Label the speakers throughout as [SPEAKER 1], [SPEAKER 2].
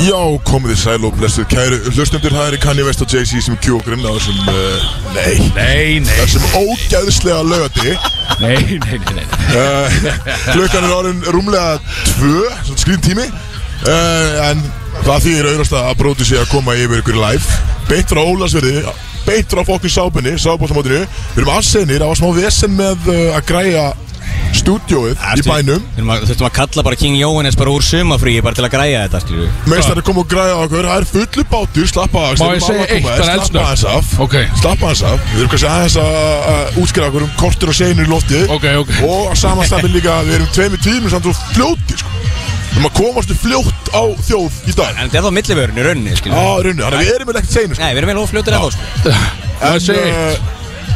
[SPEAKER 1] Já, komið þið sæl og blessuð kæru hlustendur, það er Kanye West og Jay-Z sem kjók grinn á þessum, uh, nei,
[SPEAKER 2] Nei, nei,
[SPEAKER 1] þessum ógæðslega lögati.
[SPEAKER 2] nei, nei, nei, nei.
[SPEAKER 1] Uh, klukkan er orðin rúmlega tvö, svona skrýn tími, uh, en það þýðir auðvast að bróti sé að koma yfir ykkur live, beint frá Ólasverði, beint frá fokkin sápunni, sábóttamótinu, við erum aðsennir, það var smá vesen með uh, að græja stúdjóið í bænum.
[SPEAKER 3] Þurfum að, þurfum að kalla bara King Jóhannes bara úr sumafríi bara til að græja þetta, Sko, skilju
[SPEAKER 1] Meistarinn kom og græði á okkur, það er fullu bátur, slappa af,
[SPEAKER 2] Má
[SPEAKER 1] stundum
[SPEAKER 2] ég segja
[SPEAKER 1] á að koma
[SPEAKER 2] eitt, það
[SPEAKER 1] þér,
[SPEAKER 2] er eldsnöggt.
[SPEAKER 1] Slappa aðeins af,
[SPEAKER 2] Ok.
[SPEAKER 1] slappa aðeins af Við erum kannski aðeins að að útskýra okkur um kortur og seinur í loftið
[SPEAKER 2] Ok, ok.
[SPEAKER 1] Og á samanstafin líka, við erum tveimur tímur samt og fljóti sko Við erum að komast við fljótt á þjóð í dag
[SPEAKER 3] En þetta er þá millivörun í rauninni, skilju
[SPEAKER 1] Á runni, þannig að við erum með ekkert seinur sko
[SPEAKER 3] Nei, við erum vel ofljótir eða þá, sko
[SPEAKER 2] Það er segið eitt.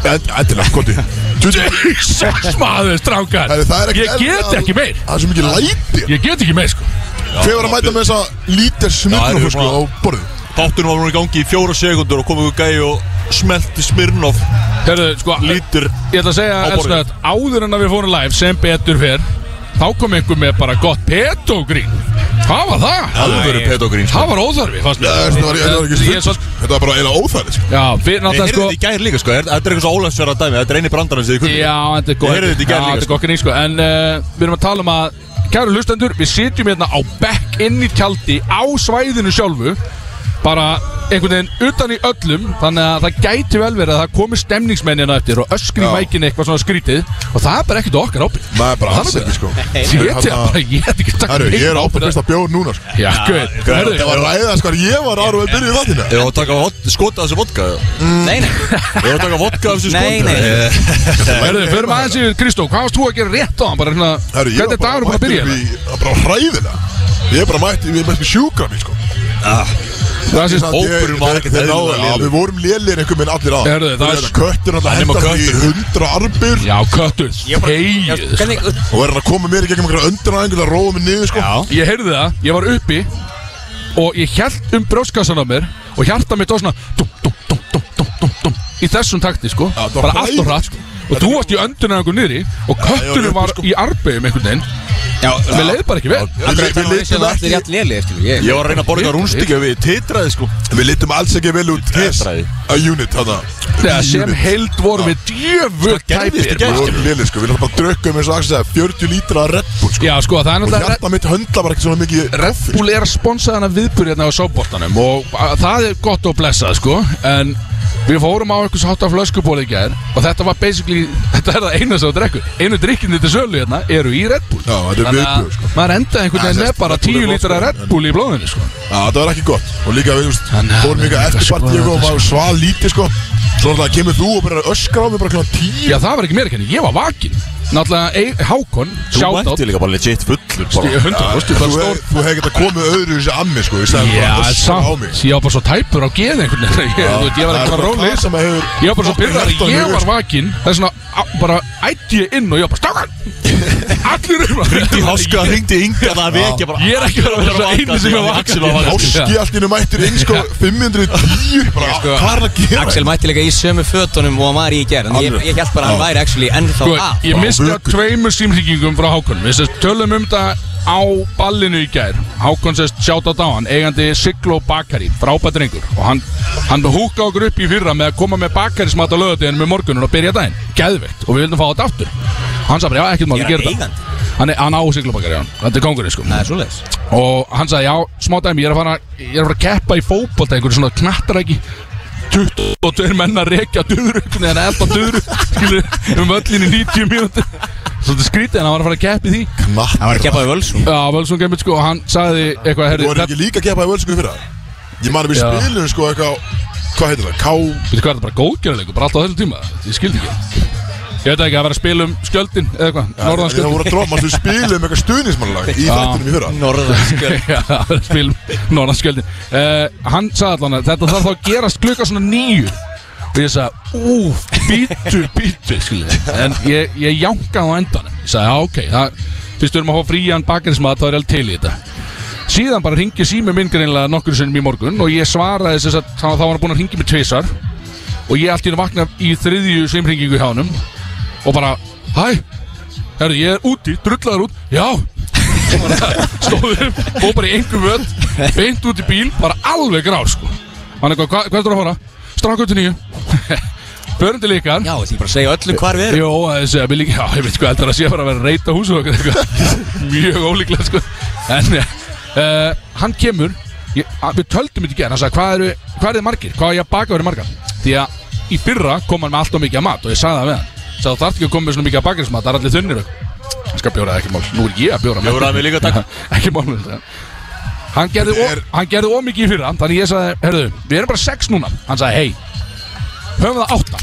[SPEAKER 1] Endilega, konti
[SPEAKER 2] Sex maður, strákar
[SPEAKER 1] Herri, það er ekki
[SPEAKER 2] Ég get
[SPEAKER 1] eðlilega-
[SPEAKER 2] ekki meir
[SPEAKER 1] Það er svo mikið læti
[SPEAKER 2] Ég get ekki meir, sko
[SPEAKER 1] Hver var að mæta með þessa lítið
[SPEAKER 4] Já,
[SPEAKER 1] smitnum
[SPEAKER 4] þeir eru
[SPEAKER 1] sko á
[SPEAKER 4] svona-
[SPEAKER 1] borðið?
[SPEAKER 4] Þátturinn var núna í gangi í fjóra sekundur og komið ykkur gæi og smelti Smirnoff
[SPEAKER 2] Herðu, sko
[SPEAKER 4] lítur
[SPEAKER 2] Ég ætla að
[SPEAKER 4] Á
[SPEAKER 2] segja
[SPEAKER 4] borðið.
[SPEAKER 2] elsnöð, áður en að við fórum live sem betur fyrr Þá kom einhver með bara gott petogrín Hvað var það?
[SPEAKER 4] Alvöru pedogrín sko
[SPEAKER 2] Það var óþarfi, fannst mér
[SPEAKER 1] Þetta var- þetta var ekki
[SPEAKER 2] Ég- ég
[SPEAKER 1] stund
[SPEAKER 2] svo-
[SPEAKER 1] Þetta var bara eiginlega óþægilegt sko
[SPEAKER 2] Já, við
[SPEAKER 4] Ég
[SPEAKER 2] náttúrulega
[SPEAKER 4] heyrði
[SPEAKER 2] sko
[SPEAKER 4] þetta í gær líka sko, er- þetta er eitthvað svo ólægsverða dæmi, þetta er eini brandarinn sem þið kunni
[SPEAKER 2] Já, þetta er
[SPEAKER 4] Ég
[SPEAKER 2] gott
[SPEAKER 4] heyrði þetta í gær
[SPEAKER 2] Já,
[SPEAKER 4] líka,
[SPEAKER 2] þetta er gott grín, sko En uh, við erum að tala um að Kæru hlustendur, við sitjum hérna á bekk inn í tjaldi Á svæðinu sjálfu Bara einhvern veginn utan í öllum Þannig að það gæti vel verið að það komi stemningsmenn hérna eftir Og öskri í
[SPEAKER 1] Já.
[SPEAKER 2] mækinu eitthvað svona skrítið Og það er bara ekkert okkar ábyrg
[SPEAKER 1] Það er bara alls ekki sko
[SPEAKER 2] Ég veit ég
[SPEAKER 1] Þarna-
[SPEAKER 2] bara, ég hef ekki
[SPEAKER 1] Herru,
[SPEAKER 2] takkt
[SPEAKER 1] ég er ábyrð fyrsta bjór núna sko.
[SPEAKER 2] Já, gauð,
[SPEAKER 1] Ég
[SPEAKER 2] hörðu
[SPEAKER 1] var að ræða sko, ég var ára við að byrja í þáttina
[SPEAKER 4] Ég var að taka vod- skota af þessu vodka
[SPEAKER 3] Nei, nei,
[SPEAKER 4] Ég var að taka vodka af þessu skota
[SPEAKER 3] nei, nei
[SPEAKER 2] Hörðu, förum aðeins yfir Kristó, hvað varst þú að gera rétt á hann? Bara hérna,
[SPEAKER 1] Herru, ég
[SPEAKER 2] hvernig
[SPEAKER 1] var
[SPEAKER 2] er dagur búin að byrja hérna?
[SPEAKER 1] mættur upp í- bara hræðina Ég er bara mætti, við erum ekki sjúkra mér sko
[SPEAKER 3] Ah.
[SPEAKER 2] Það sést,
[SPEAKER 1] Ég-
[SPEAKER 4] hópurinn var
[SPEAKER 1] þeir-
[SPEAKER 4] ekkert
[SPEAKER 1] þeir náðu-
[SPEAKER 4] eðlilega
[SPEAKER 1] Já,
[SPEAKER 4] lélegur.
[SPEAKER 1] Við vorum lélir einhvern veginn allir á
[SPEAKER 2] Herru, það er-
[SPEAKER 1] Köttur hann að
[SPEAKER 4] er með
[SPEAKER 1] henda hann í hundra arbur
[SPEAKER 2] já, köttur,
[SPEAKER 3] Ég bara- Já,
[SPEAKER 2] hegið
[SPEAKER 3] Hvernig,
[SPEAKER 1] Og er hann að koma mér í gegnum einhverja öndunæðingur Það róa mig niður sko
[SPEAKER 2] Ég heyrði það, ég var uppi Og ég held um brjóskassan á mér Og hjarta mitt á svona dum, dum, dum, dum, dum, dum, dum, Í þessum takti sko
[SPEAKER 1] Já, það var
[SPEAKER 2] Bara allt og
[SPEAKER 1] hræðilegt,
[SPEAKER 2] hratt Og þú varst í öndunum einhver niðri Og
[SPEAKER 1] ég var
[SPEAKER 2] köttunum var
[SPEAKER 1] uppi, sko.
[SPEAKER 2] í arbeigum einhvern veginn
[SPEAKER 3] já,
[SPEAKER 2] Mér leiði bara ekki vel
[SPEAKER 1] Við-
[SPEAKER 3] Akkur er það
[SPEAKER 1] Við
[SPEAKER 3] að
[SPEAKER 1] litum
[SPEAKER 3] það allir
[SPEAKER 1] ekki
[SPEAKER 3] jætt leli, skilju Ég
[SPEAKER 4] Ég var að reyna að borða eitthvað rúnstíkja við titraði sko
[SPEAKER 1] Við litum alls ekki vel út His
[SPEAKER 4] Tetraði.
[SPEAKER 1] a unit þarna
[SPEAKER 2] Þegar
[SPEAKER 1] Í
[SPEAKER 2] sem
[SPEAKER 1] unit.
[SPEAKER 2] held vorum við djöfull
[SPEAKER 4] gerðist í
[SPEAKER 2] tæpir
[SPEAKER 4] gær.
[SPEAKER 1] Við vorum lélir sko Við erum bara að drukka um eins og Axel sagði, 40 lítra af Red Bull sko
[SPEAKER 2] Já sko það er
[SPEAKER 1] Og
[SPEAKER 2] náttúrulega
[SPEAKER 1] hjarta mitt höndla bara ekki svona mikið
[SPEAKER 2] Red Bull er að sponsa hana viðbúri hérna á sábortanum og a- það er gott og blessað sko en við fórum á einhvers hátta flöskuból í gær og þetta var basically þetta er það eina sem þú drekkur einu drikkinni til sölu hérna eru í Red Bull
[SPEAKER 1] Já, þetta er viðbjóður, sko.
[SPEAKER 2] maður endaði einhvern
[SPEAKER 1] Já,
[SPEAKER 2] veginn með
[SPEAKER 1] sérst,
[SPEAKER 2] bara
[SPEAKER 1] Red Bull
[SPEAKER 2] 10
[SPEAKER 1] er gott,
[SPEAKER 2] lítra
[SPEAKER 1] sko,
[SPEAKER 2] Red Bull í blóðinu sko
[SPEAKER 1] Já, það var ekki gott Og líka við, þú veist,
[SPEAKER 2] Þannig að-
[SPEAKER 1] fórum líka
[SPEAKER 2] þetta
[SPEAKER 1] eftir
[SPEAKER 2] skoða
[SPEAKER 1] partí og
[SPEAKER 2] þetta,
[SPEAKER 1] maður svað lítið, sko Svo náttúrulega kemur þú og byrjar að öskra á mig bara kláðan tíu
[SPEAKER 2] já það var ekki meira kenni ég var vakin náttúrulega Ey- Hákon
[SPEAKER 4] Þú
[SPEAKER 2] sjátt
[SPEAKER 4] mætti líka bara legit fullur bara.
[SPEAKER 1] Þú
[SPEAKER 2] 100% bara stór
[SPEAKER 1] hef- þú hefði getað komið öðru þessi að mig, sko Í stæðan
[SPEAKER 2] Já,
[SPEAKER 1] bara að öskra á
[SPEAKER 2] samt,
[SPEAKER 1] mig
[SPEAKER 2] ég var bara svo tæpur á geði einhvern veginn, Ég- þú veit, ég
[SPEAKER 1] Það
[SPEAKER 2] var
[SPEAKER 1] er
[SPEAKER 2] eitthvað
[SPEAKER 1] bara
[SPEAKER 2] róli
[SPEAKER 1] það sem að hefur
[SPEAKER 2] Ég var bara svo
[SPEAKER 1] okkur
[SPEAKER 2] byrðar
[SPEAKER 1] hjartað
[SPEAKER 2] að ég
[SPEAKER 1] mjög,
[SPEAKER 2] var
[SPEAKER 1] sko.
[SPEAKER 2] vakin Það er svona, á- bara ætti ég inn og ég var bara Stákan! Allir um að
[SPEAKER 4] Hringdi í háska, hringdi í ynga það að vekja bara
[SPEAKER 2] Ég er ekki að vera
[SPEAKER 4] vakandi,
[SPEAKER 2] eini sem er vakandi.
[SPEAKER 4] Axel var vakandi.
[SPEAKER 1] Háski allt innum mættir inn, sko 510 bara,
[SPEAKER 3] sko,
[SPEAKER 1] Hvað er að gera?
[SPEAKER 3] Axel mætti líka í sömu fötunum og hann var í í gerð En ég, ég held bara að hann væri actually ennþá
[SPEAKER 2] Sko,
[SPEAKER 3] af
[SPEAKER 2] ég
[SPEAKER 1] Bara
[SPEAKER 2] misti að
[SPEAKER 1] vöku.
[SPEAKER 2] tveimur símhringingum frá Hákon Við sérst tölum um þetta á ballinu í gær Hákon sérst sjátt á dáan eigandi Siglo Bakari, frábæð drengur og hann, hann húka okkur upp í fyrra með að koma með bakarismat á lögadeginu með morgunum og byrja daginn, geðveikt og við vildum fá þetta aftur hann sagði bara, já, ekkert
[SPEAKER 3] Er
[SPEAKER 2] maður að
[SPEAKER 3] hann
[SPEAKER 2] gera þetta
[SPEAKER 3] eigandi?
[SPEAKER 2] hann, er- hann á Siglo Bakari, já, þetta er kongurinn sko
[SPEAKER 3] Það er svoleiðis
[SPEAKER 2] og hann sagði já, smá dæmi, ég er að fara, ég er að, fara að keppa í fótbolta einhverju svona knattaregi 22 menn að rekja duðrukni en elda duðru skilu, um völlin í 90 mínútur svolítið skrítið en hann var að fara að keppa í því
[SPEAKER 1] Knatt
[SPEAKER 3] Hann var að keppa við völsum
[SPEAKER 2] já, Völsson kemur sko og hann sagði eitthvað
[SPEAKER 1] Þú
[SPEAKER 2] herri,
[SPEAKER 1] erum
[SPEAKER 2] þetta,
[SPEAKER 1] ekki líka að gefa í völsku fyrir það Ég man að við
[SPEAKER 2] Já.
[SPEAKER 1] spilum, sko, eitthvað Hvað heitir það? Ká...
[SPEAKER 2] veitir hvað er þetta bara góðgerðarleikur bara alltaf á þessum tíma, ég skildi ekki ég veit ekki að vera að spila um skjöldin eða eitthvað, norðan
[SPEAKER 1] Það
[SPEAKER 2] skjöldin
[SPEAKER 1] voru að dróma, við spilum eitthvað stuðnismannalag í þættinum í fyrra
[SPEAKER 3] Norðanskjörn
[SPEAKER 2] Já, spilum Norðanskjöldin uh, Hann sagði allan að þetta þarf þá að gerast klukka svona nýju Og ég sagði, úf, bítu, bítu skilurðu. En ég, ég jánkaði á endanum Ég sagði, já, ok, það Fyrst við erum að fá frían bakarinsmat, þá er ég alveg til í þetta Síðan bara ringi sími minn greinlega nokkur sinnum í morgun Og ég svaraði þess að þá var hann búin að ringi mig tvisar Og ég allt í henni vakna í þriðju svimringingu hjá honum Og bara, hæ, herru, ég er úti, drullaður út Já, stóð upp, fóð bara í einhver völd Beint út í bíl, bara alveg grár sko Hann eitthvað, hva, hvað er það að fara? Strákur til nýju Förum til ykkar
[SPEAKER 3] Já, því bara segja öllum hvar við erum
[SPEAKER 2] Jó, þessi, ég, líka, já, ég veit hvað heldur að sé bara að vera að reyta húsu okkar eitthvað Mjög ólíklega sko En uh, hann kemur ég, að- Við töldum þetta í gerð Hann sagði, hvað eru hvað eru þið margir? Hvað er ég að baka verið margar? Því að í fyrra kom hann með allt of mikið af mat Og ég sagði það við hann Sagði þú þarft ekki að koma með svona mikið af bakarinsmat Það er allir þunnir Ég Skal bjóra það ekki mál Nú er ég að bjóra
[SPEAKER 4] Bjóraði mig líka, takk.
[SPEAKER 2] Ekki mál með þetta Hann gerði, er... hann gerði ómikið í fyrra Þannig ég sagði, herðu, við erum bara sex núna Hann sagði, hei, höfum það átta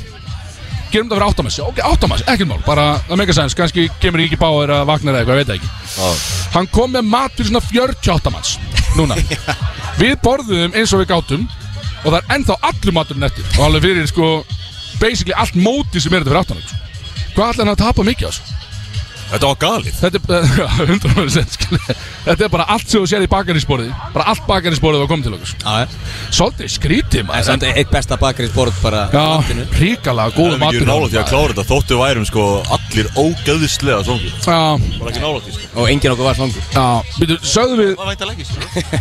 [SPEAKER 2] Gerum það fyrir áttamessi, ok, áttamessi, ekkert mál Bara, það meika sæns, kannski kemur ég ekki báður að vakna eða eitthvað, ég veit það ekki Hann kom með mat fyrir svona 48 manns Núna Við borðum eins og við gátum Og það er ennþá allur maturinn eftir Og alveg fyrir, sko, basically allt móti sem er þetta fyrir sko. áttamessi Hvað ætla hann að tapa mikið á þessu?
[SPEAKER 4] Þetta var galið
[SPEAKER 2] Þetta er, já, 100% skilja. Þetta er bara allt sem þú sér í bakarísborðið Bara allt bakarísborðið var komið til okkur
[SPEAKER 3] Já,
[SPEAKER 2] Svolítið skrítið
[SPEAKER 3] en samt
[SPEAKER 2] maður
[SPEAKER 3] eitt besta bakarísborð bara á landinu.
[SPEAKER 2] Já, ríkala
[SPEAKER 4] Það
[SPEAKER 2] góðu
[SPEAKER 4] er ekki
[SPEAKER 2] matur
[SPEAKER 4] nála því að klára þetta Þóttu værum sko allir ógæðislega svongir
[SPEAKER 2] Já,
[SPEAKER 4] Bara ekki nála því sko
[SPEAKER 3] Og enginn okkur var svangur
[SPEAKER 2] já, býtu, sögðu við
[SPEAKER 4] Það vænta leggis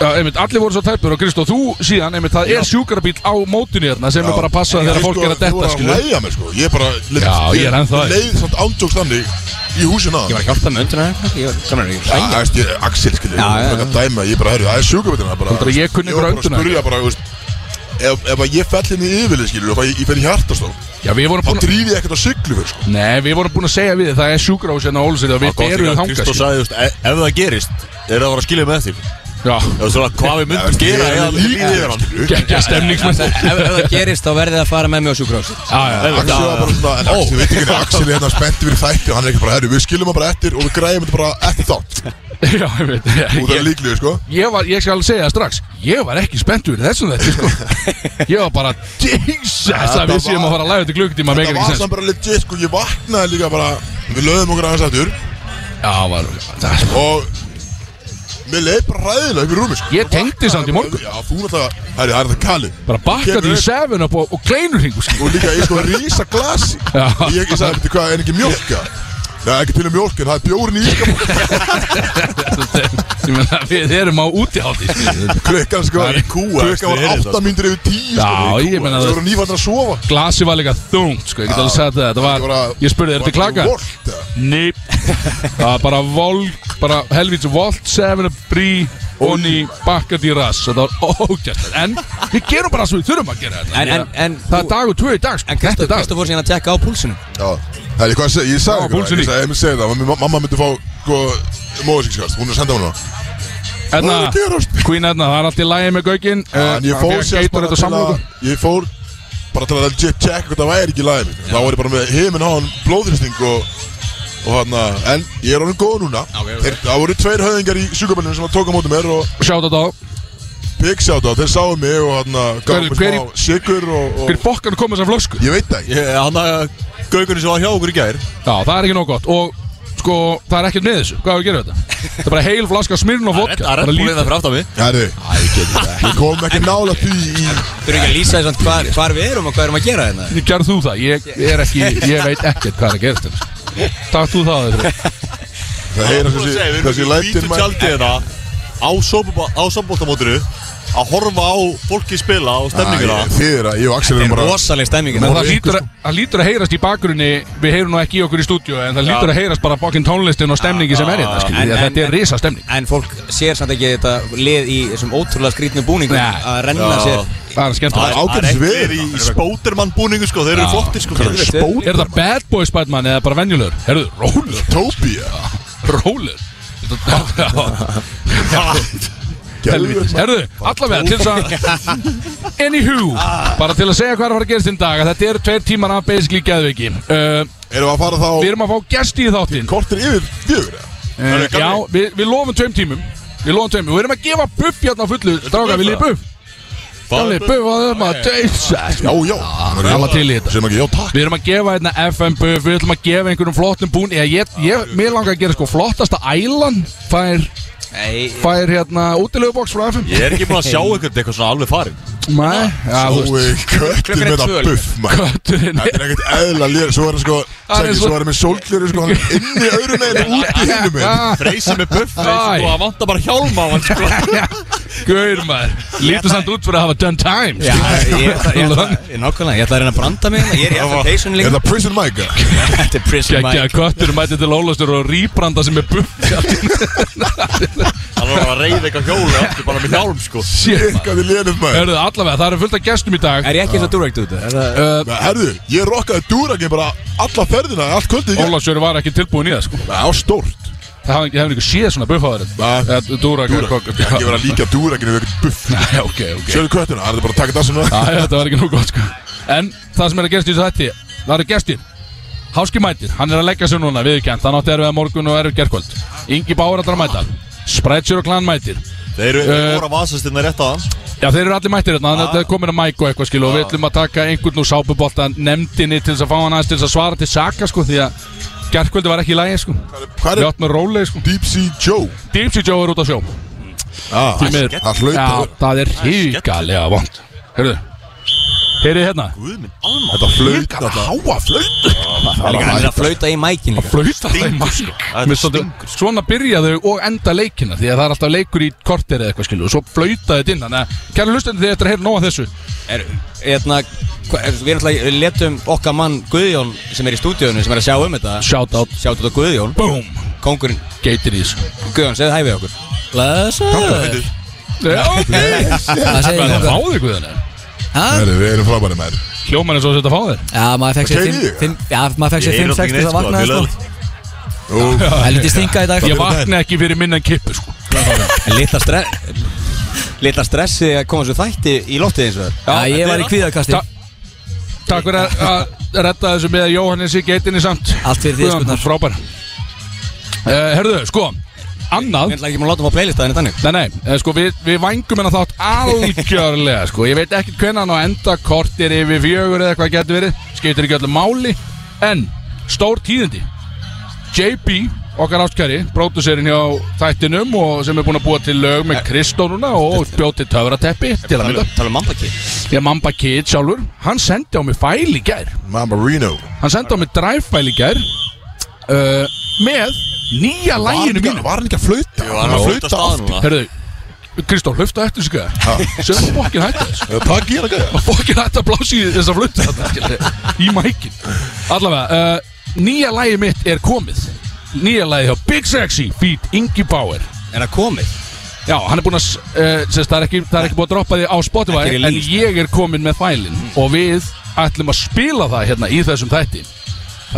[SPEAKER 2] já, einmitt, Allir voru svo tæpur og Kristó, þú síðan einmitt, Það er sjúkarabíl á mótinu hérna Sem er bara að passa þegar
[SPEAKER 4] sko-
[SPEAKER 2] fólk er að
[SPEAKER 1] Þú
[SPEAKER 2] detta
[SPEAKER 1] sko, var að
[SPEAKER 2] skilja.
[SPEAKER 1] læja mér sko Ég er bara
[SPEAKER 2] Já, ég er ennþá í.
[SPEAKER 1] Leið samt ándjóks þannig Í húsina
[SPEAKER 3] Ég var að hjálpa með önduna Ég var saman að
[SPEAKER 1] Það veist ég, Axel skilur
[SPEAKER 3] Já, já,
[SPEAKER 1] Ég er
[SPEAKER 3] já.
[SPEAKER 1] að dæma Ég er bara, herru, það er sjúkabittina bara
[SPEAKER 2] Heldurðu að ég kunni
[SPEAKER 1] var bara að
[SPEAKER 2] einhverja önduna?
[SPEAKER 1] spurja bara, þú veist Ef, ef að ég fell henni yfirlið skilur Og fæ- ég fer í hjartastof
[SPEAKER 2] Já, við vorum
[SPEAKER 1] Þá
[SPEAKER 2] búin að
[SPEAKER 1] drífi ég ekkert á siglu fyrir sko
[SPEAKER 2] Nei, við vorum búin að segja við þið, Það er sjúkarabíl hérna á Ólusir Og við berum þangað sko.
[SPEAKER 4] Kristó
[SPEAKER 2] skilja.
[SPEAKER 4] sagði þú veist, e- ef það gerist Er það að fara að skilja með þér
[SPEAKER 2] Já,
[SPEAKER 4] Það er svona hvað við myndum gera
[SPEAKER 1] Ég
[SPEAKER 4] Eða
[SPEAKER 1] er
[SPEAKER 4] lífið
[SPEAKER 1] líka
[SPEAKER 4] yfir hann
[SPEAKER 1] skilur
[SPEAKER 2] geggja stemningsmenn
[SPEAKER 3] Ef ef það gerist þá verðið að fara með mig á sjúkrós
[SPEAKER 2] Já, já,
[SPEAKER 1] Axel var bara svona, en Axel veit ekki hvernig Axel er hérna spenntið fyrir þætti og hann er ekki bara, herru, við skiljum hann bara eftir og við græjum þetta bara eftir þátt
[SPEAKER 2] já, ég veit
[SPEAKER 1] og það er líklega, sko
[SPEAKER 2] ég var, ég skal segja það strax ég var ekki spenntur fyrir þessum þetta sko. ég var bara Jesus
[SPEAKER 1] Þetta
[SPEAKER 2] að við séum að
[SPEAKER 1] var-
[SPEAKER 2] fara að læga þetta klukkutíma
[SPEAKER 1] Það
[SPEAKER 2] meikir ekki
[SPEAKER 1] var
[SPEAKER 2] sens
[SPEAKER 1] samt bara legit, sko, ég vaknaði líka bara við löðum okkur aðeins aftur
[SPEAKER 2] já, var, það,
[SPEAKER 1] og mér leið bara ræðilega upp í rúmi, sko
[SPEAKER 2] Ég tengdi samt í morgun.
[SPEAKER 1] Já, þú náttúrulega, herru, það er þetta kali
[SPEAKER 2] bara bakkaði
[SPEAKER 1] Kemur
[SPEAKER 2] í
[SPEAKER 1] upp.
[SPEAKER 2] 7 up og, og kleinur hingu sko.
[SPEAKER 1] og líka, ég sko, rísa glasi
[SPEAKER 2] Já.
[SPEAKER 1] ég ekki sagði, veitir hvað, er ekki mjólka? Nei, ekki til að mjólka, en það er bjórin í ískap
[SPEAKER 2] Ég meina, við erum á útihátti
[SPEAKER 1] klukkan, sko,
[SPEAKER 2] Það er í
[SPEAKER 4] kúa,
[SPEAKER 1] klukkan var
[SPEAKER 4] veistu,
[SPEAKER 1] 8
[SPEAKER 4] heyrið
[SPEAKER 2] sko.
[SPEAKER 1] mínútur yfir 10
[SPEAKER 2] Já,
[SPEAKER 1] sko,
[SPEAKER 2] ég meina,
[SPEAKER 1] það
[SPEAKER 2] það-
[SPEAKER 1] voru nýfættir að sofa
[SPEAKER 2] glasi var líka þungt sko. ég get alveg sagt það, það
[SPEAKER 1] Ég
[SPEAKER 2] var,
[SPEAKER 1] bara-
[SPEAKER 2] ég spurði er
[SPEAKER 1] var
[SPEAKER 2] þetta klaka?
[SPEAKER 1] ekki volt, eða?
[SPEAKER 2] Nei það var bara volk bara helvíts volt 7 up brí og ný bakkað í rass þetta var ógæst en við gerum bara það sem við þurfum að gera þetta
[SPEAKER 3] En- en- en-
[SPEAKER 2] það er dag og tvö í dag sko.
[SPEAKER 3] En
[SPEAKER 2] Þetta er dagur.
[SPEAKER 3] Kristó fór síðan að tekka á púlsinu
[SPEAKER 1] Já, það er hvað að segja, ég
[SPEAKER 2] Já,
[SPEAKER 1] sagði ykkur
[SPEAKER 2] púlsinn
[SPEAKER 1] það,
[SPEAKER 2] í.
[SPEAKER 1] ég sagði, ef mér segja það, mamma- mamma myndi fá móðsíkskast, hún er að senda hún það Hvað er að
[SPEAKER 2] Edna,
[SPEAKER 1] gerast?
[SPEAKER 2] Hérna, Queen Edna, það er allt í lægi með Eh, Gaugin
[SPEAKER 1] En ég fór sérst bara til að, ég fór bara til að legit checka hvað það væri ekki í lagið mitt Þá var ég bara með heiminn á hann blóðrýsting og, og hann en ég er honum góð núna
[SPEAKER 3] ok.
[SPEAKER 1] Þeir, Það voru tveir höfðingar í sjúkabellinu sem að tóka móti mér og
[SPEAKER 2] Sjáta þá,
[SPEAKER 1] pixi á það, þeir sáu mig og hann
[SPEAKER 2] Hver-
[SPEAKER 1] gaf mér
[SPEAKER 2] hver í-
[SPEAKER 1] smá sigur og,
[SPEAKER 2] hver
[SPEAKER 1] og
[SPEAKER 2] fokkan kom þessar flösku Já,
[SPEAKER 1] ég veit það ekki
[SPEAKER 4] Ég- Hann að gaugunni sem var hjá okkur í gær
[SPEAKER 2] það er ekki nóg gott Og sko, það er ekkert með þessu Hvað er að gera þetta? Það er bara heil flaska smirn og vodka
[SPEAKER 4] Það er
[SPEAKER 2] bara
[SPEAKER 1] hérna
[SPEAKER 4] búin
[SPEAKER 2] lítið.
[SPEAKER 4] það fyrir aftan mig
[SPEAKER 1] Herri, ég kom ekki nála því í
[SPEAKER 3] Þurfum ekki að lýsa þessan hvar, hvar við erum og hvað erum að gera hérna
[SPEAKER 2] Gerð þú það, ég, ég er ekki, ég veit ekkert hvað er að gera þetta Takk þú það þegar
[SPEAKER 1] það heyra
[SPEAKER 4] Þú segir,
[SPEAKER 1] þessi,
[SPEAKER 4] við
[SPEAKER 1] þessi
[SPEAKER 4] erum í
[SPEAKER 1] lættir
[SPEAKER 4] vítum tjaldi hérna á sópub- á samboltamótinu að horfa á fólki spila og stemningina
[SPEAKER 1] Þið er að Ah, ég og Axel erum
[SPEAKER 3] Þetta er
[SPEAKER 1] bara
[SPEAKER 3] rosaleg stemming
[SPEAKER 2] En
[SPEAKER 3] hérna.
[SPEAKER 2] það lítur, að, það lítur að heyrast í bakgrunni Við heyrum nú ekki í okkur í stúdíu En það lítur að heyrast bara bókin tónlistin og stemningi sem er hérna skilur
[SPEAKER 3] En-
[SPEAKER 2] við, að
[SPEAKER 3] en-
[SPEAKER 2] Þetta er risa stemning
[SPEAKER 3] En fólk sér samt ekki þetta lið í þessum ótrúlega skrítnu búningum
[SPEAKER 2] Nei.
[SPEAKER 3] að renna
[SPEAKER 4] Já.
[SPEAKER 3] sér
[SPEAKER 2] Það er
[SPEAKER 4] Það
[SPEAKER 2] skemmtilegt
[SPEAKER 4] er
[SPEAKER 1] ágætis
[SPEAKER 4] ágætis
[SPEAKER 1] veður,
[SPEAKER 4] veður í
[SPEAKER 1] það er
[SPEAKER 4] spótermann búningu sko, þeir eru flottir sko
[SPEAKER 3] Hvað er þetta?
[SPEAKER 4] Spót-
[SPEAKER 2] Er það bad boy spætmann eða bara venjulegur? Herðu, rólegur
[SPEAKER 1] Tóbía
[SPEAKER 2] Rólir
[SPEAKER 1] Geðveikt,
[SPEAKER 2] Herðu, allavega til þess að Anywho
[SPEAKER 1] Ah.
[SPEAKER 2] Bara til að segja hvað er að fara að gerast í dag að Þetta eru tveir tímar af basically geðviki uh,
[SPEAKER 1] Erum við að fara þá
[SPEAKER 2] Við erum að fá gesti í þáttin
[SPEAKER 1] kortir yfir fjögur eða?
[SPEAKER 2] uh, Já, við, við lofum tveim tímum Við lofum tveim Við erum að gefa buff hérna á fullu Dráka, viljið þið buff?
[SPEAKER 4] Hvað
[SPEAKER 2] Galli,
[SPEAKER 4] er
[SPEAKER 2] buff á þeim að teysa
[SPEAKER 1] Eh. Já, já Það
[SPEAKER 2] alla til í þetta.
[SPEAKER 1] Sem ekki, já takk
[SPEAKER 2] Við erum að gefa hérna FM buff Við ætlum að gefa einhverjum flottum bún Eða ég, ég, mér langar að gera sko flottasta ælan Fær,
[SPEAKER 3] Nei,
[SPEAKER 2] fær hérna útilegubóks frá FM
[SPEAKER 4] Ég er ekki búin að sjá eitthvað eitthvað svona alveg farin
[SPEAKER 2] Nei, já, þú veist
[SPEAKER 1] Sjói köttur
[SPEAKER 3] Klukkan
[SPEAKER 1] með
[SPEAKER 3] er
[SPEAKER 1] það
[SPEAKER 3] tvö,
[SPEAKER 1] buff maður.
[SPEAKER 2] Kötturinn
[SPEAKER 1] Þetta er ekkert eðla lér Svo er hann sko
[SPEAKER 2] Hann er
[SPEAKER 1] sagði,
[SPEAKER 2] svo-
[SPEAKER 1] Svo er hann með sólgleru sko hann er Inn í öðru meginn og út í hinu meginn
[SPEAKER 2] Ah,
[SPEAKER 4] Freysi með buff
[SPEAKER 2] Æ.
[SPEAKER 4] og það vantar bara hjálma á hann sko.
[SPEAKER 2] Gaur maður Lítur samt út fyrir að hafa done time
[SPEAKER 3] Já, ég,
[SPEAKER 2] skilur.
[SPEAKER 3] ég, ég, ég, nákvæmlega, ég ætla að reyna að branda mig hérna, Ég er í application
[SPEAKER 1] Er
[SPEAKER 3] líka
[SPEAKER 1] það prison mic? eða?
[SPEAKER 3] Þetta er prison
[SPEAKER 2] Gekkja
[SPEAKER 3] mic
[SPEAKER 2] að kötturinn mæti til Ólastur og rýbranda sem er buff
[SPEAKER 4] Hann var að reyða eitthvað hjóli aftur bara með hjálm sko
[SPEAKER 2] Shit maður
[SPEAKER 1] Ykkaði lérið maður
[SPEAKER 2] Hörðu allavega, það eru fullt af gestum í dag
[SPEAKER 3] Er ég ekki eins og direct út? Er það-
[SPEAKER 2] uh,
[SPEAKER 1] Herðu, ég rokkaði dúragin bara alla ferðina, allt kvöldið í gegn.
[SPEAKER 2] Ólastur var ekki tilbúin í það sko
[SPEAKER 1] Það er stórt
[SPEAKER 2] Það hafði- ég hefði ekki séð svona buff á
[SPEAKER 1] Nei.
[SPEAKER 2] þeirri Dúra
[SPEAKER 1] Dúragin, ekki vera að líka dúragin við eitthvað buff
[SPEAKER 2] Nei, ok, ok
[SPEAKER 1] Sjöðu köttuna, það er bara að taka dansinu
[SPEAKER 2] Já, já, þetta var ekki nú gott sko En það sem er að gerast í þessu þætti Það eru gestir Háski mætir, hann er að leggja sig núna viðkjönd Hann átti erfið að morgun og erfið gerkvöld Ingi Báur allar að mæta Spretsjur og klan mætir
[SPEAKER 4] Þeir eru
[SPEAKER 2] Eh.
[SPEAKER 4] voru að vasast hérna rétt að
[SPEAKER 2] Já, þeir eru allir mættir hérna Þannig að þetta er komin að mæk og eitthvað skil Og við ætlum að taka einhvern úr sápubolta Nemdinni til þess að fá hann aðeins til þess að svara til saka sko Því að gerkvöldi var ekki í lagi sko
[SPEAKER 1] Hvað
[SPEAKER 2] Við
[SPEAKER 1] er
[SPEAKER 2] áttum með róleg sko
[SPEAKER 1] Deep Sea Joe?
[SPEAKER 2] Deep Sea Joe er út á sjó
[SPEAKER 1] Ah,
[SPEAKER 2] Því miður.
[SPEAKER 1] Það hlaut
[SPEAKER 2] Já,
[SPEAKER 1] að-
[SPEAKER 2] það er híkalega vond Heyrðu Heyrðu hérna
[SPEAKER 4] Guð minn, alma
[SPEAKER 1] Þetta hlaut að háa flöyt
[SPEAKER 3] Það er líka hann er að flauta í mækin líka
[SPEAKER 2] flauta þeim
[SPEAKER 4] Stingur,
[SPEAKER 2] mark
[SPEAKER 4] sko. Þetta
[SPEAKER 2] Mér svolítið- Svona byrja þau og enda leikina Því að það er alltaf leikur í kortir eða eitthvað skilu Og svo flauta þetta inn Þannig að kæra hlustandi þið eftir að heyra nóg af þessu
[SPEAKER 3] Er- Hérna, hva- er- við náttúrulega letum okkar mann Guðjón sem er í stúdíónu sem er að sjá um þetta
[SPEAKER 2] Shout out
[SPEAKER 3] Sjátt þetta Guðjón,
[SPEAKER 2] Boom
[SPEAKER 3] kongurinn
[SPEAKER 2] Geitir í þessu
[SPEAKER 3] Guðjón, segðu hæfið okkur Blessaður
[SPEAKER 2] Já, ok
[SPEAKER 5] Það segir
[SPEAKER 2] Það er
[SPEAKER 5] ég
[SPEAKER 2] fáðir guðan
[SPEAKER 5] Hæ?
[SPEAKER 1] Við erum frábæri maður
[SPEAKER 2] Hljóman er svo að setja fáðir
[SPEAKER 5] Já, maður fekk sér
[SPEAKER 1] Það keyri ég.
[SPEAKER 5] 5 Já, maður fekk sér
[SPEAKER 4] Ég er
[SPEAKER 5] 5, 6
[SPEAKER 4] náttúrulega ekki
[SPEAKER 5] til að
[SPEAKER 4] neitt, sko,
[SPEAKER 5] vakna
[SPEAKER 4] mjög
[SPEAKER 5] sko.
[SPEAKER 4] leiðilegt.
[SPEAKER 1] Ú,
[SPEAKER 5] Það lítið stinga í dag
[SPEAKER 2] Ég vakna ekki fyrir minna en kippu sko
[SPEAKER 3] Lilla stress Lilla stressi að koma svo þætti í loftið eins og það
[SPEAKER 5] Já, ég var í kvíðakasti
[SPEAKER 2] Ta- Takk fyrir að- að redda þessu með Jóhannes í geitinni samt
[SPEAKER 5] Allt fyrir því,
[SPEAKER 2] Guðjón,
[SPEAKER 5] Gunnar.
[SPEAKER 2] Frábær Eh, Herðu, sko Annað
[SPEAKER 3] Ég ætla ekki maður að láta maður playlistaðinu þannig
[SPEAKER 2] Nei, nei, eh, sko, við, við vangum hennar þátt algjörlega, sko Ég veit ekkert hvernig hann á að enda kortir yfir fjögur eða hvað getur verið Skiptir ekki öllu máli En, stór tíðindi JB, okkar ástkæri, pródusserinn hjá þættinum og sem er búinn að búa til lög
[SPEAKER 3] Eh.
[SPEAKER 2] með Kristó núna og bjóti töfrateppi til að mynda.
[SPEAKER 3] Tala um mambaki
[SPEAKER 2] Ég mamba kid sjálfur, hann sendi á mig fæl í gær
[SPEAKER 1] Mamma Reno
[SPEAKER 2] Hann sendi á mig drive-fæl í gær uh, með nýja
[SPEAKER 1] Var hann
[SPEAKER 2] læginu
[SPEAKER 1] ekki-
[SPEAKER 2] mínu
[SPEAKER 1] Var hann ekki að flöyta?
[SPEAKER 4] Jú, hann var að flauta staðan núna
[SPEAKER 2] Herðu, Kristó, hlufta eftir sig gæða Sjöfum fokkin hætta þessu
[SPEAKER 1] Það gera gæði
[SPEAKER 2] Maður fokkin hætti að blási í þessa fluttu þarna, skilurðu, Í mækin Allavega, uh, nýja lægi mitt er komið Nýja lægi hjá Big Sexy Feat Ingi Bauer
[SPEAKER 3] Er það komið?
[SPEAKER 2] Já, hann er búinn að, s- uh, sérst, það er ekki, það er ekki búið að droppa því á Spotify
[SPEAKER 3] Ekki
[SPEAKER 2] En
[SPEAKER 3] release.
[SPEAKER 2] ég er komin með fælin Og við ætlum að spila það hérna í þessum þætti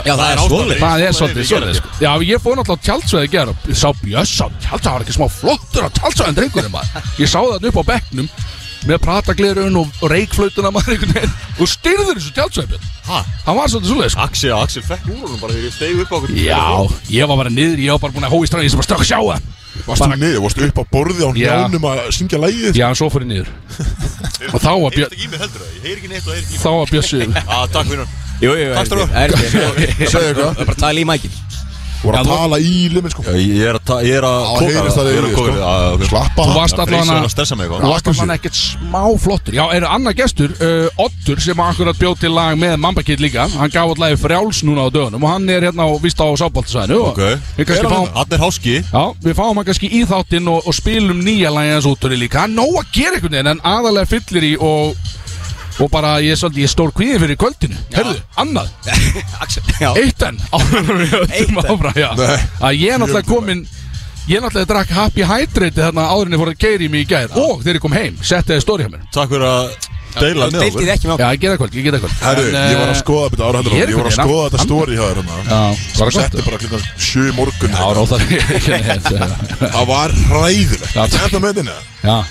[SPEAKER 3] Já, það er
[SPEAKER 4] svoleiðis.
[SPEAKER 3] ástæðið
[SPEAKER 2] Það er
[SPEAKER 4] Svo
[SPEAKER 2] svolítið
[SPEAKER 4] leiðis,
[SPEAKER 2] svolítið
[SPEAKER 4] ég
[SPEAKER 2] sko. Já, ég fór náttúrulega á tjaldsvæði að gera Ég sá bjössa á tjaldsvæði, hann er ekki smá flottur á tjaldsvæðin drengurinn maður Ég sá það upp á bekknum Með prataglerun og og reykflautuna maður einhvern veginn Og styrður þessu tjaldsvæði Björn.
[SPEAKER 4] Ha?
[SPEAKER 2] Hann var svolítið svolítið sko.
[SPEAKER 4] Axel, Axel fekk úr honum bara þegar ég steig upp á okkur
[SPEAKER 2] Já, ég var bara niður, ég var bara búin að hói strafið Ég sem bara stökk að sjá það
[SPEAKER 1] Varst þú niður, varst upp á borði á
[SPEAKER 2] Já.
[SPEAKER 1] njánum að syngja lægið
[SPEAKER 2] Já, en svo fór ég niður Og þá var
[SPEAKER 4] Heyrðu
[SPEAKER 2] Björn,
[SPEAKER 4] ekki í mig heldur það, ég heyr ekki neitt og heyr ekki í mig
[SPEAKER 2] þá var Björn
[SPEAKER 4] Já, takk vinnur
[SPEAKER 3] Jú, jú,
[SPEAKER 4] Takk, strákar.
[SPEAKER 3] er ekki
[SPEAKER 1] Segðu eitthvað.
[SPEAKER 3] Það er bara að tala í mækin
[SPEAKER 1] Var að tala í limin sko
[SPEAKER 4] Ég er að, ég er að
[SPEAKER 1] Það heyrist það yfir sko Slappa
[SPEAKER 2] Þú varst
[SPEAKER 4] Freysi
[SPEAKER 2] allan
[SPEAKER 4] var
[SPEAKER 2] að
[SPEAKER 4] að stressa mig sko.
[SPEAKER 1] Já.
[SPEAKER 4] eitthvað
[SPEAKER 2] Alltaf hann ekkert smá flottur Já, er annar gestur, uh, Oddur sem akkurat bjóð til lag með Mamba Kid líka Hann gaf alltaf lagi frjáls núna á dögunum Og hann er hérna á, víst á sábáltasæðinu
[SPEAKER 4] Ok.
[SPEAKER 2] Við kannski fáum
[SPEAKER 4] Hann er háski
[SPEAKER 2] Já, við fáum hann kannski í þáttinn og, og spilum nýja lagið hans út úr því líka Hann nóg að gera einhvern veginn en aðalega fyllir í og Og bara ég er svolítið, ég er stór kvíði fyrir kvöldinu Herðu, annað,
[SPEAKER 3] Axel, já
[SPEAKER 2] eitt enn Áður en við höldum
[SPEAKER 3] Eitt enn.
[SPEAKER 2] áfram, já
[SPEAKER 1] Nei.
[SPEAKER 2] Að ég er náttúrulega komin Ég náttúrulega drakk Happy Hydrate þarna áður en ég fór að keiri mig í gær Og þegar ég kom heim, setti það í stóri hjá mér
[SPEAKER 4] Takk fyrir að deila með
[SPEAKER 3] Deiltið ekki með okkur
[SPEAKER 2] Já, ég geta kvöld, ég geta kvöld
[SPEAKER 1] Herru,
[SPEAKER 2] En,
[SPEAKER 1] ég var að
[SPEAKER 2] eh,
[SPEAKER 1] skoða þetta ára hendur
[SPEAKER 2] ég er
[SPEAKER 1] Ég var að
[SPEAKER 2] einhvern
[SPEAKER 1] skoða
[SPEAKER 2] veginn
[SPEAKER 1] þetta story hjá þér hann
[SPEAKER 2] Já, var að
[SPEAKER 1] Setti
[SPEAKER 2] kvöld
[SPEAKER 1] bara klukkan sjö í morgun
[SPEAKER 2] Já,
[SPEAKER 1] eitthvað.
[SPEAKER 2] róðar Já,
[SPEAKER 1] Það var ræðilegt
[SPEAKER 2] Já, takk.
[SPEAKER 1] Þetta með þinna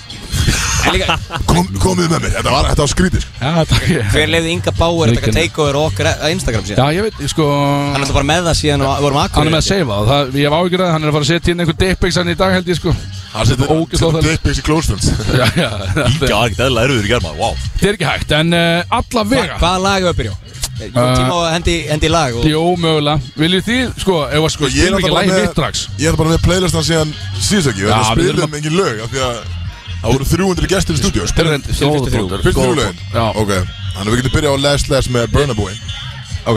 [SPEAKER 3] En líka,
[SPEAKER 1] Komið með mér, þetta var, þetta var skrítið sko.
[SPEAKER 2] já, takk
[SPEAKER 3] hver leiði Inga Bauer að taka
[SPEAKER 2] Mikið.
[SPEAKER 3] takeover og okkar á Instagram síðan?
[SPEAKER 2] Já, ég veit, sko
[SPEAKER 3] Hann er
[SPEAKER 2] Hann
[SPEAKER 3] alltaf bara með það síðan og við vorum akkur
[SPEAKER 2] er með að seifa það, það ég hef ágjörðað, hann er að fara að setja inn einhver dickpics hann í dag held ég sko
[SPEAKER 1] Það
[SPEAKER 2] Ógeðslega
[SPEAKER 1] setur
[SPEAKER 2] óþægilegt.
[SPEAKER 1] dickpics í close friends
[SPEAKER 2] Já, já, þetta
[SPEAKER 4] Ígja var ekkert eðla erfiður í germa, wow
[SPEAKER 2] þetta er ekki hægt, en uh, alla vega
[SPEAKER 3] Hvaða lag er að byrja á? Ég kom
[SPEAKER 2] Uh,
[SPEAKER 3] Tíma á að hendi, hendi lag og
[SPEAKER 2] Jó, mögulega, viljið þið, sko, ef að sko,
[SPEAKER 1] Ég er náttúrulega
[SPEAKER 2] spilum ekki
[SPEAKER 1] bara
[SPEAKER 2] lægi
[SPEAKER 1] með-
[SPEAKER 2] mitt strax
[SPEAKER 1] Ég er bara með playlistan síðan síðust ekki Við
[SPEAKER 2] Já,
[SPEAKER 1] erum að
[SPEAKER 2] við erum
[SPEAKER 1] spila um engin lög af Því að Það voru 300 gestir í stúdíu sko.
[SPEAKER 2] Þeir eru
[SPEAKER 3] fyrstu þrjú.
[SPEAKER 1] Fyrst þrjú lögin
[SPEAKER 2] Já.
[SPEAKER 1] Ok Þannig við getum byrjað á Last Last með Burna Boy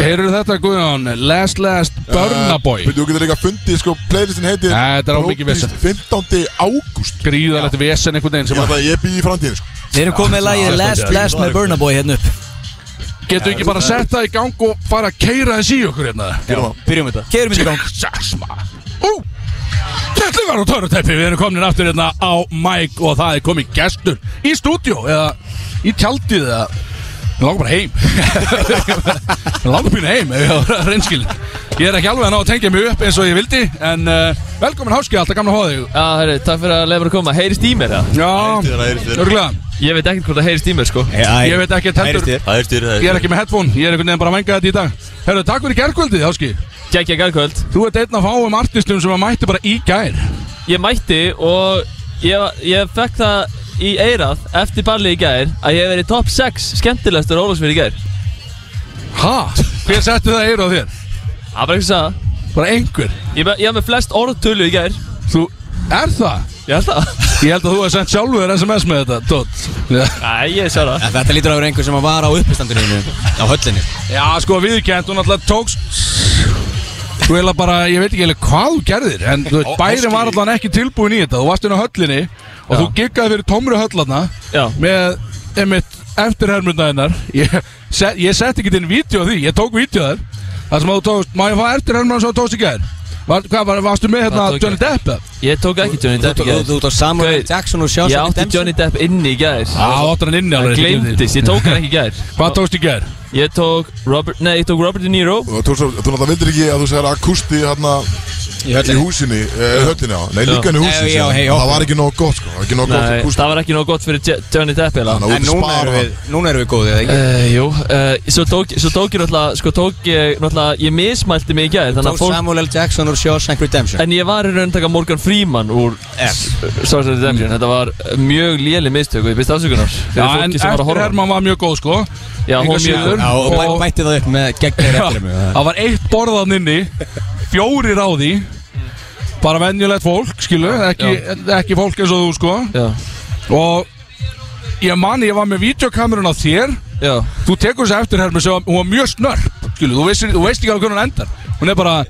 [SPEAKER 2] Heyrðu þetta Guðjón Last Last Burna Boy
[SPEAKER 1] Eh, Þú getur líka fundið sko Playlistin heitir
[SPEAKER 2] Nei, þetta er á mikið vesen.
[SPEAKER 1] Brokebeast 15. ágúst
[SPEAKER 2] Gríðalegt vesen einhvern
[SPEAKER 1] Ég
[SPEAKER 2] veginn sem
[SPEAKER 1] ætla
[SPEAKER 2] að
[SPEAKER 1] að ég bý í framtíðin sko
[SPEAKER 5] Við erum komið með lagið Last Last með Burna Boy hérna upp
[SPEAKER 2] Getur ekki bara að setja í gang og fara að keira þessi í okkur hérna
[SPEAKER 3] Byrjum þetta
[SPEAKER 5] Keirum í gang
[SPEAKER 2] Jesus maður Ú Þetta var á törutæpi, við erum komin aftur hérna á Mike og það er komið gestur í stúdíó eða í tjaldið eða Mér langar bara heim Mér langar pínu heim ef ég á reynskil Ég er ekki alveg að ná að tengja mig upp eins og ég vildi En uh, velkomin háski, alltaf gamla hóði
[SPEAKER 6] Já, herru, takk fyrir að leiða mér að koma. Heyrist í mér það?
[SPEAKER 2] Já,
[SPEAKER 4] Það er styr
[SPEAKER 2] örgulega
[SPEAKER 6] Ég veit ekkert hvort það heyrist í mér, sko.
[SPEAKER 2] Ég veit ekki að
[SPEAKER 3] Heyrist
[SPEAKER 2] tendur
[SPEAKER 5] þér?
[SPEAKER 4] Það er styr
[SPEAKER 2] Ég er ekki með headphone, ég er einhvern veginn bara að venga þetta í dag Herru, takk fyrir gerkvöldið, háski
[SPEAKER 6] Gækja gærkvöld.
[SPEAKER 2] Þú ert einn af fáum artistum sem að mætti bara í gær
[SPEAKER 6] Ég mætti og ég, ég fekk það í eirað eftir ballið í gær að ég hef verið top 6 skemmtilegastur Ólafsfjörð í gær.
[SPEAKER 2] Ha? Hver setti það eir á þér?
[SPEAKER 6] Það var eitthvað að það.
[SPEAKER 2] Bara einhver
[SPEAKER 6] Ég me- ég hef með flest orðtölu í gær.
[SPEAKER 2] Þú, er það?
[SPEAKER 6] Ég held það.
[SPEAKER 2] Ég held að þú hefði sendt sjálfur þér SMS með þetta, Tótt Já,
[SPEAKER 6] Æ, ég sé það.
[SPEAKER 3] En Þetta lítur að vera einhver sem var á uppistandinu mínu, á höllinni
[SPEAKER 2] Já sko, viðkjönt, hún alltaf tókst Þú heila bara, ég veit ekki heila hvað þú gerðir En þú veit, bærin var alltaf ekki tilbúin í þetta Þú varst inn á höllinni Og þú giggaði fyrir tómri höllarna
[SPEAKER 6] Já.
[SPEAKER 2] Með, einmitt, eftirhermundaðinnar Ég, set, ég sett ekki inn vídeo af því, ég tók vídeo af þér Það sem að þú tókst, má ég fá eftirhermundaðin sem þú tókst í gær? Var, hvað, var, varstu með hérna
[SPEAKER 6] Það tók ég.
[SPEAKER 2] Johnny Depp? eða?
[SPEAKER 6] Ég tók ekki Johnny
[SPEAKER 3] Þú
[SPEAKER 6] Depp í
[SPEAKER 3] þú-
[SPEAKER 6] gær.
[SPEAKER 3] þú ert á Samuel
[SPEAKER 6] Gauð,
[SPEAKER 3] Jackson og sjá
[SPEAKER 6] Ég átti Johnny Depp inni í gær.
[SPEAKER 2] Já, þú áttir hann inni
[SPEAKER 6] Það
[SPEAKER 2] alveg
[SPEAKER 6] gleymdist, ég tók hann ekki í gær.
[SPEAKER 2] Hvað tókst í gær?
[SPEAKER 6] Ég tók Robert, nei, ég tók Robert De Niro.
[SPEAKER 1] Og Þú svo- þú náttúrulega vildir ekki að þú segir akusti hérna
[SPEAKER 3] Í
[SPEAKER 1] Í
[SPEAKER 3] höllinni
[SPEAKER 1] húsinni, eh, höllinni á Nei, líka inn í húsinni
[SPEAKER 3] Já, já,
[SPEAKER 1] síðan.
[SPEAKER 3] hei,
[SPEAKER 1] Það
[SPEAKER 3] okkur.
[SPEAKER 1] var ekki nóg gott sko Ekki nóg gott
[SPEAKER 6] Nei,
[SPEAKER 1] akústík.
[SPEAKER 6] það var ekki nóg gott fyrir Je- Johnny Depp eða?
[SPEAKER 1] Þannig að
[SPEAKER 3] En
[SPEAKER 1] þú ert
[SPEAKER 3] núna
[SPEAKER 1] að
[SPEAKER 3] erum
[SPEAKER 1] spara
[SPEAKER 3] við, núna erum við góðið, eða ekki?
[SPEAKER 6] Uh, jú, uh, svo, tók, svo tók ég náttúrulega, sko tók ég náttúrulega, ég mismælti mig í gæð, þannig
[SPEAKER 3] Tók
[SPEAKER 6] að fólk,
[SPEAKER 3] Samuel L. Jackson og Shawshank Redemption
[SPEAKER 6] en ég var í raun að taka Morgan Freeman úr Star Redemption, þetta var uh, mjög léli mistök og ég byrst afsökunar fyrir
[SPEAKER 2] Já, en
[SPEAKER 6] fólki sem var að horfa.
[SPEAKER 2] eftirherman var mjög góð sko
[SPEAKER 6] Já, hún
[SPEAKER 2] Engu
[SPEAKER 6] var mjög
[SPEAKER 2] síður.
[SPEAKER 6] góð.
[SPEAKER 3] Já, og bæ- bætti það upp með gegnir
[SPEAKER 2] Já,
[SPEAKER 3] eftir mig
[SPEAKER 2] Það var eitt borðan inni Fjórir á því Bara venjulegt fólk, skilu ekki, ekki fólk eins og þú sko
[SPEAKER 6] Já,
[SPEAKER 2] Og ég mani, ég var með videokamerun á þér
[SPEAKER 6] já,
[SPEAKER 2] Þú tekur þessi eftirhermi sem var- hún var mjög snörp Skilu, þú veist, þú veist ekki alveg hvernig hún endar Hún er bara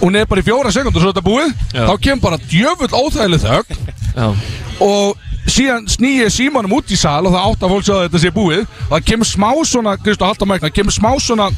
[SPEAKER 2] Hún er bara í fjóra sekundur svo þetta búið
[SPEAKER 6] Já.
[SPEAKER 2] Þá kemur bara djöfull óþægileg þögn
[SPEAKER 6] já,
[SPEAKER 2] og síðan sný ég símanum út í sal og það átt að fólk sjá að þetta sé búið og það kemur smá svona, Kristof, halda mækna kemur smá svona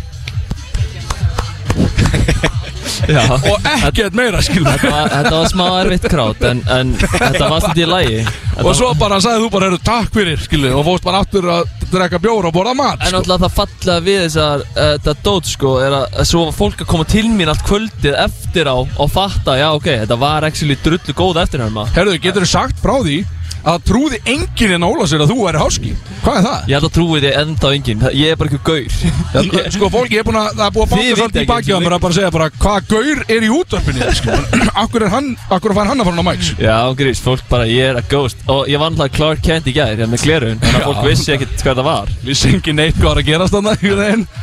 [SPEAKER 6] já.
[SPEAKER 2] og ekkert meira, skilur
[SPEAKER 6] Þetta var, þetta var smá erfitt krát, en, en þetta var svolítið í lægi.
[SPEAKER 2] og svo bara sagði þú bara, heyrðu, takk fyrir, skilur og fóst bara aftur að drekka bjóra og borða mat
[SPEAKER 6] En
[SPEAKER 2] sko.
[SPEAKER 6] náttúrulega það fallega við þessar, uh, þetta dót sko, er að, að svo var fólk að koma til mín allt kvöldið eftir á og fatta, já ok, þetta var actually drullu góð eftirherma.
[SPEAKER 2] Herðu, getur þú sagt frá því að það trúði enginn en Óla sér að þú væri háski hvað er það?
[SPEAKER 6] Ég held að trúi því enda á enginn, Það- ég er bara eitthvað gaur
[SPEAKER 2] það sko, fólki er búin að, það er búið
[SPEAKER 6] Þið
[SPEAKER 2] að banka
[SPEAKER 6] vitið
[SPEAKER 2] svolítið í
[SPEAKER 6] ekki
[SPEAKER 2] baki á mér að bara segja bara, hvað gaur er í útvarpinni skilur, akkur er hann, akkur fær hann að fara hann á mæks
[SPEAKER 6] Já, grís, fólk bara, ég er að ghost Og ég var náttúrulega Clark Kent í gær, ég með glerun Þannig að
[SPEAKER 2] Já.
[SPEAKER 6] fólk vissi ekkert hvað það var
[SPEAKER 2] við syngi neitt hvað er að gerast þannig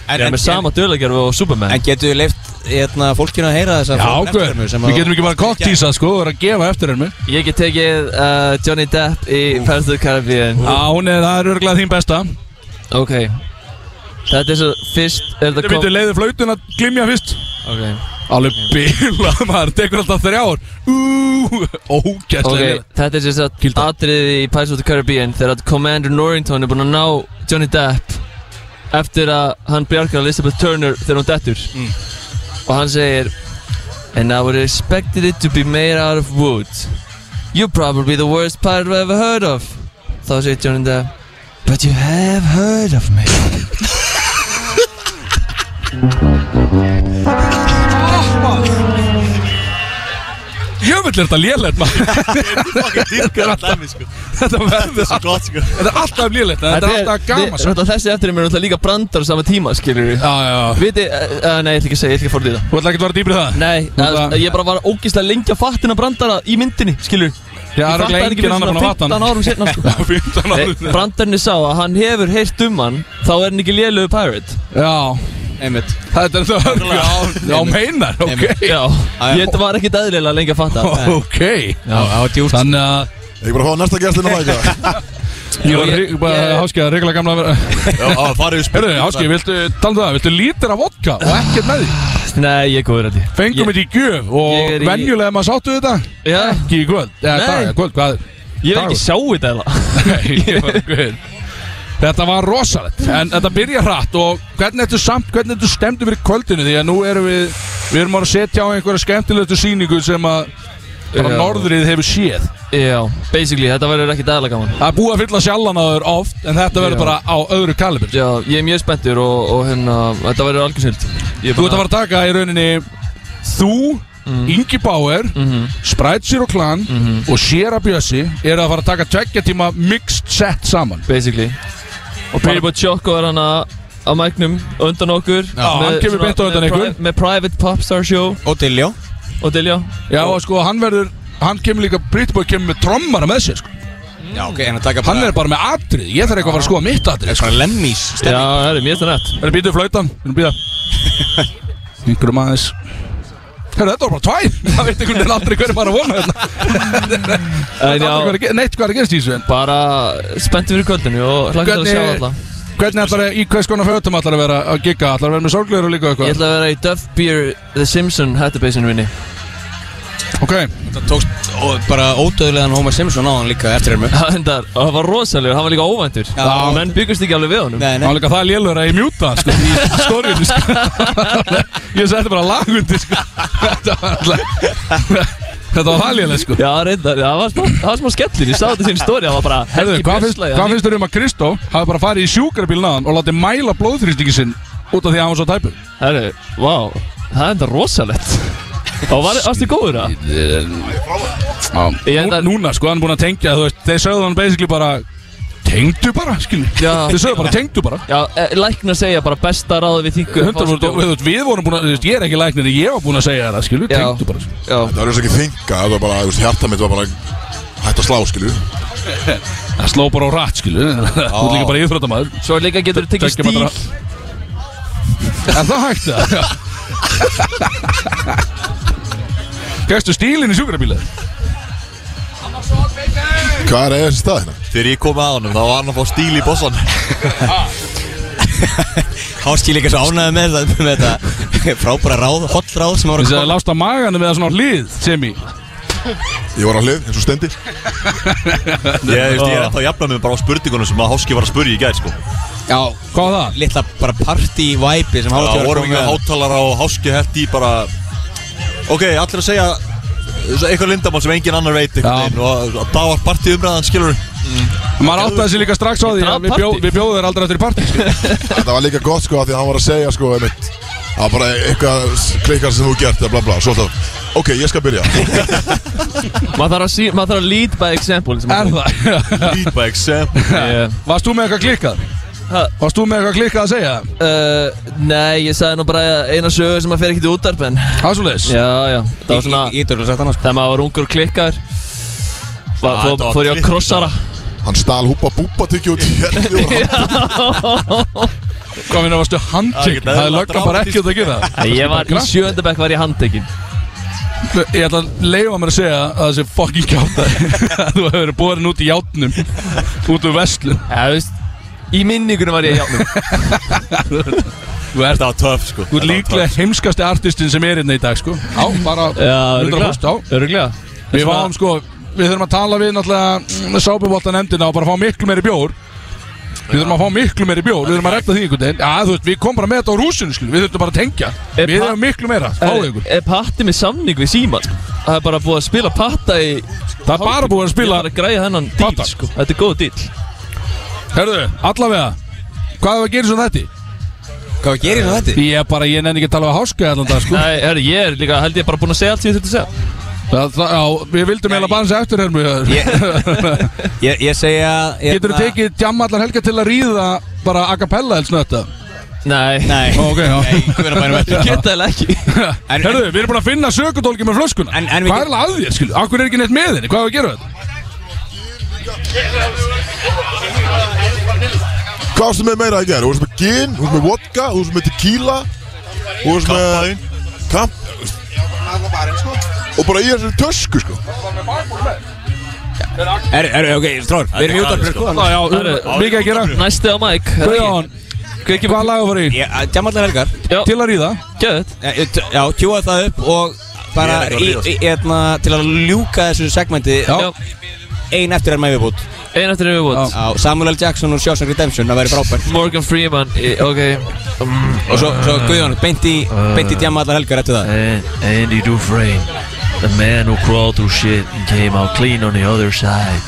[SPEAKER 6] Ég er með sama dölagerfi og Superman
[SPEAKER 3] En getur við leift hérna, fólkinu að heyra þess að
[SPEAKER 2] Já, ákveður, við getum ekki bara koktísa sko, við erum að gefa eftir henni
[SPEAKER 6] Ég get tekið uh, Johnny Depp í Pirates of the Caribbean
[SPEAKER 2] Já, hún er, það er örglega þín besta
[SPEAKER 6] Ok Þetta er svo fyrst er
[SPEAKER 2] Þetta
[SPEAKER 6] þetta kom
[SPEAKER 2] veitur leiði flautun að glimja fyrst
[SPEAKER 6] Ok,
[SPEAKER 2] Alveg bila maður, tekur alltaf þrjár Úúú, ógæslega
[SPEAKER 6] okay.
[SPEAKER 2] okay.
[SPEAKER 6] þetta er svo
[SPEAKER 2] Gildan.
[SPEAKER 6] atriðið í Pirates of the Caribbean Þegar að Commander Norrington er búinn að ná Johnny Depp Eftir að hann bjargar Elizabeth Turner þegar hún dettur
[SPEAKER 2] Mm.
[SPEAKER 6] og hann segir And I would expected it to be made out of wood You're probably the worst pirate I've ever heard of Þá segir Johnny Depp But you have heard of me
[SPEAKER 2] Jöfull er þetta lélætt maður
[SPEAKER 4] sko.
[SPEAKER 2] Þetta verður alltaf,
[SPEAKER 4] Gott sko
[SPEAKER 2] þetta er alltaf lélætt Þetta er alltaf gaman sko.
[SPEAKER 6] Þetta þessi eftir mér er náttúrulega líka brandar á sama tíma skilur við
[SPEAKER 2] Já, já, já.
[SPEAKER 6] Viti, uh, nei, ég ætla ekki að segja, ég ætla ekki að fór því það
[SPEAKER 2] þú ætla ekki að vera dýbrið það
[SPEAKER 6] Nei,
[SPEAKER 2] það-
[SPEAKER 6] að, ég bara var ógíslega lengi að fattina brandara í myndinni, skilur Ég
[SPEAKER 2] Já, það er
[SPEAKER 6] fattaði
[SPEAKER 2] örglega
[SPEAKER 6] ekki
[SPEAKER 2] engin
[SPEAKER 6] fyrir
[SPEAKER 2] annar búin að fatta hann
[SPEAKER 6] 15 árum setna sko.
[SPEAKER 2] 15
[SPEAKER 6] Nei,
[SPEAKER 2] árum
[SPEAKER 6] brandarinn sá að hann hefur heyrt um hann Þá er hann ekki lélögu pirate
[SPEAKER 2] Já,
[SPEAKER 3] Einmitt
[SPEAKER 2] þetta er þetta örglega Já, meinar, ok
[SPEAKER 6] Já, ég þetta var ekkit eðlilega lengi að fatta
[SPEAKER 2] Ok
[SPEAKER 3] Já, það var djúpt
[SPEAKER 2] Þannig að
[SPEAKER 1] Ég bara fá næsta hérna, gæstin að mæka
[SPEAKER 2] Ég var
[SPEAKER 6] ég-
[SPEAKER 2] hri- bara
[SPEAKER 6] ég-
[SPEAKER 2] háskið að regla gamla að vera
[SPEAKER 4] Já, á, farið við
[SPEAKER 2] Herru,
[SPEAKER 4] spilum
[SPEAKER 2] háskið, viltu, talum það, viltu lítir af vodka og ekkert með því
[SPEAKER 6] Nei, ég er góður að því
[SPEAKER 2] Fengum
[SPEAKER 6] Ég-
[SPEAKER 2] þetta í
[SPEAKER 6] Ég
[SPEAKER 2] gjöf og
[SPEAKER 6] er í-
[SPEAKER 2] venjulega maður sáttu þetta
[SPEAKER 6] Já,
[SPEAKER 2] Ekki í kvöld, eða
[SPEAKER 6] Nei.
[SPEAKER 2] dag, kvöld, hvað
[SPEAKER 6] ég vil ekki sjá þetta eða
[SPEAKER 2] Nei, ég var guð. Þetta var rosalegt En þetta byrja hratt og hvernig ertu samt, hvernig ertu stemdu fyrir kvöldinu Því að nú erum við, við erum að setja á einhverja skemmtilegtu sýningu sem að bara
[SPEAKER 6] Já.
[SPEAKER 2] norðrið hefur séð
[SPEAKER 6] Já, basically, þetta verður ekki dæla gaman
[SPEAKER 2] Það er búið að fylla sjallan á þér oft En þetta verður
[SPEAKER 6] Já.
[SPEAKER 2] bara á öðru kalibur
[SPEAKER 6] Já, ég er mjög spenntur og, og hérna, þetta verður algjörshild
[SPEAKER 2] Þú ert að fara að taka í rauninni Þú,
[SPEAKER 6] Mm.
[SPEAKER 2] Ingi Bauer
[SPEAKER 6] Mhm.
[SPEAKER 2] Sprite Zero Clan og Sierra Bjössi eru að fara að taka tveggja tíma mixed set saman
[SPEAKER 6] Basically Og Billy Bocciocco er hann að á mæknum undan okkur Já,
[SPEAKER 2] hann kemur beint á undan ykkur.
[SPEAKER 6] Með private popstar show
[SPEAKER 3] Og Diljó
[SPEAKER 6] og Dilja
[SPEAKER 2] Já og sko hann verður Hann kemur líka, Britboy kemur með trommara með sér sko.
[SPEAKER 3] Já, ok, en að taka
[SPEAKER 2] Hann
[SPEAKER 3] bara
[SPEAKER 2] er bara með atrið, ég þarf eitthvað að fara að skoða mitt atrið
[SPEAKER 3] Svona lemmís
[SPEAKER 6] Já, það er mjög stannett
[SPEAKER 2] Það er býtið flautan, við erum býða Einhverjum aðeins Herra, þetta var bara tvær Það veit einhvern veginn aldrei hverju bara vona hérna.
[SPEAKER 6] En
[SPEAKER 2] Aldrei hver
[SPEAKER 6] já,
[SPEAKER 2] er ge- Neitt hvað er að gerast í þessu en
[SPEAKER 6] bara spenntur fyrir kvöldinu og hlakka til að
[SPEAKER 2] Hvernig-
[SPEAKER 6] sjá alla
[SPEAKER 2] Hvernig ætlar að, í hvers konar fötum ætlar að vera að gigga Ætlar að vera með sorglegur og líka
[SPEAKER 6] Ég
[SPEAKER 2] eitthvað
[SPEAKER 6] ætla að vera í Duff Beer The Simpson hættubeysinu minni
[SPEAKER 2] Ok,
[SPEAKER 3] Það tókst ó- bara ódöðlegan Homer Simpson á hann líka eftir hérna
[SPEAKER 6] Það endar- og það var rosalegur, hann var líka óvæntur
[SPEAKER 3] Já.
[SPEAKER 6] Menn byggust ekki alveg við honum
[SPEAKER 3] Nei,
[SPEAKER 2] það var líka það lélur að ég mjúta hann, sko, í stóriðinu sko. Ég setti bara lagundi sko. Þetta var alltaf Þetta var það lélur sko
[SPEAKER 6] Já, reyndar, það var smá, það var smá skellir, ég sá þetta í sín stóri, það var bara
[SPEAKER 2] Herðu,
[SPEAKER 6] helgi
[SPEAKER 2] hvað finnst,
[SPEAKER 6] björslæði.
[SPEAKER 2] hvað finnst þér um að Kristó hafi bara farið í sjúkrabíl náðan og látið mæla blóðþrýstingi sinn út af því að hann var svo tæpur?
[SPEAKER 6] Herðu, vá, það er enda rosalegt. Og var, varstu góður það? Ég
[SPEAKER 2] Nú,
[SPEAKER 6] enda-
[SPEAKER 2] núna, sko, hann er búin að tengja, þú veist, þeir sögðu hann basically bara Tengdu bara, skilni
[SPEAKER 6] Já.
[SPEAKER 2] Þeir sögðu bara, tengdu bara
[SPEAKER 6] Já, eh, læknar segja bara besta ráði við þingu.
[SPEAKER 2] 100% og, þú veist, Við vorum búin að, þú veist, ég er ekki læknir en Ég var búin að segja það, skilju,
[SPEAKER 6] Já.
[SPEAKER 2] tengdu bara skilju.
[SPEAKER 6] Já,
[SPEAKER 1] Það var eins og ekki þinga, það var bara, þú veist, hjarta mitt var bara hætt að slá, skilju
[SPEAKER 2] Það sló bara á rætt, skilju Þú er líka bara íþróttamaður
[SPEAKER 6] svo líka getur þú tekið
[SPEAKER 2] Tveggja metra-
[SPEAKER 6] stíl.
[SPEAKER 2] Er það hægt það? Gæstu stílinn í sjúkrabíla?
[SPEAKER 1] Hvað er þessi stað hérna?
[SPEAKER 4] Þegar ég kom að honum, þá var hann að fá stíl í bossan
[SPEAKER 3] Háskil líka svo ánæði með þetta með þetta frábæra ráð, holl ráð sem ára
[SPEAKER 2] Þessi að lásta maganu með það svona á hlið sem í
[SPEAKER 1] Ég var á hlið, eins og stendi
[SPEAKER 4] Ég, ég, ég er ennþá að jafna mig bara á spurningunum sem að Háski var að spurja í gæð sko.
[SPEAKER 3] Já,
[SPEAKER 2] Hvað var það?
[SPEAKER 3] litla bara party-væpi sem
[SPEAKER 4] Það
[SPEAKER 3] háskil var
[SPEAKER 4] voru
[SPEAKER 3] að
[SPEAKER 4] ekki
[SPEAKER 3] koma með
[SPEAKER 4] hátalara og Háski held í bara Ok, allir að segja svo eitthvað lindamál sem engin annar veit
[SPEAKER 2] Já. Mm.
[SPEAKER 4] einhvern veginn og og það var partí umræðan, skilur
[SPEAKER 2] Maður áttaði sig líka strax á því að við, bjó, við bjóðum þér aldrei eftir í partí sko.
[SPEAKER 1] Þetta var líka gott, sko, af því að hann var að segja, sko, einmitt Það var bara eitthvað klikkar sem þú gert, eða bla bla, svo alltaf Ok, ég skal byrja
[SPEAKER 6] Maður þarf að, sí, maður þarf að lead by example. sem
[SPEAKER 2] Er
[SPEAKER 6] maður-
[SPEAKER 2] það?
[SPEAKER 4] Lead by example
[SPEAKER 6] Ég-
[SPEAKER 2] Varst þú með eitthvað klikkað?
[SPEAKER 6] Ha?
[SPEAKER 2] Varst þú með eitthvað klikkað að segja?
[SPEAKER 6] Eh, Nei, ég sagði nú bara eina sögu sem að fer ekkert í útarp en
[SPEAKER 2] Hásulegis?
[SPEAKER 6] Já, já, það var svona
[SPEAKER 3] Ég dörlega sagt annars
[SPEAKER 6] Þegar maður var ungur og klikkar var,
[SPEAKER 4] Ah,
[SPEAKER 6] fór,
[SPEAKER 4] þetta var
[SPEAKER 6] fór ég á
[SPEAKER 4] klikkað.
[SPEAKER 6] krossara
[SPEAKER 1] Hann stal húpa búpa tyggju út í hérni og hann
[SPEAKER 2] Hvað minna varstu
[SPEAKER 4] Það er ekkert
[SPEAKER 2] handtekn? Það er
[SPEAKER 4] eðlilega
[SPEAKER 2] löggan bara ekki út að gera
[SPEAKER 6] Nei, Ég var í sjöndabæk var ég handtekinn
[SPEAKER 2] Ég ætla að leifa mér að segja að það sé fucking kjátt að þú hefur verið borin út í játnum út úr vestlun
[SPEAKER 6] Já, þú veist Í minningunum var ég í játnum
[SPEAKER 2] Þú ert
[SPEAKER 4] Þetta var töff, sko
[SPEAKER 2] Þú ert
[SPEAKER 4] Þetta var
[SPEAKER 2] líklega heimskasti artistin sem er hérna í dag sko Á, bara
[SPEAKER 6] Já,
[SPEAKER 2] 100% á
[SPEAKER 6] Öruglega
[SPEAKER 2] Við fáum sko, við þurfum að tala við náttúrulega sábubólta nefndina og bara fá miklu meiri bjór Við þurfum að fá miklu meiri bjór, við þurfum að regla því einhvern veginn Já, þú veist, við komum bara með þetta á rúsinu skil, við þurfum bara að tengja
[SPEAKER 6] Er
[SPEAKER 2] Við
[SPEAKER 6] pa-
[SPEAKER 2] hefum miklu meira,
[SPEAKER 6] Er,
[SPEAKER 2] fáðu ykkur
[SPEAKER 6] er patti með samning við síman Það er bara búið að spila patta í
[SPEAKER 2] Það er bara búið að
[SPEAKER 6] Ég
[SPEAKER 2] spila
[SPEAKER 6] er bara að græja þennan díl
[SPEAKER 2] Patta.
[SPEAKER 6] sko Þetta er góð díl
[SPEAKER 2] Herðu, allavega, hvað er að gera svona þetta?
[SPEAKER 3] Hvað gerir það þetta?
[SPEAKER 2] Ég bara, ég nenni ekki að tala við háska allan dag sko
[SPEAKER 6] Nei, herri, ég er líka held ég bara búin að segja allt sem ég þurfti að segja
[SPEAKER 2] Það, það, já, við vildum eiginlega bara hans eftir hermu
[SPEAKER 3] Ég, ég segja hérna-
[SPEAKER 2] Getur þú tekið djamma allar helga til að ríða bara a cappella helst nötta?
[SPEAKER 6] Nei,
[SPEAKER 3] Nei,
[SPEAKER 2] Ó, ok, já.
[SPEAKER 3] Nei, guðna
[SPEAKER 6] ég
[SPEAKER 3] bænum eftir
[SPEAKER 6] geta það ekki
[SPEAKER 3] En-
[SPEAKER 2] Herðu, við erum búin að finna sökudólki með flöskuna
[SPEAKER 3] En- en við
[SPEAKER 2] Hvað er
[SPEAKER 3] get-
[SPEAKER 2] alveg að þér, skilu? Akkur er ekki neitt með henni, hvað er að gera þetta?
[SPEAKER 1] Hvað varstu með meira að gera? Þú varstu með gin, þú varstu með vodka, þú varstu með tequila Þú varstu með... Kamp Og bara í þessari tösku, sko
[SPEAKER 3] Er, er, ok, stráður, við erum í útvarpinu sko
[SPEAKER 2] Já, já, um- mikið að gera
[SPEAKER 6] Næsti á Mike
[SPEAKER 2] Guðjón, hvað laga var í?
[SPEAKER 3] Djamallar eh, helgar
[SPEAKER 2] Til að ríða
[SPEAKER 6] Gjöðut
[SPEAKER 3] Já, ég- Já, kjúaði það upp og bara
[SPEAKER 4] Ég er
[SPEAKER 3] í,
[SPEAKER 4] ekki að ríðast.
[SPEAKER 3] í, hérna, til að ljúka þessu segmenti
[SPEAKER 2] Já.
[SPEAKER 3] Ein eftir er maður viðbútt
[SPEAKER 6] Einn eftir er við búin
[SPEAKER 3] Já, Samuel L. Jackson og Shawshank Redemption, það væri frábært
[SPEAKER 6] Morgan Freeman í- Ok
[SPEAKER 3] Og svo, svo Guðjón, beint í, beint í djamallar helgar eftir það
[SPEAKER 7] And Andy Dufresne, the man who crawled through shit and came out clean on the other side.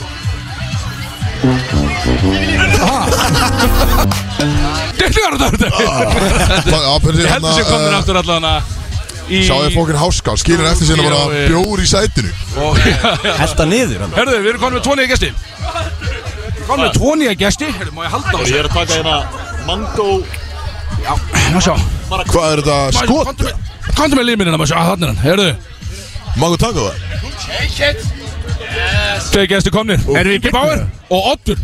[SPEAKER 2] Ég
[SPEAKER 1] Ég
[SPEAKER 2] held að sé komin aftur allan að í...
[SPEAKER 1] Sá þið fókin háská, skilur eftir sinna bara
[SPEAKER 2] Já, já.
[SPEAKER 1] bjór í sætinu
[SPEAKER 3] Hælta niður hann
[SPEAKER 2] Herðu, við erum konum með tvo nýja gesti Við erum konum með tvo nýja gesti Herðu, má ég halda á
[SPEAKER 4] Ég er að taka hérna Mango
[SPEAKER 2] þessu Má sjá
[SPEAKER 1] Hvað er þetta skot?
[SPEAKER 2] Kontum með, kontum með liminina, má sjá, hann er hann Herðu,
[SPEAKER 1] Mango taka það?
[SPEAKER 2] tvei gesti komnir Enrique Bauer og Oddur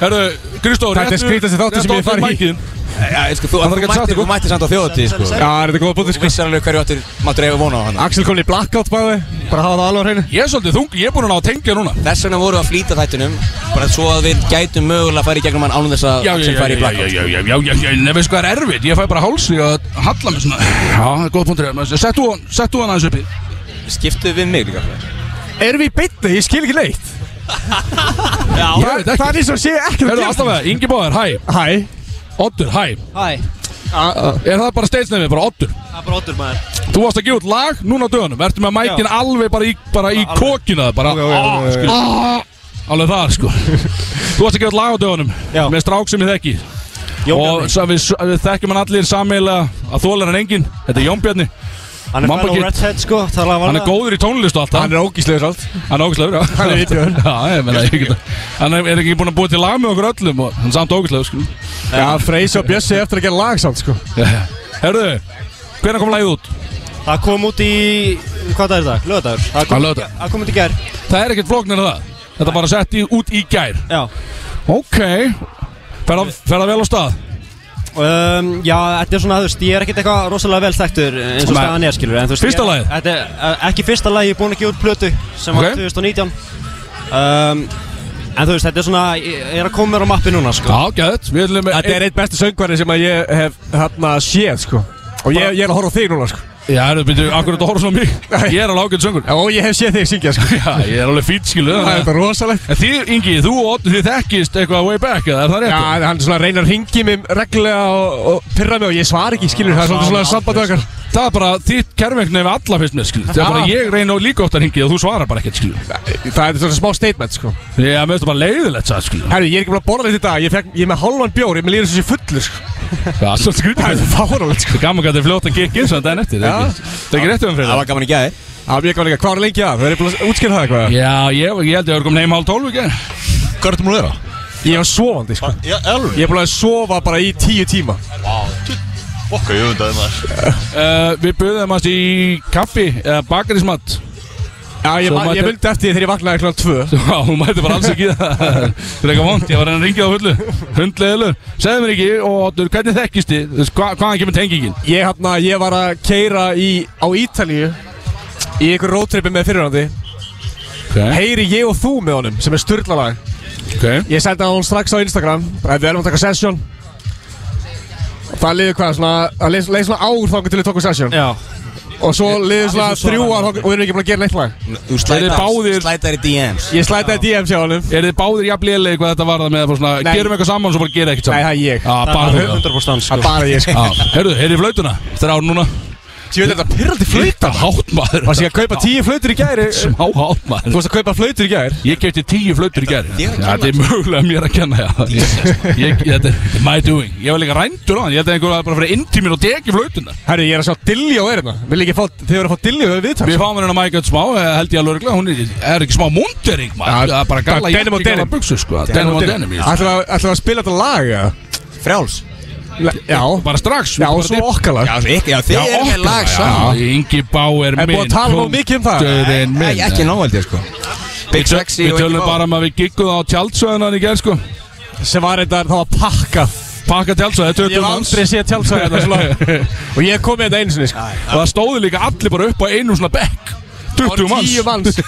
[SPEAKER 2] Herðu, hérna- Kristóður
[SPEAKER 8] Þetta er skrítast þáttur sem ég hef farið í.
[SPEAKER 3] Já, ég sko, þú,
[SPEAKER 2] Hann þarf ekki
[SPEAKER 3] þú
[SPEAKER 2] að sagt
[SPEAKER 3] mættir
[SPEAKER 2] ykkur.
[SPEAKER 3] þú mættir samt á þjóðatíð sko
[SPEAKER 8] Já, er þetta góða bútið
[SPEAKER 3] Þú
[SPEAKER 8] sko
[SPEAKER 3] vissar alveg hverju áttir, máttur eiga vona á hann
[SPEAKER 8] Axel komin í blackout bæði Bara hafa það alveg á hreinu
[SPEAKER 2] Ég er svolítið þung, ég er búin að ná að tengja núna
[SPEAKER 3] Þess vegna voru við að flýta þættinum Bara svo að við gætum mögulega að fara í gegnum hann ánum þess að
[SPEAKER 2] Já, já,
[SPEAKER 3] Axel
[SPEAKER 2] já,
[SPEAKER 3] fari í
[SPEAKER 2] já, já,
[SPEAKER 3] blackout
[SPEAKER 2] já, já, já, já, já, nefnir sko það er erfitt, ég fæ bara háls í að halla mig svona Já, það er góð punktur hér, settu hann, settu hann aðeins uppi
[SPEAKER 3] Skiptu við mig líka
[SPEAKER 8] Erum við í beinni? Ég skil ekki neitt
[SPEAKER 2] Ég veit
[SPEAKER 8] Það
[SPEAKER 2] ekki,
[SPEAKER 8] er eins og sé ekki
[SPEAKER 2] herðu allavega, Ingi Báður, hæ,
[SPEAKER 8] Hæ
[SPEAKER 2] Oddur, hæ
[SPEAKER 9] Hæ,
[SPEAKER 2] Er það bara steitsnefið, bara Oddur
[SPEAKER 9] það er bara Oddur maður
[SPEAKER 2] Þú varst að gefa út lag núna á dögunum Ertu með mækin alveg bara í, bara í kokina Bara ah, skil- ah, Alveg þar sko Þú varst að gefa út lag á dögunum
[SPEAKER 8] Já.
[SPEAKER 2] Með strák sem ég þekki
[SPEAKER 8] Jón
[SPEAKER 2] Og sa, við, við þekkjum hann allir sameilega Að þólar hann engin Þetta er Jón Bjarni
[SPEAKER 9] Hann er
[SPEAKER 2] Mamba
[SPEAKER 9] fellow
[SPEAKER 2] Kid.
[SPEAKER 9] redhead sko, það var
[SPEAKER 2] Hann er góður í tónlist og allt það
[SPEAKER 8] Hann er ógíslegur allt
[SPEAKER 2] Hann er ógæslegur Hann
[SPEAKER 8] er viðbjóður.
[SPEAKER 2] Já, ég meina ég geta Hann er er ekki búinn að búa til lag með okkur öllum og Hann er samt ógæslegur sko
[SPEAKER 8] Já, Freysi og Bjössi eftir að gera lag samt sko
[SPEAKER 2] Herðu Hvernig kom lagið út?
[SPEAKER 9] Það kom út í, hvað það er það? Lögadagur Það
[SPEAKER 2] Á
[SPEAKER 9] kom-
[SPEAKER 2] laugardag.
[SPEAKER 9] það kom út í gær
[SPEAKER 2] Það er ekkert flóknir en það Þetta er bara sett í, út í gær
[SPEAKER 9] Já
[SPEAKER 2] Ok Fer það- fer það vel á stað?
[SPEAKER 9] Um, já, þetta er svona, þú veist, ég er ekkert eitthvað rosalega vel þekktur
[SPEAKER 10] eh,
[SPEAKER 9] eins og
[SPEAKER 2] Nei.
[SPEAKER 9] staðan ég skilur en, þú veist,
[SPEAKER 2] Fyrsta
[SPEAKER 9] ég-
[SPEAKER 2] lagið?
[SPEAKER 9] Þetta er eh, ekki fyrsta lagi, ég er búinn að gefa út plötu sem
[SPEAKER 2] Ok.
[SPEAKER 9] var 2019 um, En þú veist, þetta er svona, ég ég er að koma mér á mappi núna sko.
[SPEAKER 2] Já, gæðið Við ætlum
[SPEAKER 8] Þetta er einn bestu söngvarinn sem að ég hef hérna séð sko Og ég, ég er að horfa á þig núna sko
[SPEAKER 2] Já, erum við byrjuð Akkur þetta horfður svona mig Ég er alveg ágætt söngur
[SPEAKER 8] Og ég hef séð þig syngja sko
[SPEAKER 2] Já, ég er alveg fýt skilu
[SPEAKER 8] Það er
[SPEAKER 2] En
[SPEAKER 8] þetta rosalegt
[SPEAKER 2] þið, Ingi, þú og Oddur, þið þekkist eitthvað way back eða er það
[SPEAKER 8] Já,
[SPEAKER 2] rétt?
[SPEAKER 8] en hann svona reynir að ringi mig reglulega og, og pyrra mig og ég svar ekki skilur Það er svolítið svona samband okkar
[SPEAKER 2] Það er bara þitt kerfengni við alla fyrst með skilu Það er bara ég reyna og líka oft að ringi og þú svarar bara ekkert skilu
[SPEAKER 8] Það er svona smá statement sko
[SPEAKER 2] Já, mér finnst það bara leiðilegt það skilu
[SPEAKER 8] Herru, ég er ekki búin að borða þetta í dag Ég, fekk, ég er með halvan bjór, ég er með líður sem sé fullur sko
[SPEAKER 2] Já, svo skrítið
[SPEAKER 8] Það er fáralegt sko
[SPEAKER 2] Það er gaman hvað þetta er fljótt að gekk eins og þetta er nettir
[SPEAKER 8] Já.
[SPEAKER 2] Það er ekki rétt um fyrir
[SPEAKER 3] Það
[SPEAKER 2] það
[SPEAKER 3] var gaman í gæði
[SPEAKER 8] Það er mjög gaman líka, hvað er lengi að? Við erum búin að útskýra það eitthvað
[SPEAKER 2] Já, ég, ég held ég að vera komin heim hálf tólf ekki
[SPEAKER 1] Hvað ertu múin að vera?
[SPEAKER 8] Ég var sofandi sko
[SPEAKER 4] Já, elvur
[SPEAKER 8] Ég er búin að sofa bara í tíu tíma
[SPEAKER 4] Fokka, ég veit að maður
[SPEAKER 2] uh, Við buðum hans í kaffi eða bakarísmat
[SPEAKER 8] Já, ég,
[SPEAKER 2] Svo
[SPEAKER 8] ma- ég
[SPEAKER 2] mætti-
[SPEAKER 8] myndi eftir því þegar ég vaknaði kl. 2
[SPEAKER 2] Já, hún mæti bara alls ekki í það Það er eitthvað vond, ég var að reyna að ringja á fullu Hundleðilur, segðu mér ekki og Oddur, hvernig þekkist þið? Þú veist, hva, hvaðan kemur tengingin?
[SPEAKER 8] Ég, hafna, ég var að keira í, á Ítalíu í einhver roadtripi með fyrirhandi
[SPEAKER 2] Okay.
[SPEAKER 8] Heyri ég og þú með honum sem er styrlalag
[SPEAKER 2] Okay.
[SPEAKER 8] Ég sendi hann strax á Instagram að við erum að taka session Og Það liði hvað, svona, það leið leið svona ár þangar til við tókum session
[SPEAKER 9] Já,
[SPEAKER 8] Og svo liði svona
[SPEAKER 9] svo
[SPEAKER 8] þrjú
[SPEAKER 9] svona.
[SPEAKER 8] ár þangað og við erum ekki búin að gera neitt lag
[SPEAKER 3] Þú
[SPEAKER 2] Þeir eru báðir-
[SPEAKER 3] slætar í DMs
[SPEAKER 8] Ég slætaði DM hjá honum
[SPEAKER 2] Er þið báðir jafnlega hvað þetta varða með að fá svona,
[SPEAKER 8] Nei.
[SPEAKER 2] gerum eitthvað saman og svo bara gera ekkert
[SPEAKER 8] Nei,
[SPEAKER 2] saman?
[SPEAKER 8] það er ég
[SPEAKER 2] Já, bara
[SPEAKER 9] það er
[SPEAKER 2] þú
[SPEAKER 9] 100%
[SPEAKER 8] Það
[SPEAKER 9] sko
[SPEAKER 8] er bara ég sko
[SPEAKER 2] Já, Heyrðu, heyrðu í flautuna, þrjá núna
[SPEAKER 8] Ég veit þetta pyrrandi flöyt
[SPEAKER 2] Þetta hátt maður
[SPEAKER 8] Varst ég að kaupa tíu flautur í gæri Þú
[SPEAKER 2] Smá hátt maður
[SPEAKER 8] varst að kaupa flautur í gæri
[SPEAKER 2] Ég kefti tíu flautur í gerð
[SPEAKER 3] Þér að kenna.
[SPEAKER 2] Þetta er mögulega mér að kenna já. ég, Þetta er my doing Ég var líka rændur á hann Ég held að einhver var bara að fara inn til mér og teki flautuna
[SPEAKER 8] Herru, ég er að sjá Dilljó er hérna Vil ekki fá, þið verður að fá Dilljó við viðtal
[SPEAKER 2] Við fáum henni að mæka þetta smá eh, Held ég alveg örugglega. Hún er, er ekki smá múnderinn
[SPEAKER 8] Já,
[SPEAKER 2] Það er bara galla
[SPEAKER 8] denim og
[SPEAKER 2] jakki, galla
[SPEAKER 8] denim.
[SPEAKER 2] buksu sko. Denim og denim ég-
[SPEAKER 8] Ætlum við að spila þetta lag, eða?
[SPEAKER 3] Frjáls
[SPEAKER 8] Le- Já
[SPEAKER 2] Bara strax
[SPEAKER 8] Já, og svo okkar lag
[SPEAKER 3] Já, svo ekki, já, þið eru með lag saman
[SPEAKER 2] Ingi Bá
[SPEAKER 8] Er
[SPEAKER 2] er minn
[SPEAKER 8] búið að tala nóg mikið um það?
[SPEAKER 2] Kóngurinn
[SPEAKER 3] Æ,
[SPEAKER 2] minn
[SPEAKER 3] Ekki nóg held ég sko Big
[SPEAKER 2] Við töl-
[SPEAKER 3] Sexy
[SPEAKER 2] Við
[SPEAKER 3] og
[SPEAKER 2] tölum
[SPEAKER 3] Ingi Bauer.
[SPEAKER 2] bara um að við giggum á tjaldsöðunan í gerð sko
[SPEAKER 8] Sem var þetta, það var pakkað
[SPEAKER 2] Pakka tjaldsöðu,
[SPEAKER 8] Ég
[SPEAKER 2] 20
[SPEAKER 8] hef
[SPEAKER 2] manns
[SPEAKER 8] aldrei séð hérna tjálsæði þetta svo lag Og ég kom með þetta einu sinni, sko
[SPEAKER 2] Og það stóðu líka allir bara upp á einum svona bekk
[SPEAKER 8] voru
[SPEAKER 2] 20 manns
[SPEAKER 8] tíu manns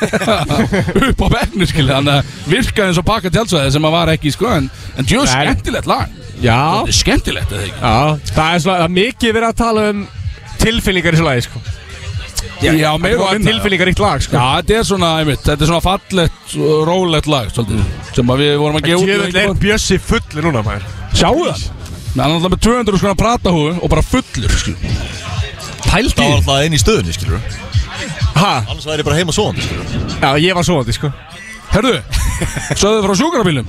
[SPEAKER 2] upp á bekknu skilja þannig að virkaði eins og pakka tjálsvæði sem að var ekki sko en, en djú,
[SPEAKER 8] Nei.
[SPEAKER 2] skemmtilegt lag
[SPEAKER 8] Já,
[SPEAKER 2] Þetta er skemmtilegt eða ekki
[SPEAKER 8] já Það er svona, það er mikið verið að tala um tilfinningar í svo lagi, sko
[SPEAKER 2] Já, já
[SPEAKER 8] Það
[SPEAKER 2] meira og
[SPEAKER 8] er
[SPEAKER 2] minna Já,
[SPEAKER 8] tilfinningar ítt lag, sko
[SPEAKER 2] þetta er svona, einmitt, þetta er svona fallegt og rólegt lag, svolítið sem að við vorum að gefa út
[SPEAKER 8] Djöfull er Bjössi fulli núna, maður
[SPEAKER 2] Sjáu það Hann er alltaf með 200 skona pratahúfu og bara fullur sko. skilja.
[SPEAKER 4] Það var alltaf einn í stöðunni, skilur við
[SPEAKER 8] Ha,
[SPEAKER 4] Annars væri ég bara heima svoðan, skilur við
[SPEAKER 8] já, ég var svoandi, sko
[SPEAKER 2] Herðu, sögðu frá sjúkrabílum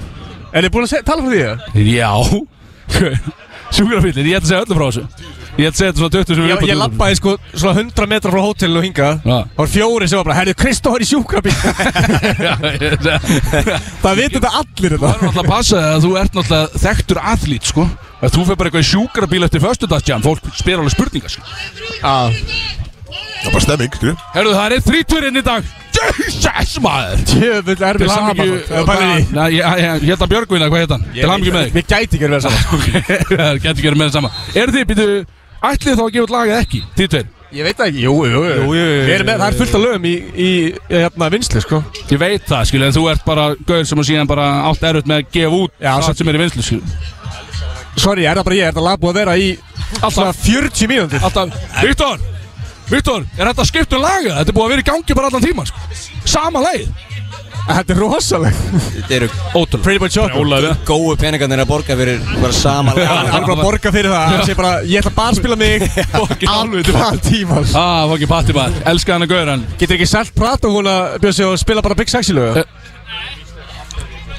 [SPEAKER 8] Er þið búin að se- tala frá því, það?
[SPEAKER 2] Já Sjúkrabílinn, ég ætla að segja öllu frá þessu Ég ætla að segja þetta svona 20 sem
[SPEAKER 8] Ég, ég lappaði, sko, svona 100 metra frá hótelinu og hingað
[SPEAKER 2] Já.
[SPEAKER 8] Það var fjóri sem var bara, herðu, Kristó er í sjúkrabíl
[SPEAKER 2] lappa
[SPEAKER 8] Það veit þetta allir hérna.
[SPEAKER 2] Það er
[SPEAKER 8] þetta
[SPEAKER 2] náttúrulega að passa þig að þú ert náttúrulega þekktur aðlít sko að þú fyrir bara eitthvað í sjúkrabíl eftir föstudagsjam fólk spyr alveg spurningar sko
[SPEAKER 1] Það er bara stemming, skilju
[SPEAKER 2] Herðu það er þríturinn í dag Jesus maður
[SPEAKER 8] Djöfull er
[SPEAKER 2] Til
[SPEAKER 8] við saman
[SPEAKER 2] hamingju
[SPEAKER 8] sko. Pælið í því.
[SPEAKER 2] Næ, ég- ég- Hérna Björgvinna, hvað heit hann? Til hamingju með þig
[SPEAKER 8] Við gæti ekki að vera saman
[SPEAKER 2] Ok, það getur ekki verið með það sama Er þið, býtu, ætlið þið þá að gefa út lagið ekki? Þið tveir
[SPEAKER 8] Ég veit það ekki, jú, jú, jú, jú, jú. Við erum með, það er fullt af lögum í, í, í hérna, vinslu, sko
[SPEAKER 2] Ég veit það, skilja, en þú ert bara gaur sem að síðan bara átt erut með að gefa út
[SPEAKER 8] Já,
[SPEAKER 2] það
[SPEAKER 8] samt-
[SPEAKER 2] sem er í vinslu, skilja
[SPEAKER 8] Sorry, er það bara ég, er það lag búið að vera í svona 40 mínúndir
[SPEAKER 2] Alltaf, Viktor, Viktor, er þetta skipt um lagið? Þetta er búið að vera í gangi bara allan tíman, sko Sama lagið
[SPEAKER 8] Þetta er rosaleg
[SPEAKER 3] Þetta eru
[SPEAKER 2] Ótrúlega Pretty much
[SPEAKER 8] okkur.
[SPEAKER 2] Ólega
[SPEAKER 3] góðu peningarnir að borga fyrir bara sama lag
[SPEAKER 8] Hann er bara að borga fyrir það, hann sé bara, ég ætla bara að spila mig Allan tíman
[SPEAKER 2] Ah, fokki patti maður, elska hann að gaur hann
[SPEAKER 8] Getur ekki selt prata hún að Björnsi og spila bara Big Sexy lög?
[SPEAKER 2] Eh.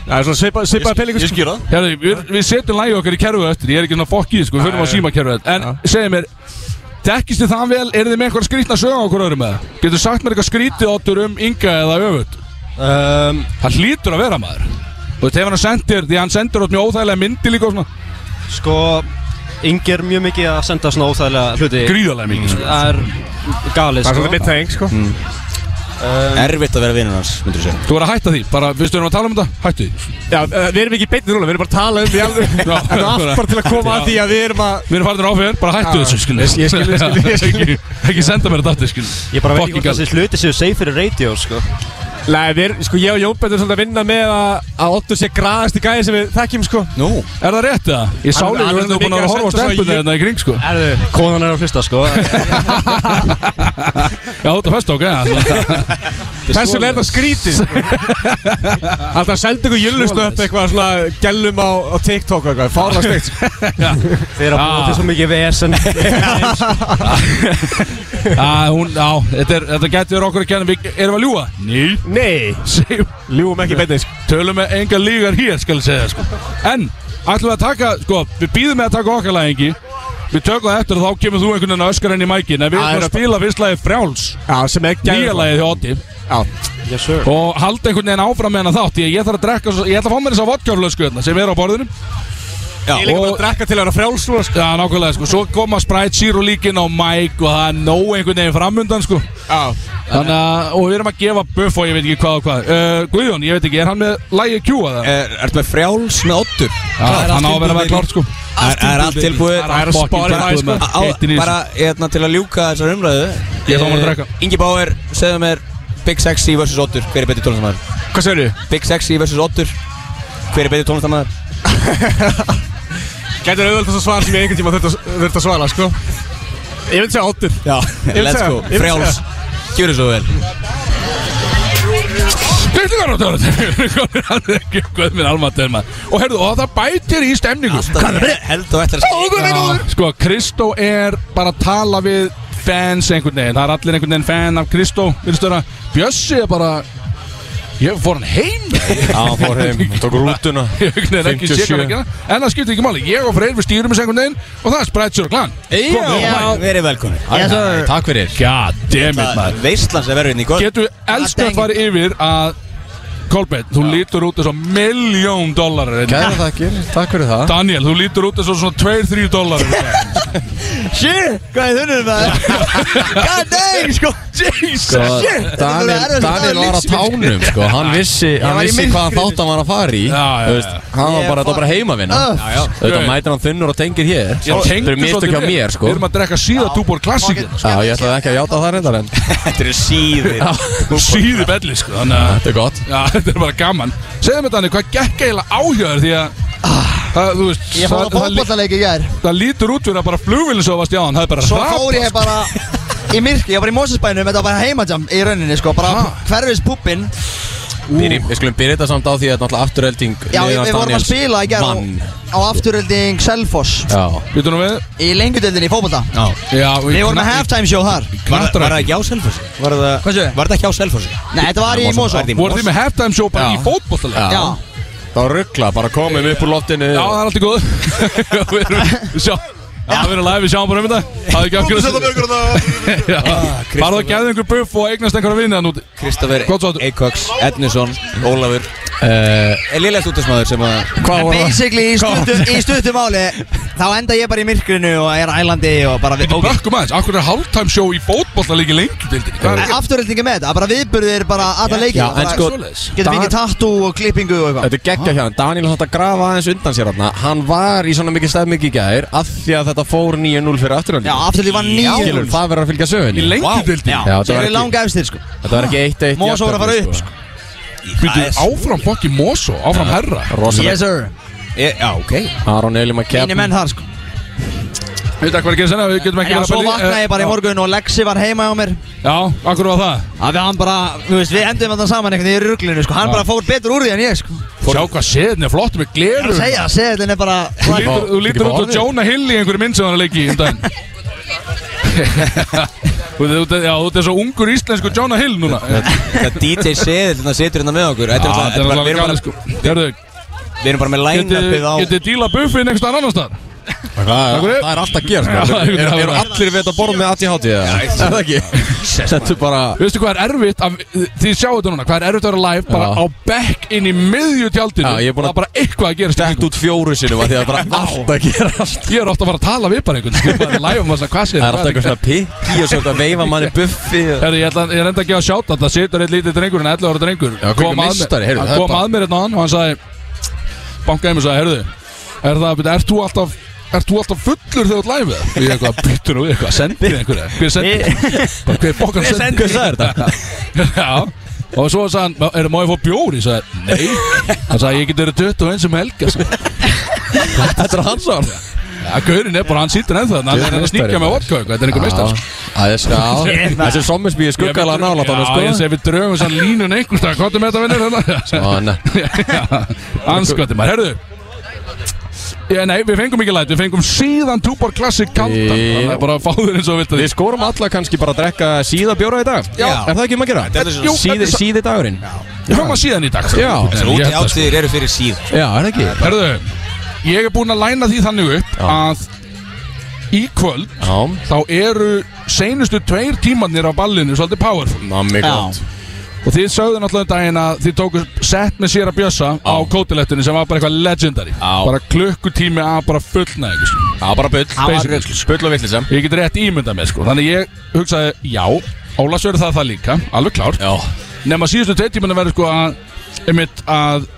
[SPEAKER 8] Það er svona svipa, svipaði pelingur
[SPEAKER 4] Ég
[SPEAKER 2] sko.
[SPEAKER 4] skil það
[SPEAKER 2] Herðu, við, við setjum lagið okkar í kerfið öttir, ég er ekki svona fokkið, sko, við fyrir að síma kerfið öttir. En segið mér, þekkist þið það vel, eru þið með eitthvað skrítna sögum á okkur öðrum með það? Getur sagt mér eitthvað skrítið áttur um Inga eða öfut?
[SPEAKER 9] um,
[SPEAKER 4] Ehm.
[SPEAKER 2] Það hlýtur að vera maður. Þú veist, hefur hann sendir, því hann sendir át mjög óþægilega myndi líka og svona,
[SPEAKER 9] Sko, Ingi er mjög mikið að senda svona óþægilega hluti
[SPEAKER 2] gríðarlega mikið, sko.
[SPEAKER 9] Það er galið,
[SPEAKER 8] Það er
[SPEAKER 9] sko
[SPEAKER 8] svona mitt þeng, sko
[SPEAKER 3] Erfitt að vera vinur hans, myndur þú segja
[SPEAKER 2] Þú verður að hætta því, bara, við stöðum að tala um þetta, hættu því.
[SPEAKER 8] Já, eh, við erum ekki beinnir núna, við erum bara að tala um því alveg
[SPEAKER 2] Já.
[SPEAKER 8] Þetta er allt bara til að koma að því að við erum að
[SPEAKER 2] Við erum farin áfyrir, bara hættu
[SPEAKER 8] Já,
[SPEAKER 2] þessu, skilur.
[SPEAKER 8] ég- ég skil, ég skil, ég skil.
[SPEAKER 2] Ekki- ekki senda mér þetta aftur, skilur.
[SPEAKER 9] Ég bara veit ekki
[SPEAKER 2] Fucking
[SPEAKER 9] hvort
[SPEAKER 2] galið.
[SPEAKER 9] þessi hluti séu safe fyrir radio, sko
[SPEAKER 8] Nei, við erum, sko, ég og Jón Betur svolítið að vinna með að, að Otto sé graðast í gæði sem við þekkjum, sko
[SPEAKER 3] Nú,
[SPEAKER 2] Er það rétt eða? Ég sá
[SPEAKER 8] Hann-
[SPEAKER 2] líka
[SPEAKER 8] hann er
[SPEAKER 2] hvernig þú búin að vera að horfa á
[SPEAKER 8] mikið að senda
[SPEAKER 2] stelpunni
[SPEAKER 8] svo í-
[SPEAKER 2] hérna í kring sko
[SPEAKER 9] Erðu, konan er að hlusta, sko
[SPEAKER 2] Já, þú ert að festa okkur, já
[SPEAKER 8] Þessum er þetta skrítið Alltaf að senda ykkur jöllustu upp eitthvað svona gælum á, á TikTok og eitthvað, fárlega steikt sko.
[SPEAKER 9] Þeir eru að búa til svo mikið vesen
[SPEAKER 2] Já, hún, já, þetta, er, þetta getur verið okkur að kenna Við erum við að ljúa Ný
[SPEAKER 8] Nei, ljúum ekki beinni sko.
[SPEAKER 2] Tölum með enga lígar hér, skal ég segja sko. En, ætlum við að taka, sko Við býðum með að taka okkar lagengi Við tökum það eftir og þá kemur þú einhvern veginn að öskar henni í mækin En við
[SPEAKER 8] Já,
[SPEAKER 2] erum að
[SPEAKER 8] já,
[SPEAKER 2] spila fyrst lagið frjáls
[SPEAKER 8] Já, sem er
[SPEAKER 2] Nýja
[SPEAKER 8] gælum
[SPEAKER 2] lagið hjá Otti
[SPEAKER 8] Já,
[SPEAKER 2] Og halda einhvern veginn áfram með hennar þátt Ég, ég þarf að drekka, svo- ég ætla að fá mér þess að vodkaflösku hérna Sem er á borðinu
[SPEAKER 8] ég er líka bara að drekka til að vera frjáls núna, sko.
[SPEAKER 2] Já, nákvæmlega, sko, svo koma Sprite Zero líkin á Mike og það er nóg einhvern veginn framundan, sko
[SPEAKER 8] Já,
[SPEAKER 2] Þannig að, og við erum að gefa buff og ég veit ekki hvað og hvað uh, Guðjón, ég veit ekki, er hann með lægi Q að það?
[SPEAKER 3] er, ertu með frjáls með oddur?
[SPEAKER 2] Já, hann á að vera með klárt, sko
[SPEAKER 3] Er, er allt tilbúið?
[SPEAKER 2] Það er að spara það, sko
[SPEAKER 3] Á,
[SPEAKER 2] Hittin í
[SPEAKER 3] bara
[SPEAKER 2] þessu
[SPEAKER 3] hérna til að ljúka þessar umræðu Eh,
[SPEAKER 2] Ég þá maður að drekka.
[SPEAKER 3] Ingi Bauer, segðu mér Big Sexy vs. Otur, hver er betri tónlistamæður?
[SPEAKER 8] hvað segir þú?
[SPEAKER 3] Big Sexy vs. Otur, hver er betri tónlistamæður?
[SPEAKER 8] Gætur auðvöldast að svara sem ég einhvern tíma þurft að, þurft að svara, sko Ég veit segja Ottur
[SPEAKER 3] Já,
[SPEAKER 8] vil
[SPEAKER 3] let's
[SPEAKER 8] segja,
[SPEAKER 3] go,
[SPEAKER 8] ég vil
[SPEAKER 3] frjáls Gjör þið svo vel
[SPEAKER 2] Hvernig var það að það er ekki Guð minn almatur, maður Og herðu, og það bætir í stemningu
[SPEAKER 3] Held og ætlar að
[SPEAKER 2] Já, Sko, Kristó er bara að tala við fans einhvern veginn Það er allir einhvern veginn fan af Kristó virðist vera. Bjössi er bara Ég fór hann heim
[SPEAKER 4] Já, hann fór heim, tók rútuna
[SPEAKER 2] Einhvern veginn ekki sér
[SPEAKER 4] 57.
[SPEAKER 2] hann ekki En það skiptir ekki máli Ég og Freyr við stýrum þessu einhvern veginn Og það er Sprite og Glan
[SPEAKER 3] Já, verið velkomin Takk fyrir
[SPEAKER 2] God damn it maður
[SPEAKER 3] Veistlan sem verður hérna í góð
[SPEAKER 2] Getur við elskar að fara yfir að Kolbeinn, þú lítur út eins og miljón dólarar hérna.
[SPEAKER 10] Kæra þakkir, takk fyrir það
[SPEAKER 2] Daniel, þú lítur út eins og svona 2-3 dólarar
[SPEAKER 10] Shit, hvað er þunnið það? God dang, sko Jesus,
[SPEAKER 7] Sko,
[SPEAKER 10] Daniel, Daniel var á tánum, sko Hann vissi, hann
[SPEAKER 7] var í
[SPEAKER 10] vissi hvaðan þátt hann var að fara í
[SPEAKER 2] Já, já,
[SPEAKER 10] Þú veist, Hann var bara, þetta var bara heimavinna Þetta mætir hann þunnur og tengir hér
[SPEAKER 2] Ég
[SPEAKER 10] Þetta
[SPEAKER 2] tengdi
[SPEAKER 10] eru mistök hjá
[SPEAKER 2] vel.
[SPEAKER 10] mér,
[SPEAKER 2] Við
[SPEAKER 10] sko
[SPEAKER 2] erum að drekka síða túbor klassíkin
[SPEAKER 10] Já, ég ætlaði ekki að játa það reyndar en
[SPEAKER 3] Þetta eru síðir
[SPEAKER 2] Síði belli, sko Þannig að
[SPEAKER 10] Þetta er gott
[SPEAKER 2] Já, þetta er bara gaman Segðu mér Daniel, hvað gekk eiginlega áhjöður því að Það, þú veist,
[SPEAKER 11] Ég fór á
[SPEAKER 2] það, það,
[SPEAKER 11] fótballaleik í gær
[SPEAKER 2] það lítur út fyrir að bara flugvillin svo varst í áðan Það er bara
[SPEAKER 11] Svo
[SPEAKER 2] hrapað,
[SPEAKER 11] fór ég
[SPEAKER 2] sko.
[SPEAKER 11] bara í myrkri, ég var í Mósinsbænum Þetta var bara heimajam í rauninni sko Bara hverfis pubbin
[SPEAKER 10] Byrjum- Við skulum byrja þetta samt á því að náttúrulega afturhelding
[SPEAKER 11] Já, við
[SPEAKER 10] liðans
[SPEAKER 11] við vorum að
[SPEAKER 10] Daniels
[SPEAKER 11] spila í gær á,
[SPEAKER 10] vann.
[SPEAKER 11] á afturölding Selfoss
[SPEAKER 10] Já,
[SPEAKER 2] Býtu nú við
[SPEAKER 11] Í lengjudeldinni í fótballta
[SPEAKER 2] Já,
[SPEAKER 11] Við vorum með halftime show þar
[SPEAKER 3] Var
[SPEAKER 2] Knattar
[SPEAKER 3] var það ekki á Selfossi? Var það
[SPEAKER 11] Hvað séu?
[SPEAKER 3] Var það ekki á Selfossi?
[SPEAKER 11] Nei, þetta var í Mosó
[SPEAKER 3] Var það í
[SPEAKER 2] Voru þið
[SPEAKER 3] Mosó?
[SPEAKER 2] með halftime show bara
[SPEAKER 10] Já.
[SPEAKER 2] í fótbolltalega?
[SPEAKER 11] Já,
[SPEAKER 10] það var ruggla, bara komum upp úr loftinu
[SPEAKER 2] Já, það er allt í góð Við erum, við sjá Já, við erum live, við sjáum bara um þetta Það er ekki
[SPEAKER 1] Þú setja
[SPEAKER 2] afgjörð
[SPEAKER 1] með ykkur þarna
[SPEAKER 2] Farðu Ah, að geða einhver buff og eignast einhverja vinni þann úti
[SPEAKER 3] Kristoffer
[SPEAKER 2] Hvað svo áttu?
[SPEAKER 3] Eikoks, Ednusson, Ólafur
[SPEAKER 2] Eh.
[SPEAKER 3] uh, Lillast útasmaður sem að
[SPEAKER 10] Hvað var það?
[SPEAKER 11] basically í stuttum, í stuttum máli Þá enda ég bara í myrkrinu og er ælandi og bara við okay.
[SPEAKER 2] Bökkum aðeins, akkur er halftime show í fótbolltalegi lengi dildinni Hvað er ekki?
[SPEAKER 11] Afturöldingi með þetta, bara viðburðir bara alla leiki
[SPEAKER 10] Já, en sko
[SPEAKER 11] Getur
[SPEAKER 10] Dan-
[SPEAKER 11] fengið tattoo og klippingu og eitthvað
[SPEAKER 10] Þetta er geggja hjá hann, Daniel hann að grafa aðeins undan sér hann Hann var í svona mikið stefmikið í gær Af því að þetta fór 9-0 fyrir afturhalding
[SPEAKER 11] Já, afturölding var nýjum
[SPEAKER 10] Skilur, það verður að fylgja sögunni
[SPEAKER 2] Í lengi dildinni?
[SPEAKER 10] Já, þetta
[SPEAKER 11] Þeir eru
[SPEAKER 10] var ekki,
[SPEAKER 11] langa efstir sko
[SPEAKER 10] þetta var ekki 1-1
[SPEAKER 11] Mosó var að fara upp,
[SPEAKER 10] sko
[SPEAKER 2] Býtu, áfram fokki Mosó, áfram herra
[SPEAKER 10] Rosalega,
[SPEAKER 11] Yes sir
[SPEAKER 3] e, Já, ok
[SPEAKER 10] Aron Elim að
[SPEAKER 11] Einu menn
[SPEAKER 10] kepp
[SPEAKER 11] þar sko
[SPEAKER 2] Við veitum hvað er að gera senna, við getum ekki
[SPEAKER 11] Já,
[SPEAKER 2] verið
[SPEAKER 11] svo
[SPEAKER 2] að pæla í-
[SPEAKER 11] vaknaði ég bara í
[SPEAKER 2] Já.
[SPEAKER 11] morgun og Lexi var heima hjá mér
[SPEAKER 2] Já, akkur var það
[SPEAKER 11] að við hann bara, þú veist, við endum þetta saman einhvern veginn í rugglinu, sko, hann
[SPEAKER 2] Já.
[SPEAKER 11] bara fór betur úr því en ég, sko
[SPEAKER 2] Sjá hvað séðin er flott
[SPEAKER 11] Ég
[SPEAKER 2] með
[SPEAKER 11] er
[SPEAKER 2] gleru
[SPEAKER 11] að segja, seðlinn er bara
[SPEAKER 2] Þú lítur- Þú lítur
[SPEAKER 10] Ekki
[SPEAKER 2] út
[SPEAKER 10] bara
[SPEAKER 2] og Jonah Hill í einhverju mynd sem hann er að leiki í um daginn Þú veit, þú- Já, þú ert svo ungur íslensku Jonah Hill núna
[SPEAKER 3] Það DJ Seðil hérna situr hérna með okkur Þetta
[SPEAKER 2] Já,
[SPEAKER 3] er
[SPEAKER 2] þetta
[SPEAKER 3] alltaf-
[SPEAKER 2] er
[SPEAKER 3] bara- Við
[SPEAKER 2] alveg
[SPEAKER 3] erum
[SPEAKER 2] gæli
[SPEAKER 3] bara-
[SPEAKER 2] sko Hörðu,
[SPEAKER 3] við erum bara með line-upið á
[SPEAKER 2] getið díla buffin einhvers staðar annar staðar
[SPEAKER 10] Það
[SPEAKER 2] Takk fyrir.
[SPEAKER 10] það er alltaf að gera sko
[SPEAKER 2] Já, ég veit
[SPEAKER 10] Eru-
[SPEAKER 2] það
[SPEAKER 10] Eru
[SPEAKER 2] var-
[SPEAKER 10] allir við þetta borð með 80-80 eða? Er það ekki? Settu bara
[SPEAKER 2] Veistu hvað er erfitt að, Þið sjáu þetta núna Hvað er erfitt að vera live Bara
[SPEAKER 10] Já.
[SPEAKER 2] á bekk inn í miðju tjaldinu
[SPEAKER 10] Já, ég er búin að-
[SPEAKER 2] Það er bara eitthvað að gera
[SPEAKER 10] Dett út fjóru sinum af Því að það er bara alltaf að gerast
[SPEAKER 2] Ég er ofta að fara að tala við bara einhvern Ég er bara live um þess að hvað
[SPEAKER 10] Það
[SPEAKER 2] séð
[SPEAKER 10] er alltaf eitthvað svona pikki og svona veifa manni buffi og-
[SPEAKER 2] Herri, ég, ætla, ég reyndi að gefa sjátt að það situr eitt lítið drengur en 11 ára drengur
[SPEAKER 10] Já, hvernig meistari, heyrðu,
[SPEAKER 2] hann
[SPEAKER 10] það er
[SPEAKER 2] kom
[SPEAKER 10] bara-
[SPEAKER 2] að mér hérna á hann og hann sagði bankaði mig og sagði, heyrðu er það, byrju, ert þú alltaf Ert þú alltaf fullur þegar þú læfið? Ég eitthvað, byttur og eitthvað, sendið einhverja Hver sendið? Bara hver bókar sendið? Hver sagði þetta? Já, og svo sagði hann, er það má ég fá bjóri? Ég sagði, nei Hann sagði, ég get verið 21 sem helga Þetta er hans án Já, gaurinn er bara, hann sýttur ennþá þarna, Hann er að sníkja með vodka og eitthvað, þetta er einhver sko. meistar
[SPEAKER 10] Já, að þessi- já, Þessi sommersbí er skuggalega nála
[SPEAKER 2] Já,
[SPEAKER 10] þannig
[SPEAKER 2] ég
[SPEAKER 10] sko
[SPEAKER 2] segi við draugum sann línun einhverstað Hvað er með þetta vinnur
[SPEAKER 10] Ó, nei.
[SPEAKER 2] hérna? Anskvætti maður, herðu Já, nei, við fengum ekki læt Við fengum síðan Túbor Classic kaldan
[SPEAKER 10] Í-
[SPEAKER 2] Þannig að bara fá þér eins og vilt að
[SPEAKER 10] Við skorum alla kannski bara að drekka síða bjóra í dag
[SPEAKER 2] Já.
[SPEAKER 10] Er það ekki um að gera?
[SPEAKER 2] Jú,
[SPEAKER 10] Síði,
[SPEAKER 2] þetta er-
[SPEAKER 10] síði dagurinn
[SPEAKER 2] Við fáum að síðan í dag sko.
[SPEAKER 10] Já.
[SPEAKER 2] En ég held að, sko.
[SPEAKER 3] Áttiðir eru fyrir síð
[SPEAKER 10] Já, er það ekki?
[SPEAKER 2] Herðu, ég er búinn að læna því þannig upp Að í kvöld
[SPEAKER 10] Já,
[SPEAKER 2] Þá eru seinustu tveir tímanir á ballinu Svolítið powerful
[SPEAKER 10] mammi gott
[SPEAKER 2] Og þið sögðu náttúrulega um daginn að þið tóku sett með sér að bjössa á kótilettunni sem var bara eitthvað legendary
[SPEAKER 10] Á.
[SPEAKER 2] Bara klukkutími að bara fullna ekki sko.
[SPEAKER 10] Já, bara bull
[SPEAKER 2] Basically,
[SPEAKER 10] basically, sko. Bull og vittlis Já,
[SPEAKER 2] Ég get rétt ímyndað með sko Þannig ég hugsaði, já, Ólafs verður það það líka, alveg klárt Nefn að síðustu tveit tímanu verður sko að Einmitt að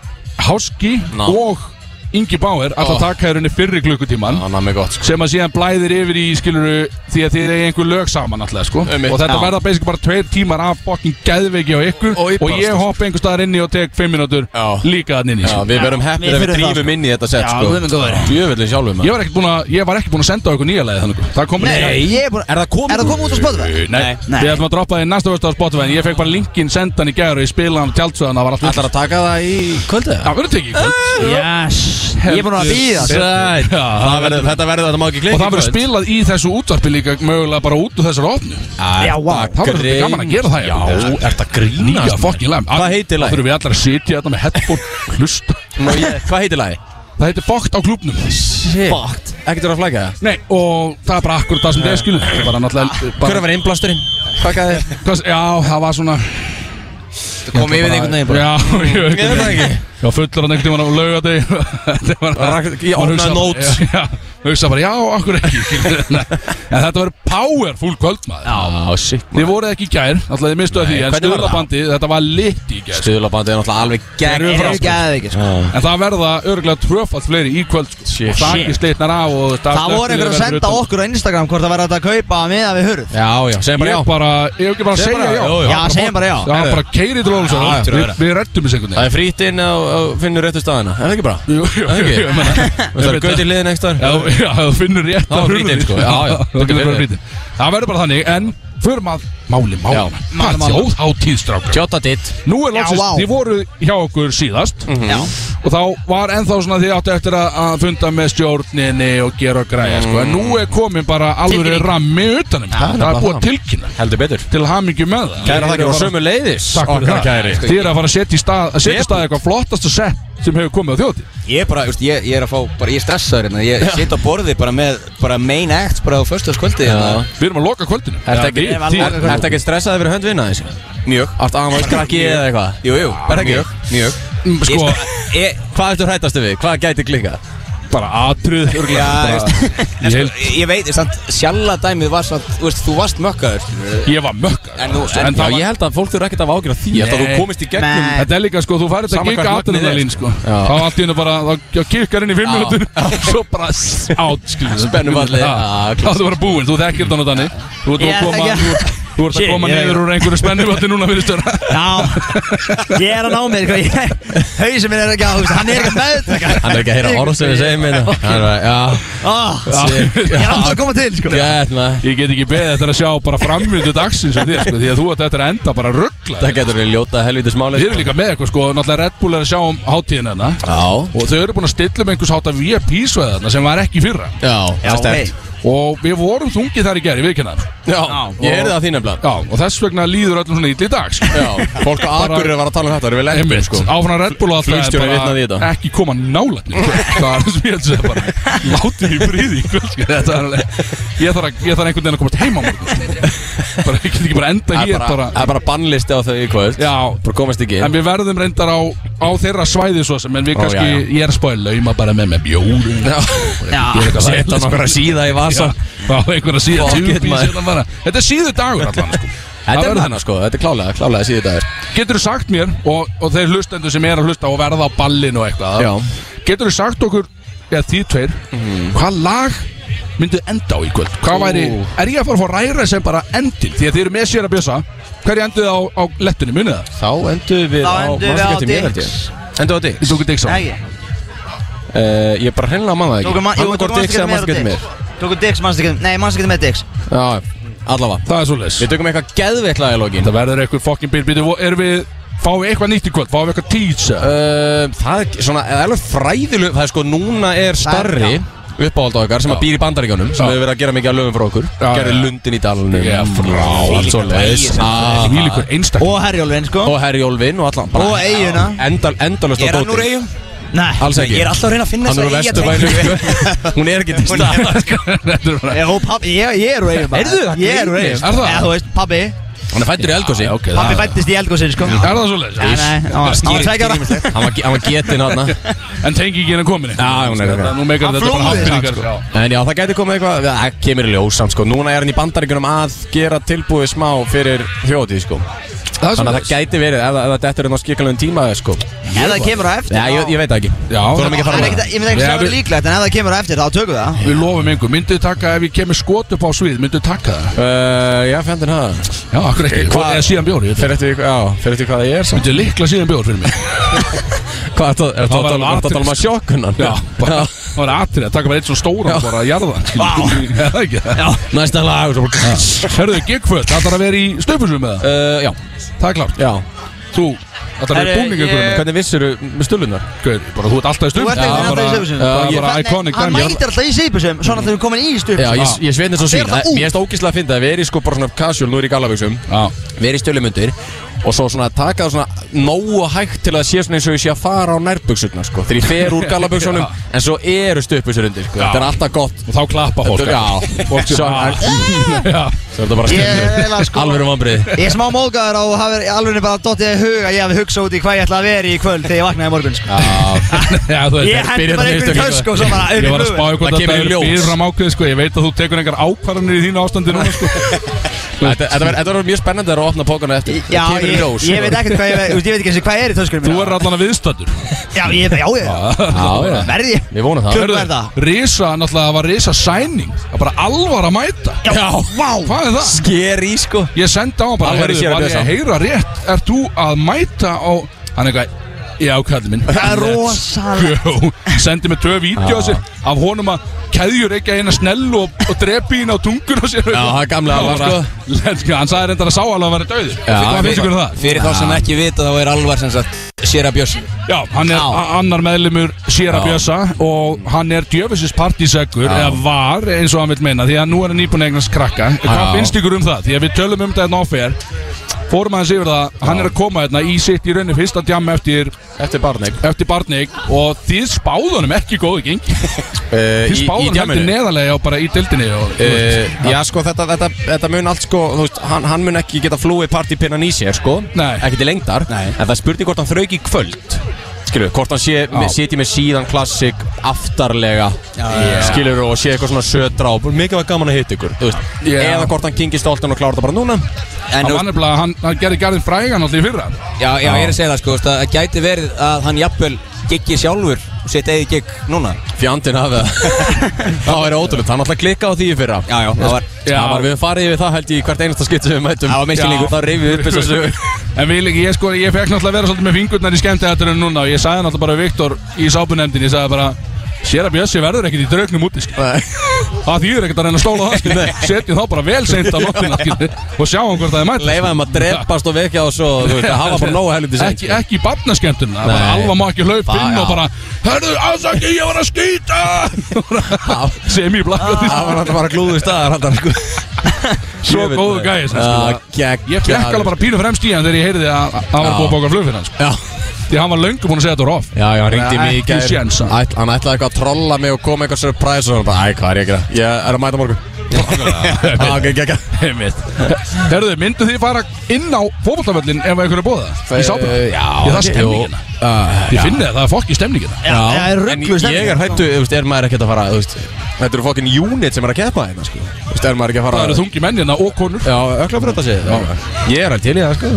[SPEAKER 2] Háski
[SPEAKER 10] Ná.
[SPEAKER 2] og Ingi Bauer Alltaf
[SPEAKER 10] Ó.
[SPEAKER 2] taka hér henni fyrri klukkutíman
[SPEAKER 10] Já, mammi gott sko
[SPEAKER 2] sem að síðan blæðir yfir í skiluru því að þið eigi einhver lög saman alltaf sko.
[SPEAKER 10] Einmitt.
[SPEAKER 2] og þetta verða basically bara tveir tímar af fokkin geðveiki á ykkur
[SPEAKER 10] Og í
[SPEAKER 2] og, ég
[SPEAKER 10] barasta.
[SPEAKER 2] hoppa einhver staðar inni og tek fimm mínútur
[SPEAKER 10] Já.
[SPEAKER 2] líka þann inni
[SPEAKER 10] Já,
[SPEAKER 2] sko.
[SPEAKER 10] við verum heppir
[SPEAKER 5] við
[SPEAKER 10] ef við
[SPEAKER 5] fyrir það,
[SPEAKER 10] drífum inn í þetta set sko
[SPEAKER 5] guð minn góður.
[SPEAKER 10] Djöfullin sjálfum
[SPEAKER 2] ég, var ekkert búinn að, ég var ekki búin að senda á ykkur nýja lagi þannig það kom
[SPEAKER 11] Nei, ég er bara
[SPEAKER 10] Er það komið?
[SPEAKER 11] Er það komið út á Spotify?
[SPEAKER 2] Nei, nei, við ætlum að droppa þið næsta vörst á Spotify en ég fekk bara linkin sendan í gæður og ég spila hann á tjaldsöðan það var allt
[SPEAKER 10] Ætlar að taka það í kvöldu?
[SPEAKER 2] Það verður tekið í kvöld.
[SPEAKER 5] Yes
[SPEAKER 11] Ég er búin að bíða sko.
[SPEAKER 10] Sæt
[SPEAKER 2] Já, það verður-
[SPEAKER 10] Þetta verður þetta má ekki
[SPEAKER 2] Og
[SPEAKER 10] gleyma
[SPEAKER 2] það verður spilað í þessu útvarpi líka mögulega bara út úr þessar ofnu
[SPEAKER 10] Já, vá
[SPEAKER 2] Það verður þetta gaman að gera það
[SPEAKER 10] Já,
[SPEAKER 2] er þetta grínast Nýja fokkin lag
[SPEAKER 10] Hvað heitir lagið?
[SPEAKER 2] Það þurfum við allar að sitja þetta með headphone hlusta
[SPEAKER 10] Nú, ég- Hvað heitir lagi?
[SPEAKER 2] Það heitir Fokt á klubnum
[SPEAKER 10] Fucked Ekkert verður að flæka það?
[SPEAKER 2] Nei, og það er bara akkur það sem það er skilur Bara náttúrulega
[SPEAKER 10] Hver
[SPEAKER 2] bara,
[SPEAKER 10] var innblásturinn? Hvað gæði?
[SPEAKER 2] hvers, Já, það var svona Ég held að bara- Já, ég veit Já, fullur hann einhvern tímann á laugardegi Þetta var-
[SPEAKER 10] Rak- ég
[SPEAKER 2] maður
[SPEAKER 10] opnaði
[SPEAKER 2] hugsaði-
[SPEAKER 10] notes.
[SPEAKER 2] Já, maður hugsaði bara, já, akkur ekki skilurðu. Nei. En þetta verður powerful kvöld, maður Já, sitt Þið voruð ekki í gær, alltaf þið mistuðu því
[SPEAKER 10] Nei,
[SPEAKER 2] En
[SPEAKER 10] hvernig var það?
[SPEAKER 2] stuðlabandi, þetta var lit í gær
[SPEAKER 10] Stöðlabandi er náttúrulega alveg
[SPEAKER 2] Þeir eru frá, sko.
[SPEAKER 11] Geðveikir, sko.
[SPEAKER 2] En það verða örgulega tvöfalt fleiri í kvöld sko.
[SPEAKER 10] Shit.
[SPEAKER 2] Og það ekki sleitnar af og
[SPEAKER 11] Það voru einhver að senda okkur á Instagram hvort það var hægt að kaupa miða við hurð
[SPEAKER 10] Já, já, segjum bara já
[SPEAKER 2] Ég bara, ég hef ekki bara að
[SPEAKER 10] Segjum bara
[SPEAKER 2] segja já
[SPEAKER 10] já, já.
[SPEAKER 11] Já, segjum bara já.
[SPEAKER 2] Það er bara keiri til
[SPEAKER 10] Já, já.
[SPEAKER 2] Ólfsson Við- Við reddum þessu einhvern
[SPEAKER 10] Það er frýtt inn á, á finnur réttu staðina, er það ekki bara?
[SPEAKER 2] Jú, jú,
[SPEAKER 10] Það er
[SPEAKER 2] jú,
[SPEAKER 10] ekki?
[SPEAKER 2] ég meina-
[SPEAKER 10] Það er gautið liðin ekki staðar
[SPEAKER 2] Já, já, þú finnur rétt
[SPEAKER 10] Já,
[SPEAKER 2] að
[SPEAKER 10] frýtt inn,
[SPEAKER 2] hurðinni.
[SPEAKER 10] sko, já, já, það
[SPEAKER 2] Já, það
[SPEAKER 10] getur
[SPEAKER 2] getur bara
[SPEAKER 10] verið.
[SPEAKER 2] frýtinn Það verður bara þannig, en förum að máli, máli
[SPEAKER 10] Já.
[SPEAKER 2] Hvað þjóðhátíð, strákar?
[SPEAKER 10] Tjóta ditt
[SPEAKER 2] Nú er loksist,
[SPEAKER 11] vá.
[SPEAKER 2] þið voru hjá okkur síðast
[SPEAKER 11] Já.
[SPEAKER 2] Og þá var ennþá svona því áttu eftir að að funda með stjórninni og gera og græja sko. En nú er komin bara alveg
[SPEAKER 10] Tilkynning.
[SPEAKER 2] rammi utanum Það er búið að tilkynna
[SPEAKER 10] Heldur betur
[SPEAKER 2] til hamingju með það
[SPEAKER 10] Kæra þakkir og sömu leiðis
[SPEAKER 2] Takk fyrir það Þið er að fara að setja í stað, að setja í stað eitthvað flottasta sett sem hefur komið á þjóðhátíð
[SPEAKER 3] Ég er bara, you know, ég, ég er að fá, bara, ég er stressaður hérna Ég sitt á borði bara með, bara main act bara á förstaskvöldi hérna
[SPEAKER 2] Við erum að loka kvöldinu
[SPEAKER 10] Ertu ekki,
[SPEAKER 2] Já,
[SPEAKER 10] er,
[SPEAKER 2] við-
[SPEAKER 10] er, ertu ekki stressaði fyrir hönd vinna þessu?
[SPEAKER 3] Mjög
[SPEAKER 10] Ertu aðeins krakki eða eitthvað?
[SPEAKER 3] Jú, jú,
[SPEAKER 10] Er það ekki?
[SPEAKER 3] mjög, mjög
[SPEAKER 2] Mm, Sko,
[SPEAKER 3] Ég,
[SPEAKER 10] Hvað ertu hrættastu við? Hvað gæti klikkað?
[SPEAKER 2] bara atrið
[SPEAKER 3] já, you know,
[SPEAKER 2] Ég, held,
[SPEAKER 3] sko, ég veit, samt, sjalla dæmið var samt, þú veist, þú varst mökkaður skilurðu.
[SPEAKER 2] ég var mökka
[SPEAKER 3] En þú, en,
[SPEAKER 10] Já,
[SPEAKER 2] það var-
[SPEAKER 10] ég held að fólk þurfa ekkert að vákina því Ég held að
[SPEAKER 2] Nei.
[SPEAKER 10] þú komist í gegnum
[SPEAKER 11] Nei.
[SPEAKER 2] Þetta er líka sko, þú færið þetta
[SPEAKER 10] Sama
[SPEAKER 2] gikk
[SPEAKER 10] hvert magnið er,
[SPEAKER 2] aðrinalín sko
[SPEAKER 10] Já.
[SPEAKER 2] Þá allt í hennu bara, þá kikkar inn í fimm minútur Svo bara s- át, skiljum
[SPEAKER 10] Spennufallið. Já,
[SPEAKER 2] Þá ertu bara búinn, þú þekkir þetta nú þannig Þú ert nú
[SPEAKER 11] Ég
[SPEAKER 2] að koma,
[SPEAKER 11] þekki-
[SPEAKER 2] þú- þú ert að
[SPEAKER 11] Shit,
[SPEAKER 2] koma
[SPEAKER 11] ég-
[SPEAKER 2] niður úr einhverju spennuvalli núna fyrir störa
[SPEAKER 11] Já, ég er að ná mér sko, ég- Hauðsinn minn er ekki að, þú veist, hann er ekki með
[SPEAKER 10] Hann er ekki að heyra orð sem við segjum hérna Hann er bara, já
[SPEAKER 11] Ég er alltaf að koma til sko
[SPEAKER 10] Gæt maður
[SPEAKER 2] Ég get ekki beðið þetta að sjá bara framvindu dagsins af þér sko Því að þú ert þetta að enda bara ruggla
[SPEAKER 10] Það getur við ljóta helvítið smáli
[SPEAKER 2] Þið eru líka með eitthvað sko, náttúrulega Red Bull er að sjá um hátíðin hérna
[SPEAKER 10] Já
[SPEAKER 2] Og þau eru búin að stilla með einhvers hátta VIP-svæðarna sem var ekki í fyrra
[SPEAKER 10] Já, það er
[SPEAKER 11] hey.
[SPEAKER 10] stert
[SPEAKER 2] Og við vorum þungið þar í gerð, ég viðkynna
[SPEAKER 10] Já, ég heyrði það þín nefnilega
[SPEAKER 2] Já, og þess vegna líður öllum svona ítli í dag sko.
[SPEAKER 10] Já, fólk á
[SPEAKER 2] Bara-
[SPEAKER 10] Akureyri var að tala um þetta, það er vel ekkert
[SPEAKER 2] Einmitt,
[SPEAKER 10] sko
[SPEAKER 2] áfram að Red Bull og alltaf
[SPEAKER 10] Flugstjóri
[SPEAKER 2] bara
[SPEAKER 10] vitnaði í þetta.
[SPEAKER 2] Ekki koma nálægt neitt. Það er sem ég held að segja bara Látið í bríði í kvöld sko. Þetta er alveg Ég þarf, að, ég þarf einhvern veginn að komast heim á morgun sko. Bara, ég get ekki bara enda
[SPEAKER 10] Það er
[SPEAKER 2] hér bara,
[SPEAKER 10] bara- það er bara bannlisti á þau í kvöld
[SPEAKER 2] Já,
[SPEAKER 10] Bara komast ekki
[SPEAKER 2] en
[SPEAKER 10] inn
[SPEAKER 2] við verðum reyndar á, á þeirra svæði svo sem En við
[SPEAKER 10] Ó,
[SPEAKER 2] kannski,
[SPEAKER 10] já, já.
[SPEAKER 2] ég er að spáði lauma bara með með bjóri
[SPEAKER 10] Já. Setta nokkra síða í vasa
[SPEAKER 2] Á einhverja síða hérna
[SPEAKER 10] Fuck it,
[SPEAKER 2] tjúpi
[SPEAKER 10] maður.
[SPEAKER 2] síðan bara. Þetta er síðu dagur allan sko. Það
[SPEAKER 10] Þetta er
[SPEAKER 2] verður
[SPEAKER 10] hana sko, þetta er klálega, klálega síðið dagur
[SPEAKER 2] Getur þú sagt mér og, og þeir hlustendur sem er að hlusta og verða á ballin og eitthvað
[SPEAKER 10] Já. Mhm.
[SPEAKER 2] Getur þú sagt okkur, eða því tveir Hvað lag myndu enda á í kvöld? Hvað væri, er ég að fara að fá að ræra sem bara endin? Því að þið eru með sér að bjösa Hverju enduðu á, á lettunni, munið það?
[SPEAKER 10] Þá endum við
[SPEAKER 11] Þá
[SPEAKER 10] á
[SPEAKER 11] endum við
[SPEAKER 10] manstu
[SPEAKER 11] á
[SPEAKER 10] ekki eftir mér, held
[SPEAKER 11] Dix.
[SPEAKER 10] ég. Endum við á Dix
[SPEAKER 2] Ég tók að digsa
[SPEAKER 11] Ekki
[SPEAKER 10] Eh, Ég bara hreinlega manna það
[SPEAKER 11] Tóku ma-
[SPEAKER 10] ekki
[SPEAKER 11] jú, tóku
[SPEAKER 10] Annarkvort Dix eða
[SPEAKER 11] mannstu
[SPEAKER 10] mannstu
[SPEAKER 11] ekki
[SPEAKER 10] getur
[SPEAKER 11] með
[SPEAKER 10] mér
[SPEAKER 11] Dix. Tóku Dix, mannstu ekki Nei, mannstu ekki með Dix
[SPEAKER 10] Já, allavega
[SPEAKER 2] Það er svo leis
[SPEAKER 10] Við tökum eitthvað geðveiklaði lókin
[SPEAKER 2] Það verður eitthvað fokkin bílbíti Erum við, fáum við eitthvað nýtt í kvöld? Fáum við eitthvað títs?
[SPEAKER 10] Uh, það er svona, það er alveg fræðilu Það er sko, núna er starri uppáhald á okkar sem að býr í bandaríkjónum sem
[SPEAKER 2] Já.
[SPEAKER 10] hefur verið að gera mikið að lögum frá okkur
[SPEAKER 2] Já,
[SPEAKER 10] Gerði
[SPEAKER 2] já.
[SPEAKER 10] lundin í dalunum
[SPEAKER 2] Já, frá,
[SPEAKER 10] allt svo leis
[SPEAKER 2] Hvílíkur einstakling
[SPEAKER 11] Og Herjólfin sko
[SPEAKER 10] Og Herri Olvin og allan
[SPEAKER 11] Og eiguna.
[SPEAKER 10] Endal, Endalust á
[SPEAKER 3] er hann úr
[SPEAKER 10] dóti
[SPEAKER 3] eigum?
[SPEAKER 11] Nei
[SPEAKER 10] Alls ekki
[SPEAKER 3] Ég er alltaf að reyna að finna
[SPEAKER 10] Hann er úr
[SPEAKER 3] þessa eyja-
[SPEAKER 10] vesturbænum sko. Hún er ekki til stað
[SPEAKER 2] Þetta er bara-
[SPEAKER 11] Ég, og pabbi, ég, ég er úr eigum
[SPEAKER 10] Heyrðu, það
[SPEAKER 11] Ég er úr
[SPEAKER 10] grínist.
[SPEAKER 11] eigum
[SPEAKER 2] Er það?
[SPEAKER 11] Eða, þú veist, pabbi
[SPEAKER 10] Hann er fættur í Elgósi
[SPEAKER 2] Já, ok, það-
[SPEAKER 11] Pabbi fættist í Elgósin sko
[SPEAKER 2] Er það svo leis?
[SPEAKER 11] Nei, nei, hann var- hann var tveikara
[SPEAKER 10] Hann var- hann var getinn hann
[SPEAKER 2] En tengi ekki henni kominni
[SPEAKER 10] Já, hún er-
[SPEAKER 2] Nú meikar
[SPEAKER 11] Hann
[SPEAKER 2] þetta bara sko.
[SPEAKER 11] flúði sko. það,
[SPEAKER 2] hafningar Já.
[SPEAKER 10] En já, það gæti komið eitthvað, það kemur í ljós samt sko Núna er hann í bandaríkunum að gera tilbúið smá fyrir þjótið sko
[SPEAKER 2] Það er
[SPEAKER 10] Þannig að það
[SPEAKER 2] svoleiðis.
[SPEAKER 10] gæti verið, ef ef þetta er hann á skikalögum tíma sko
[SPEAKER 11] Ef það kemur á eftir
[SPEAKER 10] Já, ég, ég veit það ekki
[SPEAKER 2] Já,
[SPEAKER 10] Þurfum ekki að
[SPEAKER 11] Það er
[SPEAKER 10] fara með
[SPEAKER 11] ekkert-
[SPEAKER 10] það
[SPEAKER 11] Ég myndi ekki
[SPEAKER 2] Já,
[SPEAKER 11] að það
[SPEAKER 2] við-
[SPEAKER 11] er líklegt En ef það kemur á eftir, þá tökum við það
[SPEAKER 2] Við lofum einhver, myndu þið taka ef ég kemur skot upp á svið, myndu þið taka það?
[SPEAKER 10] Uh, já, fendin það
[SPEAKER 2] Já, akkur ekki,
[SPEAKER 10] Hvað-
[SPEAKER 2] eða síðan bjór, ég veit það
[SPEAKER 10] Fyrir eftir, því- já, fyrir eftir hvað það er samt
[SPEAKER 2] Myndu þið likla síðan bjór fyrir mig
[SPEAKER 10] Hvað er það, er það
[SPEAKER 2] var
[SPEAKER 10] að tala- er það að tala um að sjokkunan?
[SPEAKER 2] sko. Já, bara, það var atrið að taka bara eitt svona stóran og bara að jarða Já, það ekki það
[SPEAKER 10] Næsta lag svo bara-
[SPEAKER 2] Herðu, gigföld, það þarf að vera í stöfusum með það
[SPEAKER 10] Uh, Já,
[SPEAKER 2] Það er klart,
[SPEAKER 10] já
[SPEAKER 2] þú, það þarf að vera í búningu ykkur með
[SPEAKER 10] Hvernig vissir með stullunar?
[SPEAKER 2] Gaur, bara þú ert alltaf
[SPEAKER 11] Þú
[SPEAKER 2] í stöfusum
[SPEAKER 11] ert ekki alltaf í stöfusum.
[SPEAKER 2] Það
[SPEAKER 10] Já,
[SPEAKER 2] er bara
[SPEAKER 11] Þannig,
[SPEAKER 2] iconic
[SPEAKER 11] Hann
[SPEAKER 2] dæmi Ég
[SPEAKER 11] mætir alltaf í sýpusum Svona þegar við komin í
[SPEAKER 10] Já,
[SPEAKER 11] stöfusum
[SPEAKER 10] ég, ég svein þess að
[SPEAKER 11] Fer
[SPEAKER 10] svín
[SPEAKER 11] það
[SPEAKER 10] Æ,
[SPEAKER 11] út?
[SPEAKER 10] Mér erst ógíslega að finna að vera í sko bara svona casual Nú er ég í gallabuxum
[SPEAKER 2] var- Já,
[SPEAKER 10] vera í stjölumundir og svo svona taka það svona nógu hægt til að það sé svona eins og ég sé að fara á nærbuksuna sko. Þegar ég fer úr galabuksunum
[SPEAKER 2] Já.
[SPEAKER 10] En svo eru stöpusur undir sko.
[SPEAKER 2] Já.
[SPEAKER 10] Þetta er alltaf gott
[SPEAKER 2] Og þá klappa fólk
[SPEAKER 10] Já
[SPEAKER 2] Fólk sem-
[SPEAKER 10] Svo
[SPEAKER 2] Já.
[SPEAKER 10] svo er þetta bara
[SPEAKER 11] Ég er eiginlega,
[SPEAKER 10] skemmtilegt
[SPEAKER 11] sko-
[SPEAKER 10] Alvöru vonbrið
[SPEAKER 11] Ég er smá móðgæður á að hafa alveg bara dottið í hug að ég hafi hugsað út í hvað ég ætla að vera í kvöld þegar ég vaknaði í morgun sko.
[SPEAKER 2] Já, þú veist,
[SPEAKER 11] Ég
[SPEAKER 2] það
[SPEAKER 11] hendi
[SPEAKER 2] byrjar
[SPEAKER 11] bara einhverju
[SPEAKER 2] þetta mistök,
[SPEAKER 11] tösku og svo bara,
[SPEAKER 2] sko. Ég var að
[SPEAKER 11] augun í
[SPEAKER 2] spá
[SPEAKER 11] augun.
[SPEAKER 2] ykkur
[SPEAKER 11] Það kemur í
[SPEAKER 2] verður
[SPEAKER 11] ljós.
[SPEAKER 2] fyrirfram ákveðið sko Ég veit að þú tekur einhver ákvarðanir í þínu ástandi núna sko
[SPEAKER 10] Þetta þetta verður þetta verður mjög spennandi að opna pókana eftir
[SPEAKER 11] Já,
[SPEAKER 10] Það kemur í
[SPEAKER 11] ég,
[SPEAKER 10] ljós.
[SPEAKER 11] ég veit ekkert hvað ég verið, ég veit ekki einu sinni hvað er í töskunum
[SPEAKER 2] Þú er allan að viðstöndur
[SPEAKER 11] Já, ég, já, já,
[SPEAKER 10] Já, já.
[SPEAKER 11] Verð ég?
[SPEAKER 10] Við vonum það.
[SPEAKER 11] Klukku er það.
[SPEAKER 2] Risa, náttúrulega, það var risa sæning Það er bara alvar að mæta
[SPEAKER 11] Já, vá
[SPEAKER 2] Hvað er það?
[SPEAKER 10] Skeri, sko
[SPEAKER 2] Ég sendi á hann bara,
[SPEAKER 10] Alveg
[SPEAKER 2] heyrðu,
[SPEAKER 10] sér að
[SPEAKER 2] var ég
[SPEAKER 10] lesa.
[SPEAKER 2] að heyra rétt Er þú að mæta á Hann er eitthvað Já, kallið minn
[SPEAKER 11] Það er rosalegt.
[SPEAKER 2] Jó, Sendi mig tvö vídeo
[SPEAKER 10] Já.
[SPEAKER 2] á sér Af honum að keðjur ekki að eina snell Og, og drepi hín á tungun á sér
[SPEAKER 10] Já, það er gamli Alvar, sko.
[SPEAKER 2] sko Hann sagði reyndar að sá alveg að vera döði Hvað finnst ykkur um það?
[SPEAKER 3] Fyrir þá sem ekki vita þá er alvar sem sagt Sera Björns
[SPEAKER 2] Já, hann er a- annar meðlumur Sjera
[SPEAKER 3] Já.
[SPEAKER 2] Bjösa og hann er djöfisins partyseggur eða var eins og hann vil meina því að nú er hann íbúin að eignast krakka
[SPEAKER 10] Já.
[SPEAKER 2] Hvað finnst ykkur um það? Því að við tölum um þetta hérna offer fórum aðeins yfir það, hann er að koma hérna í sitt í rauninni fyrsta djam eftir
[SPEAKER 10] eftir barnig,
[SPEAKER 2] eftir barnig og þið spáðunum ekki góðu geng
[SPEAKER 10] Eh,
[SPEAKER 2] þið
[SPEAKER 10] í- í
[SPEAKER 2] spáðunum
[SPEAKER 10] djamminu?
[SPEAKER 2] heldur neðarlega og bara í dildinni og,
[SPEAKER 10] Uh,
[SPEAKER 2] þú veist,
[SPEAKER 10] já sko þetta, þetta, þetta mun allt sko þú veist, hann, hann mun ekki geta flúið partypinnan í sér sko
[SPEAKER 2] Nei.
[SPEAKER 10] Ekki til lengdar Nei. En það er spurning hvort hann þrauk í kvöld Skilur, hvort hann sé, með, sitji með síðan klassik aftarlega
[SPEAKER 2] já.
[SPEAKER 10] Skilur og sé eitthvað svona södra og bara, mikið var gaman að hitta ykkur þú veist.
[SPEAKER 2] Já.
[SPEAKER 10] Eða hvort hann kyngi stoltan og klára þetta bara núna
[SPEAKER 2] hann,
[SPEAKER 3] En þú
[SPEAKER 2] var nefnilega- hann, hann gerði garðin frægan alltaf í fyrra
[SPEAKER 3] Já, já, ég er að segja það sko, þú veist, að það gæti verið að hann jafnvel giggi sjálfur og setja eða gigg núna
[SPEAKER 10] Fjandinn af það Það væri ótrúlega, hann alltaf klikka á því í fyrra
[SPEAKER 3] Já, já, það var
[SPEAKER 2] Já.
[SPEAKER 10] Það var við farið yfir það held ég í hvert einasta skipti sem við mætum
[SPEAKER 3] Það var misskilningur.
[SPEAKER 10] Það reyfið upp þess að sögur
[SPEAKER 2] En vil ekki, ég sko, ég fekk náttúrulega að vera svolítið með fingurnar í skemmtæðatunum núna og ég sagði náttúrulega bara við Viktor í sápunemndin, ég sagði bara Sér að Bjössi verður ekkert í draugnum úti, skil Það þýður ekkert að reyna að stóla það, skil Setjum þá bara vel seint á nóttina, skil Og sjáum hvort það er mætt
[SPEAKER 10] Leifaðum að drepast og vekja og svo Þú veist, að hafa bara nógu helviti seint sko.
[SPEAKER 2] Ekki, ekki í barnaskemmtun, það bara
[SPEAKER 10] Nei.
[SPEAKER 2] alvað má ekki hlaup
[SPEAKER 10] Það-
[SPEAKER 2] inn og
[SPEAKER 10] já.
[SPEAKER 2] bara Hörðu, aðsaki, ég var að skýta Sem í blakka
[SPEAKER 10] Það var alltaf bara glúðu staðar hann sko
[SPEAKER 2] Svo
[SPEAKER 10] Ég veit
[SPEAKER 2] góðu
[SPEAKER 10] það.
[SPEAKER 2] gæði,
[SPEAKER 10] Já,
[SPEAKER 2] skil
[SPEAKER 10] geggjaður.
[SPEAKER 2] Ég fekk alveg bara pínu fremst í hann þegar ég heyrði að að hann var
[SPEAKER 10] Já.
[SPEAKER 2] búið að bóka flug fyrir hann, sko
[SPEAKER 10] Já,
[SPEAKER 2] Því hann var löngu búin að segja þetta rof
[SPEAKER 10] já, já, hann ringdi mig í
[SPEAKER 2] Ekki
[SPEAKER 10] gær
[SPEAKER 2] séns, hann.
[SPEAKER 10] Ætl- Hann ætlaði eitthvað að trolla mig og koma með eitthvað surprise og hann bara, æ, hvað er ég að gera? Ég er að mæta morgun Já, ok, gegga
[SPEAKER 2] Einmitt Herðu, myndu þið fara inn á fótbollaföllin ef einhverju bóða það? Í sápa?
[SPEAKER 10] Eh, já,
[SPEAKER 2] Ég það er
[SPEAKER 10] jú.
[SPEAKER 2] stemningina
[SPEAKER 10] Ah,
[SPEAKER 2] Ég finni það, það er fokk í stemningina
[SPEAKER 10] Já,
[SPEAKER 11] það er
[SPEAKER 10] hérna. en
[SPEAKER 11] ruggluð
[SPEAKER 10] ég er hættu, þú veist, er maður ekkert að fara, þú veist Þetta eru fokkin unit sem er að keppa hérna, sko Þú veist, er maður ekki að fara
[SPEAKER 2] Það eru þungi
[SPEAKER 10] hérna
[SPEAKER 2] mennina og konur
[SPEAKER 10] Já, ökla brönda sig Ég er alveg til í það, sko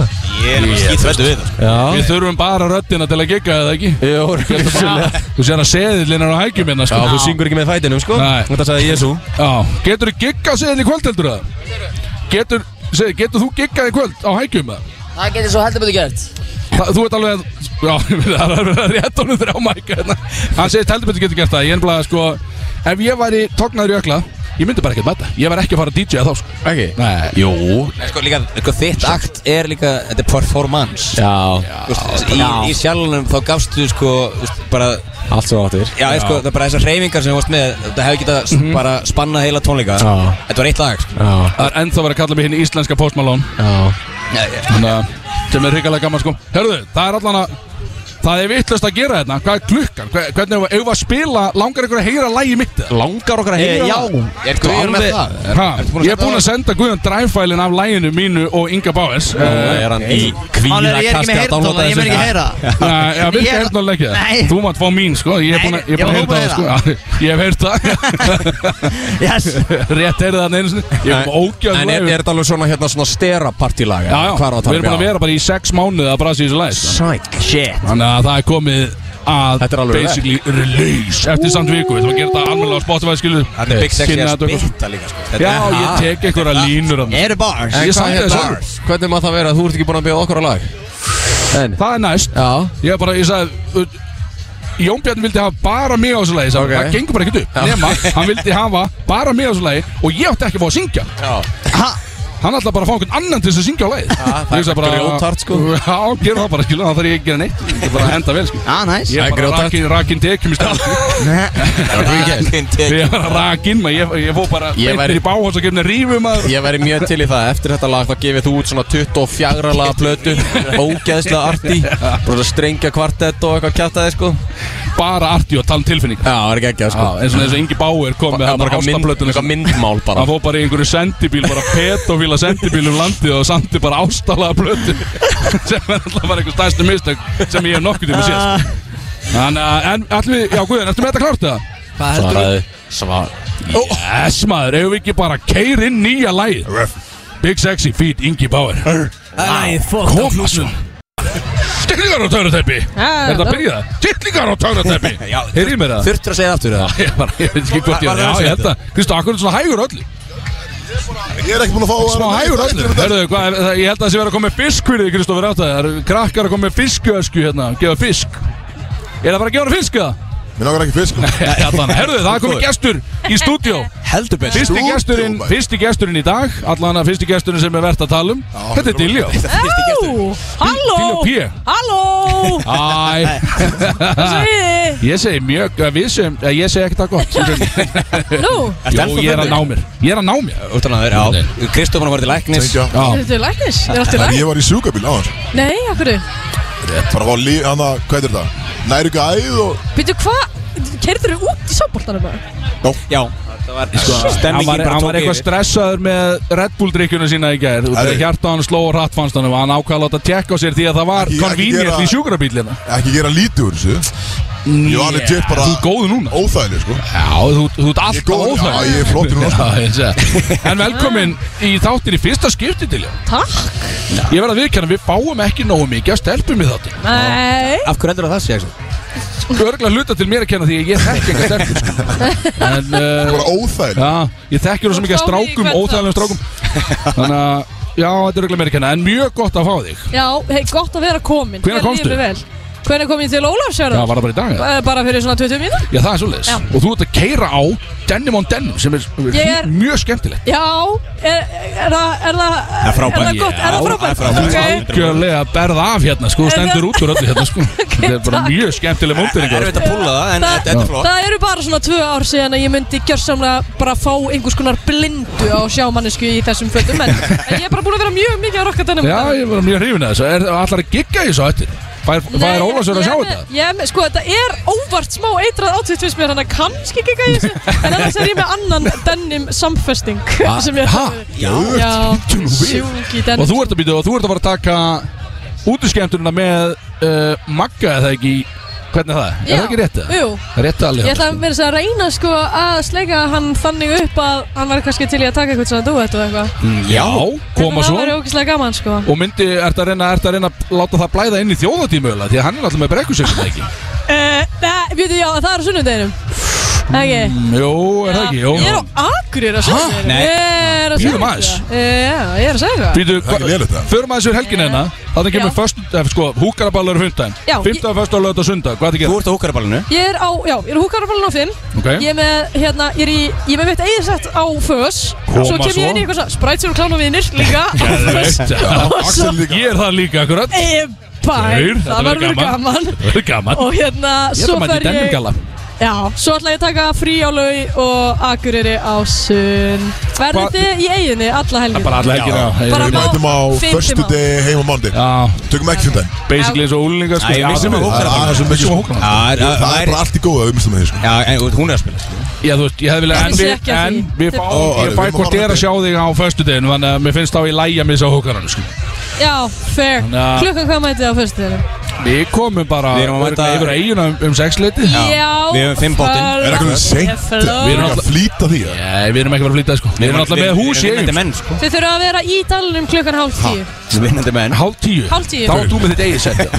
[SPEAKER 4] Ég er alveg skýt við það sko.
[SPEAKER 10] Já,
[SPEAKER 2] Við þurfum bara röddina til að gegga það ekki
[SPEAKER 10] jú, vissulega.
[SPEAKER 2] Þú sér að seðillin er á hækjum hérna
[SPEAKER 10] Já,
[SPEAKER 2] sko
[SPEAKER 10] þú syngur ekki með fætinum, sko
[SPEAKER 2] Nei.
[SPEAKER 10] Þetta sagði Jésu
[SPEAKER 2] Já, getur þú geggað seðil í kvöld heldur það? Getur, segir, getur þú geggað í kvöld á hækjum það?
[SPEAKER 12] Það getur svo heldur betur gert
[SPEAKER 2] Það, þú ert alveg að, já, það er alveg að rétt honum þrjá mæka hérna Hann segist heldur betur getur gert það, ég er bara sko Ef ég væri tognaður í ökla, ég myndi bara ekkert mæta Ég væri ekki að fara að DJ að þá sko
[SPEAKER 10] Ekki?
[SPEAKER 2] Nei,
[SPEAKER 10] Jú
[SPEAKER 3] Nei, sko, líka, sko, þitt akt er líka, þetta er performance
[SPEAKER 10] Já,
[SPEAKER 3] Þú veist, Í, í sjálfnum þá gafstu sko, þú veist, bara
[SPEAKER 10] allt sem þú áttir
[SPEAKER 3] Já, ég sko, það er bara þessar reyfingar sem þú varst með Það hefði getað mm bara spannað heila tónleika
[SPEAKER 10] Já.
[SPEAKER 3] Þetta var eitt lag sko.
[SPEAKER 10] Já,
[SPEAKER 2] það er ennþá verið að kalla mig hinn íslenska postmalón
[SPEAKER 10] já
[SPEAKER 3] Já, já.
[SPEAKER 2] sem er hrikalega gaman sko Hörðu, það er allan að Það er vittlust að gera þetta, hvað er klukkan? Hve- Hvernig erum við, eigum við að spila, langar ykkur að heyra lægi mitt? eða?
[SPEAKER 10] Langar okkar að heyra
[SPEAKER 3] Já,
[SPEAKER 10] það?
[SPEAKER 3] er Guðjón með það?
[SPEAKER 2] Ha, ég er búinn að senda Guðjón dræfælin af læginu mínu og Inga Eh, Báers
[SPEAKER 10] Núna er hann í
[SPEAKER 11] Málega,
[SPEAKER 10] kvíða
[SPEAKER 11] ég er ekki með heyrtóla, ég mun ekki heyra
[SPEAKER 2] Nei, já, viltu
[SPEAKER 11] Ég-
[SPEAKER 2] heyrt náttúrulega ekki
[SPEAKER 11] Nei.
[SPEAKER 2] það? Þú mátt fá mín, sko Ég er búinn að- ég er
[SPEAKER 11] Nei,
[SPEAKER 2] búinn
[SPEAKER 11] ég var
[SPEAKER 2] að heyrta það, sko Já, Ég hef heyrt það
[SPEAKER 11] Yes
[SPEAKER 2] Rétt heyrði það einu sinni Ég er ógjöð
[SPEAKER 10] En er, er þetta alveg svona hérna svona stera partílag?
[SPEAKER 2] Já, já, við
[SPEAKER 10] um
[SPEAKER 2] erum búin að vera bara í sex mánuði að brasi í þessu læg sko.
[SPEAKER 10] Sæk Shit
[SPEAKER 2] Þannig að það er komið að
[SPEAKER 10] Þetta er alveg
[SPEAKER 2] Basically release Eftir samt viku Við ætlum að gera þetta almennilega á Spotify skilu
[SPEAKER 3] Þetta er Big Sexy
[SPEAKER 2] Kynna
[SPEAKER 3] að
[SPEAKER 2] þetta okkur.
[SPEAKER 3] spitta líka sko. Þetta
[SPEAKER 2] Já,
[SPEAKER 3] er-
[SPEAKER 2] ég tek einhverja línur af það
[SPEAKER 3] Eru bars
[SPEAKER 10] En
[SPEAKER 2] Ég
[SPEAKER 10] hvað
[SPEAKER 2] sagði það
[SPEAKER 10] hérna,
[SPEAKER 2] sjálfur.
[SPEAKER 10] hvernig maður það vera að þú ert ekki búin að bjóða okkur á lag? En,
[SPEAKER 2] Það er næst
[SPEAKER 10] já
[SPEAKER 2] Ég bara, ég sagði uh, Jón Bjarni vildi hafa bara mig á þessu lagi
[SPEAKER 10] Ok.
[SPEAKER 2] sagði, Það gengur bara ekkert upp Nema, hann vildi hafa bara mig á þessu lagi Og ég átti ekki að fá að syngja
[SPEAKER 10] Já
[SPEAKER 2] Hann ætla bara að fá einhvern annan til þess að syngja á leið
[SPEAKER 10] það er grjóthart,
[SPEAKER 2] sko Já, gerum það bara, skilur, það þarf ég ekki að gera neitt Ég er bara að henda vel, sko
[SPEAKER 11] Já, næs
[SPEAKER 2] Ég
[SPEAKER 10] Það
[SPEAKER 2] er
[SPEAKER 10] er
[SPEAKER 2] bara
[SPEAKER 10] grjóthart.
[SPEAKER 2] rakinn, rakinn tekjum í stað
[SPEAKER 10] Rakinn tekjum.
[SPEAKER 2] Ég er bara rakinn, maður, ég, ég fó bara
[SPEAKER 10] Ég væri-
[SPEAKER 2] beintir í báhans og gefna rífum að
[SPEAKER 10] Ég væri mjög til í það, eftir þetta lag þá gefið þú út svona 24 laga plötu Ógeðslega arti Bara strengja kvartett og eitthvað kjátaði sko
[SPEAKER 2] Bara arti og tala um tilfinning
[SPEAKER 10] Já, það er ekki ekki að sko
[SPEAKER 2] Já, eins og þess að Ingi Bauer kom með
[SPEAKER 10] Já,
[SPEAKER 2] hann
[SPEAKER 10] bara eitthvað mynd-
[SPEAKER 2] ástaflötun
[SPEAKER 10] eitthvað myndmál bara.
[SPEAKER 2] Hann fór bara í einhverju sendibíl, bara pedofíla sendibíl um landið og samti bara ástaflega plötu sem er alltaf bara einhver stærstu mistök sem ég hef nokkuð tíma séð sko. Þannig að, en allir við, já Guðjón, ertu með þetta klárt eða?
[SPEAKER 11] Hvað
[SPEAKER 10] Svaraði Svar
[SPEAKER 2] Yes maður, ef við ekki bara keir inn nýja lagið Big Sexy feat Ingi Bauer
[SPEAKER 11] Æ, fokk
[SPEAKER 2] Koma svo Stillingar á törnuteppi Er þetta að byrja það? Stillingar á törnuteppi Heyrðu í mér það?
[SPEAKER 10] Þurftur að segja það aftur eða?
[SPEAKER 2] Ég bara, ég veit ekki hvort ég
[SPEAKER 1] Var- var
[SPEAKER 2] Já,
[SPEAKER 1] það
[SPEAKER 2] ég held
[SPEAKER 1] þetta?
[SPEAKER 2] að Kristof, akkur er svona hægur öllu
[SPEAKER 1] Ég er ekki búin að fá
[SPEAKER 2] Smá hægur öllu Hörðu, hvað, er- það- ég held að þessi verið að koma með fisk fyrir því, Kristof, verið átt að það eru Krakkar að koma með fiskjösku hérna, gefa fisk Er það bara að gefa hana fisk, eða?
[SPEAKER 1] Mér langar ekki fisk
[SPEAKER 2] Já, þannig, herðu, það er komið gestur í stúdíó
[SPEAKER 11] Heldur betur.
[SPEAKER 2] Fyrsti
[SPEAKER 1] Stúdíó,
[SPEAKER 2] gesturinn,
[SPEAKER 1] maður.
[SPEAKER 2] fyrsti gesturinn í dag Allan að fyrsti gesturinn sem er verðt að tala um Þetta er Diljó Diljó
[SPEAKER 12] Halló
[SPEAKER 2] P
[SPEAKER 12] Halló
[SPEAKER 2] Æ
[SPEAKER 12] Sviði
[SPEAKER 2] Ég segi mjög, að við segjum, að ég segi ekkert að gott Eh,
[SPEAKER 12] Nú
[SPEAKER 2] Jó, ég er að ná mér Ég er að ná mér
[SPEAKER 3] Úttan að þeir, já Kristófan var til læknis
[SPEAKER 1] Já.
[SPEAKER 12] Er þetta læknis? Er allt í læknis?
[SPEAKER 1] Ég var í sjúkabíl á hans
[SPEAKER 12] Nei, akkur
[SPEAKER 1] Bara að fá líf, hann að, hvað er þetta? Næri ekki æð og
[SPEAKER 12] Býtu hvað Kerður þú út í sábóltanum bara?
[SPEAKER 3] Já Það var
[SPEAKER 1] Sko,
[SPEAKER 2] Hann var,
[SPEAKER 3] Sko, Stemmingin bara
[SPEAKER 2] hann var
[SPEAKER 3] tók
[SPEAKER 2] eitthvað
[SPEAKER 3] yfir
[SPEAKER 2] stressaður með Red Bull drikkjuna sína í gær Þegar hjarta hann sló og hratt fannst hann og Hann ákvæða að láta tjekka á sér því að það var
[SPEAKER 1] Ekki- ekki
[SPEAKER 2] konvíniert
[SPEAKER 1] gera-
[SPEAKER 2] í sjúkrabílina
[SPEAKER 1] ekki gera lítið úr þessu Ég var alveg tjöld bara
[SPEAKER 2] Þú er góð núna
[SPEAKER 1] Óþægileg sko
[SPEAKER 2] Já, þú, þú ert
[SPEAKER 1] Ég er
[SPEAKER 2] alltaf
[SPEAKER 1] góður, já,
[SPEAKER 2] óþæg
[SPEAKER 1] ég er flottur núna, sko.
[SPEAKER 2] En velkomin í þáttin í fyrsta skipti til ég
[SPEAKER 12] Takk
[SPEAKER 2] Ég verð að viðkjanna, við fáum ekki nógu mikið að stelpum í þáttin
[SPEAKER 12] Nei
[SPEAKER 3] Af hverju heldur það sé, Axel?
[SPEAKER 2] Örglega hluta til mér að kenna því að ég þekki enga stelpur sko. En Það
[SPEAKER 1] var óþægileg
[SPEAKER 2] Já, ég þekki rosa mikið að
[SPEAKER 12] Þú tók í
[SPEAKER 2] strákum,
[SPEAKER 12] hvern
[SPEAKER 2] óþægilegum strákum Þannig að, já, þetta er örglega mér að kenna En mjög gott að fá þig
[SPEAKER 12] Já, hei, gott að vera komin
[SPEAKER 2] Hvenær komstu?
[SPEAKER 12] Hvernig kom ég til Ólafsjörðar?
[SPEAKER 2] Já, var það bara í dag, eða?
[SPEAKER 12] Eh, Bara fyrir svona 20 mínútur
[SPEAKER 2] Já, það er svoleiðis
[SPEAKER 12] Já.
[SPEAKER 2] Og þú ert að keira á Denim on Denim sem er,
[SPEAKER 12] Ég er-
[SPEAKER 2] mjög skemmtilegt
[SPEAKER 12] Já, er, er, það- er það
[SPEAKER 2] Það er frábært.
[SPEAKER 12] Er það gott, er það frábært?
[SPEAKER 2] Þú ert
[SPEAKER 12] Ok.
[SPEAKER 2] algjörlega að berða af hérna sko, þú stendur út úr öllu hérna sko. Þetta er bara mjög skemmtileg sko. mótbyrning
[SPEAKER 3] Erfitt að púlla það, en
[SPEAKER 12] Það-
[SPEAKER 3] þetta þetta er flott
[SPEAKER 12] Það eru bara svona tvö ár síðan að ég myndi gjörsamlega bara fá einhvers konar blindu á sjámannisku í þessum fötum en, en ég er bara búin að vera mjög mikið að rokka þennum
[SPEAKER 2] Já, ég var mjög hrifin að þessu Er það allar að gigga í þessu á eftir? Fær, fær Ólafsverð að sjá þetta?
[SPEAKER 12] Ég, sko, þetta er óvart smá eitrað átveit fyrst mér, þannig að kannski ekki að ég sé en annars er ég með annan denim samfesting
[SPEAKER 2] Ha?
[SPEAKER 12] sem ég
[SPEAKER 2] Ha?
[SPEAKER 12] Já,
[SPEAKER 2] Jöfull, bíddu nú við.
[SPEAKER 12] sjúki denim
[SPEAKER 2] Og þú ert að býta og þú ert að fara að taka útiskemmtunina með uh, Magga eða ekki í- Hvernig er það? Er það ekki rétt? eða?
[SPEAKER 12] Jú,
[SPEAKER 2] Það er rétt að
[SPEAKER 12] ég
[SPEAKER 2] alveg
[SPEAKER 12] ætla að vera að reyna sko að sleika hann þannig upp að hann var kannski til í að taka eitthvað svona duett og eitthvað
[SPEAKER 2] Já, koma
[SPEAKER 12] Það
[SPEAKER 2] svo
[SPEAKER 12] væri ógeðslega gaman sko
[SPEAKER 2] Og myndi, ert að reyna, ert að reyna að láta það blæða inn í þjóðatíma öðla Því að hann er alltaf með brekkusökkum ekki
[SPEAKER 12] Eh, Nei, veitu, já, það er á sunnudeginum Ekki
[SPEAKER 2] Mm, Jú, er það ekki? Jú.
[SPEAKER 12] Ég er á Akureyri á sunnudeginum
[SPEAKER 2] Nei.
[SPEAKER 12] Ég er að segja
[SPEAKER 2] Bíðum aðeins.
[SPEAKER 12] það. Eh, Já, ég er að segja það
[SPEAKER 2] Býtu, förum aðeins fyrir helgin hérna Þannig kemur först, eh, sko, húkaraballur fundaginn
[SPEAKER 12] Já, ég-
[SPEAKER 2] Fymtaði, förstu og lögðu og sundag, hvað er það að gera? Þú
[SPEAKER 3] ert á húkaraballinu
[SPEAKER 12] Ég er á, já, ég er á Húkaraballin á 5
[SPEAKER 2] Ok.
[SPEAKER 12] Ég er með, hérna, ég er í, ég er með mitt eiginsett á Föss
[SPEAKER 2] Koma
[SPEAKER 12] Svo kem
[SPEAKER 2] svo.
[SPEAKER 12] ég inn í eitthvað svona Sprætsur og klánavinir líka á Föss.
[SPEAKER 2] Axel líka Ég er það líka, akkurat
[SPEAKER 12] Eh, Bæ,
[SPEAKER 2] Þeir,
[SPEAKER 12] það verður gaman
[SPEAKER 2] Það verður gaman
[SPEAKER 12] Og hérna,
[SPEAKER 2] Ég
[SPEAKER 12] svo
[SPEAKER 2] ætla að mæta í
[SPEAKER 12] fer ég
[SPEAKER 2] demmingala
[SPEAKER 12] Já, svo ætla ég að taka frí á laug og Akureyri á sunn Verðið þið í eiginni alla helgina
[SPEAKER 2] Bara alla helgina
[SPEAKER 12] Bara
[SPEAKER 1] Við
[SPEAKER 12] á
[SPEAKER 1] mætum á
[SPEAKER 12] fimmtudaginn.
[SPEAKER 1] förstu degi heim á mándi Tökum ekki fjöndaginn
[SPEAKER 2] Basically eins og úlingar sko
[SPEAKER 1] Æ, ég
[SPEAKER 2] Já,
[SPEAKER 1] vissi
[SPEAKER 2] það
[SPEAKER 1] með
[SPEAKER 2] er-
[SPEAKER 1] hókaraballinu.
[SPEAKER 2] það er svo mikið-
[SPEAKER 1] Vissi með hókaraballinu.
[SPEAKER 2] Já, er-
[SPEAKER 1] Það er
[SPEAKER 2] væri-
[SPEAKER 1] bara allt í góða, við mistum með því sko
[SPEAKER 3] Já, en hún er að spila
[SPEAKER 2] Já, þú veist, ég hefði viljað
[SPEAKER 12] Ég
[SPEAKER 2] En,
[SPEAKER 12] vissi
[SPEAKER 2] við,
[SPEAKER 12] ekki af
[SPEAKER 2] en
[SPEAKER 12] því.
[SPEAKER 2] við fá,
[SPEAKER 1] Ó,
[SPEAKER 2] ég
[SPEAKER 1] við
[SPEAKER 2] fæ
[SPEAKER 1] má
[SPEAKER 2] hvort
[SPEAKER 1] horfa
[SPEAKER 2] er að sjá þig á föstudeginu Þannig að mér finnst þá í lægja mér svo hókaranu sko.
[SPEAKER 12] Já, fair
[SPEAKER 2] Þannig að-
[SPEAKER 12] Klukkan hvað mætið þið á fyrstu þeirra?
[SPEAKER 2] Við komum bara
[SPEAKER 3] Við erum að
[SPEAKER 2] örugglega
[SPEAKER 3] mæta-
[SPEAKER 2] yfir eiginu um, um sexleiti
[SPEAKER 12] Já, Við höfum fimm bátinn. það-
[SPEAKER 1] Er eitthvað
[SPEAKER 12] Ég
[SPEAKER 1] seint?
[SPEAKER 12] fló.
[SPEAKER 1] Við erum að flýta því eða?
[SPEAKER 2] Nei, við erum ekki að fara að flýta sko. Við erum alltaf með hús í eiginu
[SPEAKER 3] menn sko
[SPEAKER 12] Þið þurfa að vera í dalunum klukkan hálf tíu
[SPEAKER 3] Vinnandi menn
[SPEAKER 2] Hálf tíu
[SPEAKER 12] Hálf tíu.
[SPEAKER 2] Þá er þú með þitt eigið sett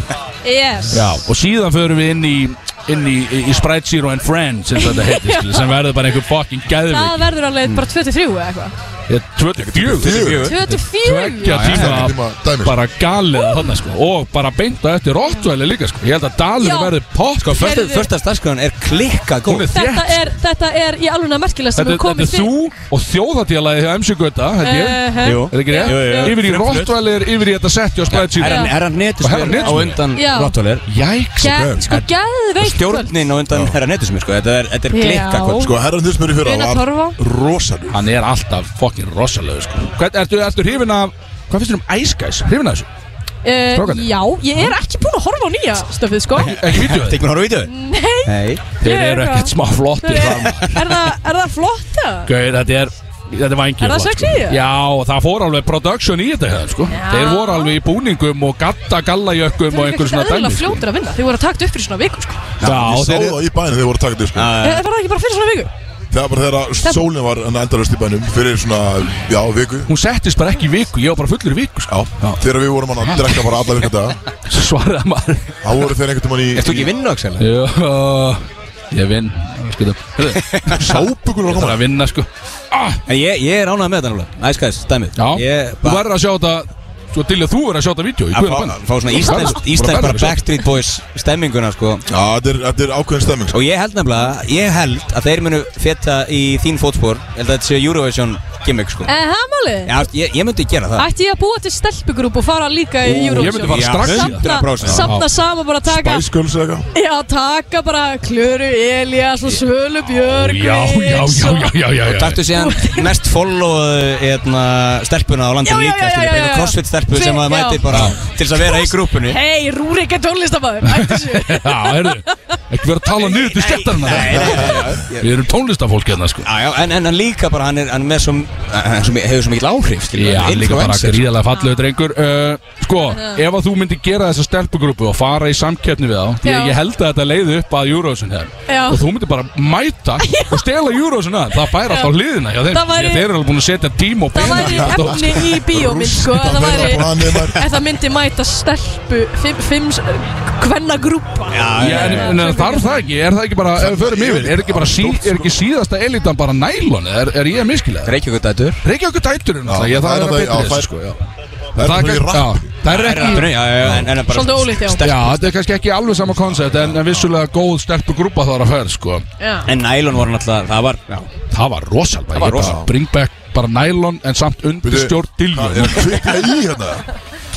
[SPEAKER 12] Yes
[SPEAKER 2] Já, og síðan förum við inn í inn í, í, í Sprite Zero and Friends sem þetta heitir, skilur, sem verður bara einhver fucking
[SPEAKER 12] Það
[SPEAKER 2] gæðvik
[SPEAKER 12] verður alveg bara 23 eða eitthvað
[SPEAKER 2] Ég- 24
[SPEAKER 12] 24
[SPEAKER 2] Tveggja tíma bara galið þarna sko Og bara beinta eftir Rottweiler líka sko Ég held að
[SPEAKER 12] Já.
[SPEAKER 2] dalur verði pott
[SPEAKER 12] Sko, föstu- Heyrðu.
[SPEAKER 2] starfskröðan er klikka góð
[SPEAKER 12] Þetta er, þetta er í alveg merkilega sem
[SPEAKER 2] Þetta,
[SPEAKER 12] hefur
[SPEAKER 2] þetta
[SPEAKER 12] komið
[SPEAKER 2] er þú og þjóðatíðalagið hjá MC Gauta, held ég
[SPEAKER 12] Uh-huh.
[SPEAKER 2] Er það ekki
[SPEAKER 12] Jú, jú, jú.
[SPEAKER 2] rétt? Yfir í
[SPEAKER 12] Frumflutt.
[SPEAKER 2] Rottweiler, yfir í þetta setti og spreadsheet
[SPEAKER 12] Er hann- er hann
[SPEAKER 2] netismjör? Herra
[SPEAKER 10] á undan
[SPEAKER 12] Já.
[SPEAKER 10] Rottweiler
[SPEAKER 2] Jæks
[SPEAKER 12] Ge- Sko geðveikt kvöld.
[SPEAKER 10] Stjórnin á undan herra netusmjör sko Þetta er, þetta er
[SPEAKER 12] Já.
[SPEAKER 10] glikka kvöld
[SPEAKER 12] Sko,
[SPEAKER 10] herra netusmjör
[SPEAKER 12] Una Torfa
[SPEAKER 2] rosalegu Hann er alltaf fokkin rosalegu sko Hvern, ertu, ertu hrifin af, hvað finnst þér um Ice Guys? Hrifin af þessu?
[SPEAKER 12] uh,
[SPEAKER 2] Strákarnir.
[SPEAKER 12] Já, ég er ekki búin að horfa á nýja stöfið sko
[SPEAKER 2] Ekki vídeo Tekur
[SPEAKER 10] hann á vídeo?
[SPEAKER 12] Nei,
[SPEAKER 2] Nei Þeir
[SPEAKER 12] Ég er
[SPEAKER 2] eru ekkert
[SPEAKER 12] eitthvað.
[SPEAKER 2] smá flottir
[SPEAKER 12] Þeir-
[SPEAKER 2] þarna.
[SPEAKER 12] er það, er það flott það?
[SPEAKER 2] Gauð, þetta er Þetta er vængið
[SPEAKER 12] Er það
[SPEAKER 2] flott,
[SPEAKER 12] sexy?
[SPEAKER 2] Sko. Já, og það fór alveg production í þetta hjá þeim, sko.
[SPEAKER 12] Já.
[SPEAKER 2] Þeir voru alveg í búningum og gatta
[SPEAKER 12] Þeir eru
[SPEAKER 2] gallajökkum og einhverjum
[SPEAKER 12] ekkert
[SPEAKER 2] svona Eh.
[SPEAKER 12] eðlilega
[SPEAKER 2] dæmi sko.
[SPEAKER 12] fljótur að vinna Þeir voru að taka upp fyrir svona viku sko
[SPEAKER 2] Já,
[SPEAKER 1] Ég sá
[SPEAKER 2] þeir eru-
[SPEAKER 1] það í bænum þegar voru að taka þetta
[SPEAKER 12] uh,
[SPEAKER 1] sko.
[SPEAKER 12] Var það ekki bara fyrir svona viku?
[SPEAKER 1] Það var bara þegar
[SPEAKER 12] Þetta-
[SPEAKER 1] sólinn var endalast í bænum Fyrir svona, já, viku
[SPEAKER 2] Hún settist bara ekki í viku, ég var bara fullur í viku sko.
[SPEAKER 1] Já, þegar við vorum hann að drekka bara alla virka daga
[SPEAKER 2] Svo svaraði maður
[SPEAKER 1] Þá voru þeir einhvern veginn í
[SPEAKER 10] Ertu ekki í vinnu, Axel?
[SPEAKER 2] Jó, ég vinn Sápugur var að koma að vinna sko
[SPEAKER 10] En ég, ég er ánægð með þetta náttúrulega Ice Guys, dæmið Já Ég
[SPEAKER 2] Þú verður að sjá þetta Svo til að þú verður að sjá þetta vídeo í
[SPEAKER 10] Að
[SPEAKER 2] guðanna
[SPEAKER 10] fá-
[SPEAKER 2] banna.
[SPEAKER 10] fá svona
[SPEAKER 2] Þú
[SPEAKER 10] íslensk-
[SPEAKER 2] verður- þú
[SPEAKER 10] íslensk
[SPEAKER 2] verður
[SPEAKER 10] bara
[SPEAKER 2] að sjá þetta.
[SPEAKER 10] Backstreet Boys stemminguna sko
[SPEAKER 1] Já, þetta er, þetta er ákveðin stemming sko.
[SPEAKER 10] Og ég held nefnilega, ég held að þeir munu feta í þín fótspor Ég held að þetta sé Eurovision gimmick
[SPEAKER 2] Eh.
[SPEAKER 10] sko
[SPEAKER 12] Er Eh, það málið?
[SPEAKER 10] Já, ég, ég myndi gera það
[SPEAKER 12] Ætti ég að búa til stelpugrúp og fara líka í
[SPEAKER 10] Ú, ég
[SPEAKER 12] Eurovision?
[SPEAKER 10] myndi fara strax í það.
[SPEAKER 12] Safna-
[SPEAKER 10] 100%.
[SPEAKER 12] Safna
[SPEAKER 10] Já.
[SPEAKER 12] saman bara taka
[SPEAKER 1] Spice Girls eða eitthvað
[SPEAKER 12] Já, taka bara Klöru Elias og Svölu Björg
[SPEAKER 10] Já, já, já, já, já, já Og taktu síðan mest follow hérna, stelpuna á landinu líka
[SPEAKER 12] já, já,
[SPEAKER 10] skilur, einhver
[SPEAKER 12] já.
[SPEAKER 10] crossfit stelpu
[SPEAKER 12] Hver-
[SPEAKER 10] sem að mæti
[SPEAKER 12] já.
[SPEAKER 10] bara til þess að vera í grúpunni
[SPEAKER 12] Hei, Rúrik er tónlistamæður Ætti sér
[SPEAKER 2] Já, heyrðu Ekki verið að tala niður til stjættarna Við erum tónlistafólk hérna sko
[SPEAKER 10] Já, já, en, en, en líka bara hann er, hann er með som, hann er svo mi- hefur svo mikil áhrif skilur,
[SPEAKER 2] Já,
[SPEAKER 10] hann er
[SPEAKER 2] líka bara
[SPEAKER 10] influencer.
[SPEAKER 2] gríðarlega fallegu drengur uh, Sko, ef að þú myndir gera þessa stelpugrúpu og fara í samkeppni við þá Því
[SPEAKER 12] Já.
[SPEAKER 2] að ég held að þetta leiði upp að Eurovision hér
[SPEAKER 12] Já.
[SPEAKER 2] Og þú myndir bara mæta og stela Eurovision að Það færa alltaf hliðina hjá þeim
[SPEAKER 12] Það væri-
[SPEAKER 2] Ég- Þeir eru alveg búin að setja tíma og
[SPEAKER 12] Það væri efni í bíómynd sko ef Það væri Ef það myndi mæta stelpu Fimm, fimm hvenna grúpa
[SPEAKER 2] Já, en, en þarf það ekki, er það ekki bara, ef við förum yfir, er ekki bara sí, er ekki síðasta elitan bara nælon, er, er ég að miskilega?
[SPEAKER 10] Reykjavík dætur
[SPEAKER 2] Reykjavík dætur,
[SPEAKER 1] Já,
[SPEAKER 2] náttúrulega, ég- það er að
[SPEAKER 1] það-
[SPEAKER 2] betri
[SPEAKER 1] já,
[SPEAKER 2] þessu
[SPEAKER 1] þær-
[SPEAKER 2] sko, já.
[SPEAKER 1] þær eru bara í
[SPEAKER 2] kann-
[SPEAKER 1] rappi.
[SPEAKER 2] já, Það er
[SPEAKER 1] Þær eru í
[SPEAKER 2] ekki
[SPEAKER 1] rappinu, já, já, já, en- en bara Svolítið ólíkt, já. stelpu-
[SPEAKER 2] Já, þetta er kannski ekki alveg sama koncept En en vissulega góð stelpu grúpa það er að ferð sko.
[SPEAKER 10] En nælun var náttúrulega, það var já.
[SPEAKER 2] Það var rosal
[SPEAKER 10] Það var rosal.
[SPEAKER 2] Bring back bara nælon en samt undir
[SPEAKER 1] Bíddu,
[SPEAKER 2] stjórn dilju
[SPEAKER 1] Er kvika í hérna?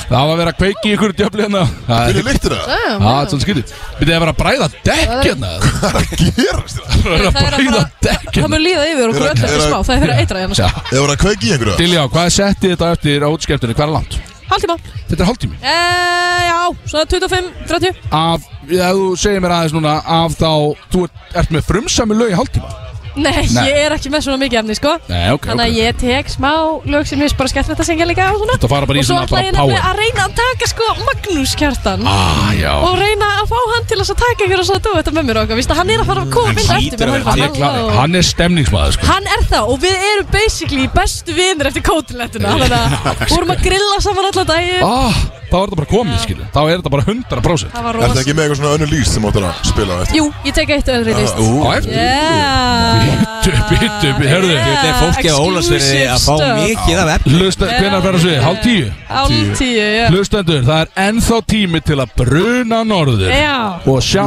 [SPEAKER 2] Það var að vera að kveiki í ykkur djöfli hérna Það
[SPEAKER 1] Fyrir lyktir það?
[SPEAKER 2] Já, það er svona skytið Við erum að vera að bræða dekk hérna
[SPEAKER 1] Hvað er að gerast hérna?
[SPEAKER 2] Það er að bræða dekk
[SPEAKER 12] Það mun líða yfir okkur öll eftir smá Það er fyrir að eitra hérna
[SPEAKER 2] Já.
[SPEAKER 12] sko
[SPEAKER 1] Ef voru að kveiki í einhverju?
[SPEAKER 2] Dilja, hvað er settið þetta eftir á útskeptinu? Hvað er langt?
[SPEAKER 12] Haldtíma
[SPEAKER 2] Þetta er hálftími
[SPEAKER 12] Eh, Já, svona 25-30
[SPEAKER 2] Af, ef þú segir mér aðeins núna Af þá, þú ert, ert með frumsami lög í hálftíma
[SPEAKER 12] Nei,
[SPEAKER 2] Nei.
[SPEAKER 12] ég er ekki með svona mikið efni, sko
[SPEAKER 2] Nei, ok,
[SPEAKER 12] Þannig að
[SPEAKER 2] ok.
[SPEAKER 12] ég tek smá lög sem finnst bara skemmtilegt að syngja líka og svona
[SPEAKER 2] Þú ert að fara bara í
[SPEAKER 12] Og svo
[SPEAKER 2] svona
[SPEAKER 12] ætla
[SPEAKER 2] bara
[SPEAKER 12] ég nefnilega
[SPEAKER 2] power.
[SPEAKER 12] að reyna að taka sko Magnús kjartan
[SPEAKER 2] Ah, já.
[SPEAKER 12] Og reyna að fá hann til þess að taka ykkur og svo dói þetta með mér okkar Vist að hann er að fara að koma að vinna eftir mér
[SPEAKER 2] Hann er, klar, hann er stemningsmaður sko.
[SPEAKER 12] Hann er það og við erum basically bestu vinir eftir kótilettuna Þannig að vorum að grilla saman allan daginn
[SPEAKER 2] ah, Þá er þetta bara komið, skilu Þá er þetta bara 100%
[SPEAKER 12] Það var rosa-
[SPEAKER 1] Er það ekki með eitthvað svona önnur líst sem áttur að spila á eftir?
[SPEAKER 12] Jú, ég tek eitt öðru í list
[SPEAKER 1] Ah, ú. Á eftir?
[SPEAKER 12] Yeah
[SPEAKER 2] Bittu, bittu, bittu, herðu
[SPEAKER 12] Þetta er fólki á Ólafsfirði að fá Exclusive stuff. mikið af
[SPEAKER 2] efni Hlusta,
[SPEAKER 12] Já.
[SPEAKER 2] hvenær verður svið? Hálf tíu?
[SPEAKER 12] Hálf tíu, já.
[SPEAKER 2] Hlustendur, það er ennþá tími til að bruna norður
[SPEAKER 12] Já.
[SPEAKER 2] Og sjá,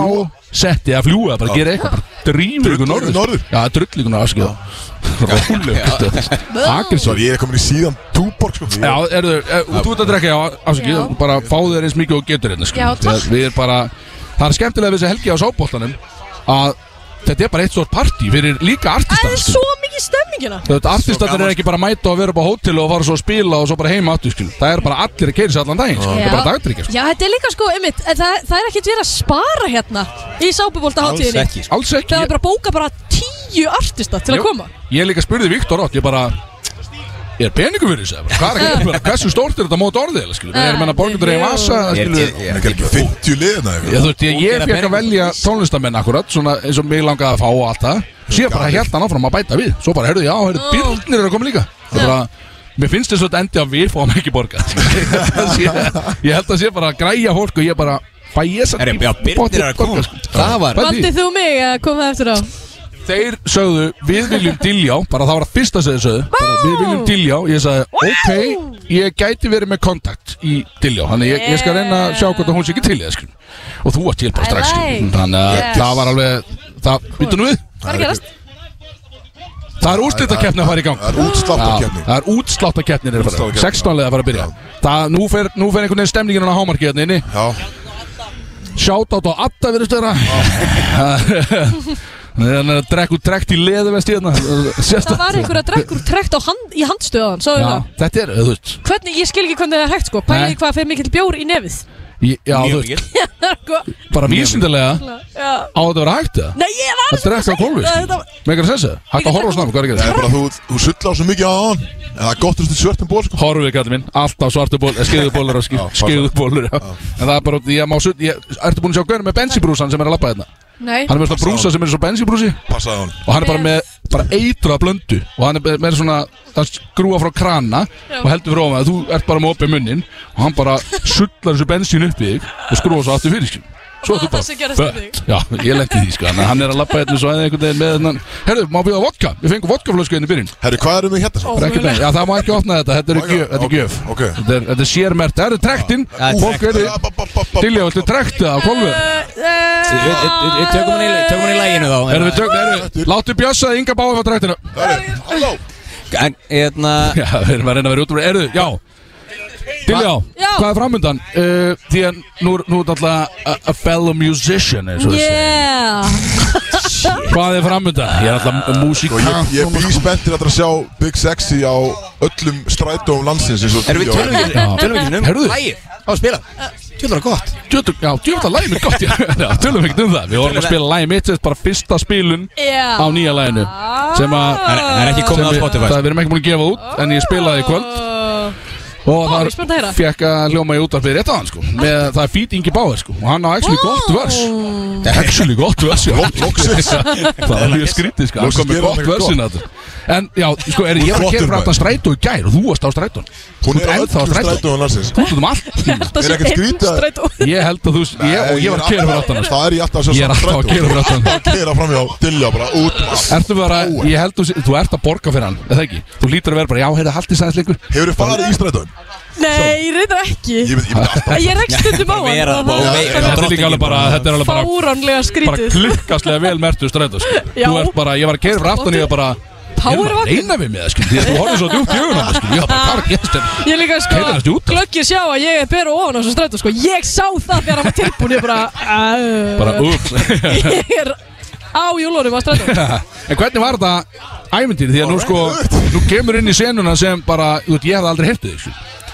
[SPEAKER 2] setti að fljúa, bara gera eitthvað bara Drýmur ykkur norður
[SPEAKER 1] norður.
[SPEAKER 2] Já, drull ykkur norður, sko Rólu Aggressív
[SPEAKER 1] Sorry, ég er komin í síðan túborg sko
[SPEAKER 2] Já, erðu, er, þú ert að drekka, já, afsakið,
[SPEAKER 12] Já.
[SPEAKER 2] bara fáðu þér eins mikið og getur hérna, sko.
[SPEAKER 12] Já, takk.
[SPEAKER 2] Við- Við erum bara, það er skemmtilega við þessi helgi á sábóltanum að þetta er bara eitt stórt partí fyrir líka
[SPEAKER 12] Það
[SPEAKER 2] artistar,
[SPEAKER 12] er svo mikið stemmingina
[SPEAKER 2] Þú veit, artistatir er ekki bara að mæta og vera upp á hótel og fara svo að spila og svo bara heima aftur, skil. Það er bara allir að keira sér allan daginn, skil. Þetta er bara dagdrykja, skil.
[SPEAKER 12] Já, þetta er líka sko, einmitt, en það, það er ekkert verið að spara hérna í sápubólta hátíðinni
[SPEAKER 2] Alls ekki, sko. Alls ekki.
[SPEAKER 12] Það er bara að bóka bara tíu artista til
[SPEAKER 2] Jú.
[SPEAKER 12] að koma
[SPEAKER 2] Ég líka spurði Viktor átt, ég bara, ég er peningur fyrir þessu, eða bara, hvað er að gera, bara, hversu stórt er þetta mót orðið, eða, skil. Við erum enn að borgundur í vasa, skil.
[SPEAKER 1] Það er ekki 50 liðna
[SPEAKER 2] Já, þú veist, ég, ég fekk að velja tónlistamenn akkurat, svona eins og mig langaði að fá og allt það Síðan bara held hann áfram að bæta við Svo bara, heyrðu, já, heyrðu, byrnir eru að koma líka Það er bara, mér finnst þess að þetta endi að við fáum ekki borgað ég, ég held að sé bara að græja fólk og ég bara, fæ ég samt
[SPEAKER 10] Herri, já, Birnir er að koma.
[SPEAKER 2] sko. Það
[SPEAKER 12] Valdið þú mig að koma eftir á?
[SPEAKER 2] Þeir sögðu, við viljum diljá Bara það var að fyrsta sem þeir sögðu bara, Við viljum diljá, ég sagði, ok Ég gæti verið með kontakt í diljá Þannig ég, ég skal reyna að sjá hvort að hún sé ekki til í það skilur. Og þú ert hjálpað
[SPEAKER 12] I
[SPEAKER 2] strax skilur.
[SPEAKER 12] like.
[SPEAKER 2] Þannig að
[SPEAKER 12] Yes.
[SPEAKER 2] það var alveg Það, býttu nú við
[SPEAKER 12] Hvað er að gerast?
[SPEAKER 2] Það er úrslitakeppni að fara í gang Það er útsláttarkeppni Það er útsláttarkeppni að fara í gang. 16 leið að fara að byrja Það, nú fer, nú fer einhvern veginn stemningin á hámarki hérna inni Já Shoutout á Adda verðist vera Þannig að drekk úr drekt í leðu vest hérna
[SPEAKER 12] Það var einhver að hérna. drekkur trekt á hand, í handstöðan, svo
[SPEAKER 2] Já,
[SPEAKER 12] það.
[SPEAKER 2] þetta er, þú veist
[SPEAKER 12] Hvernig, ég skil ekki hvernig það er hægt sko, pæliði
[SPEAKER 2] Nei.
[SPEAKER 12] hvað fer mikill bjór í nefið.
[SPEAKER 2] ég- Já, þú veist
[SPEAKER 12] Það er sko,
[SPEAKER 2] Bara vísindilega
[SPEAKER 12] já.
[SPEAKER 2] Á þetta að vera hægt það
[SPEAKER 12] Nei, ég var
[SPEAKER 2] Að drekka á gólfi
[SPEAKER 12] Nei, þetta-
[SPEAKER 2] Megar að segja það Hægt að horfa á snabbt, hvað er
[SPEAKER 1] Það
[SPEAKER 2] að
[SPEAKER 1] er
[SPEAKER 2] gera
[SPEAKER 1] bara þú, þú sullar svo mikið á hann En það er gott að þú svörtum ból sko
[SPEAKER 2] Horfið gæti minn, alltaf eh, svartu ból, skeiðubólur skeiðubólur, já En það er bara, ég má sutt, ég, ertu búin að sjá gaurin með bensinbrúsan sem er að labba hérna?
[SPEAKER 12] Nei.
[SPEAKER 2] Hann er með svona brúsa sem er svo bensinbrúsi
[SPEAKER 1] Passaði hann
[SPEAKER 2] Og hann er bara með, bara eitrað blöndu Og hann er með- með svona, það skrúa frá krana
[SPEAKER 12] Já.
[SPEAKER 2] Og heldur frá hann að þú ert bara með opið munnin Og hann bara sullar þessu bensín upp í þig Og skrúa svo aftur fyrir, skil Svo
[SPEAKER 12] Það
[SPEAKER 2] þú
[SPEAKER 12] er það sem
[SPEAKER 2] bara,
[SPEAKER 12] gerðist við þig.
[SPEAKER 2] bött Já, ég lendi því, sko Þannig að Hann er að labba hérna svo einhvern veginn með hennan Herru, má bjóða vodka? Við fengum vodkaflösku hérna í byrjun
[SPEAKER 1] Herru, hvað erum við hérna?
[SPEAKER 2] Það er ekki beint. Já, það má ekki opna þetta, þetta er gjöf Þetta er gjöf Þetta er- þetta er sérmert, það eru trektinn Fólk eru Dilljá, þetta er trektið á kolfu
[SPEAKER 12] Eh,
[SPEAKER 3] Við tökum hann í, tökum hann í læginu þá
[SPEAKER 2] Erum við tökum, erum við Láttu bjössa að Inga báði frá trektinu
[SPEAKER 3] En, hérna
[SPEAKER 2] Já, við erum að reyna að vera út úr Erum við, já Dilljá,
[SPEAKER 12] Já.
[SPEAKER 2] hvað er framöndan? Uh, því að nú er nú er þetta alltaf a- a fellow musician eins og þessi
[SPEAKER 12] Yeah.
[SPEAKER 2] Hvað er framöndan? Ég er alltaf
[SPEAKER 1] Sko, ég,
[SPEAKER 2] músikant
[SPEAKER 1] ég bý spenntir að það sjá Big Sexy á öllum strætóum landsins
[SPEAKER 2] Erum við tölum ekki- Já. tölum ekki um Heyrðu. lagið?
[SPEAKER 1] Á að spila Tjöldur það gott
[SPEAKER 2] Djötu- Já, djöfnda lægið mitt gott já. já, tölum ekkert um það Við vorum að spila lægið mitt Þetta er bara fyrsta spilun
[SPEAKER 12] Já.
[SPEAKER 2] á nýja læginu Sem að
[SPEAKER 3] Það er- það Ah. er ekki komið
[SPEAKER 2] sem
[SPEAKER 3] á
[SPEAKER 2] við-
[SPEAKER 3] Spotify.
[SPEAKER 2] Það við erum ekki búin að gefa út En ég spilaði í kvöld Og
[SPEAKER 12] ég er spennt að
[SPEAKER 2] það
[SPEAKER 12] heyra.
[SPEAKER 2] fekk að hljóma í útarpið rétt á hann sko með, Það er fít Ingi Báður sko Og hann á actually gott vers Actually gott vers já.
[SPEAKER 1] Loksins.
[SPEAKER 2] Það er mjög skrítið sko Hann
[SPEAKER 1] Loksins
[SPEAKER 2] kom með
[SPEAKER 1] gerir hann
[SPEAKER 2] gott
[SPEAKER 1] eitthvað
[SPEAKER 2] versin
[SPEAKER 1] gott.
[SPEAKER 2] að þetta En já, sko er ég var að
[SPEAKER 1] Flottur
[SPEAKER 2] kemur frá
[SPEAKER 1] maður.
[SPEAKER 2] aftan strætó í gær Og þú varst á strætón
[SPEAKER 1] Hún er á
[SPEAKER 2] ennþá á
[SPEAKER 1] öllum strætóum landsins.
[SPEAKER 2] Þú ert um allt
[SPEAKER 12] Það sé einn strætó
[SPEAKER 2] Ég held að þú ég, Og ég var að kera fyrir aftan
[SPEAKER 1] Það er ég alltaf
[SPEAKER 2] Ég er alltaf að keyra fyrir aftan.
[SPEAKER 1] Að kera fram hjá Dilljá bara út um allt.
[SPEAKER 2] Ertu bara, ég held þú, þú ert að borga fyrir hann, eða ekki? Þú lítur að vera bara, já, heyrðu, haldið sæðis lengur
[SPEAKER 1] Hefur þið farið í strætón?
[SPEAKER 12] Nei, reyndar ekki
[SPEAKER 1] Ég veit, ég veit alltaf
[SPEAKER 12] Ég rekst stundum á hann
[SPEAKER 3] Vera
[SPEAKER 12] þannig
[SPEAKER 3] bara-
[SPEAKER 12] að-
[SPEAKER 3] vera
[SPEAKER 2] Þetta er líka alveg bara, þetta er alveg bara
[SPEAKER 12] Fáránlega
[SPEAKER 2] bara
[SPEAKER 12] skrítið
[SPEAKER 2] klikkastlega vel mertu strætó sko.
[SPEAKER 12] Já.
[SPEAKER 2] Þú ert bara, ég var að keira fyrir aftan ég var bara Ég er bara að
[SPEAKER 12] Powervaktin.
[SPEAKER 2] reyna við mig það, skil, því að þú horfir svo djúpt í augun á mig, skil, ég var bara, hvað er að gerast þér?
[SPEAKER 12] Ég líka
[SPEAKER 2] Keyrði næstu
[SPEAKER 12] sko
[SPEAKER 2] út af.
[SPEAKER 12] Glöggir sjá að ég er bera ofan á þessu strætó sko Ég sá það þegar hann var tilbúin Ég bara uh,
[SPEAKER 2] Bara, ups.
[SPEAKER 12] Ég er á jólunum á strætó
[SPEAKER 2] En hvernig var þetta æmyndir, því að nú sko, nú kemur inn í senuna sem bara, þú veit, ég hefði aldrei hefðið
[SPEAKER 12] Já.
[SPEAKER 2] þig,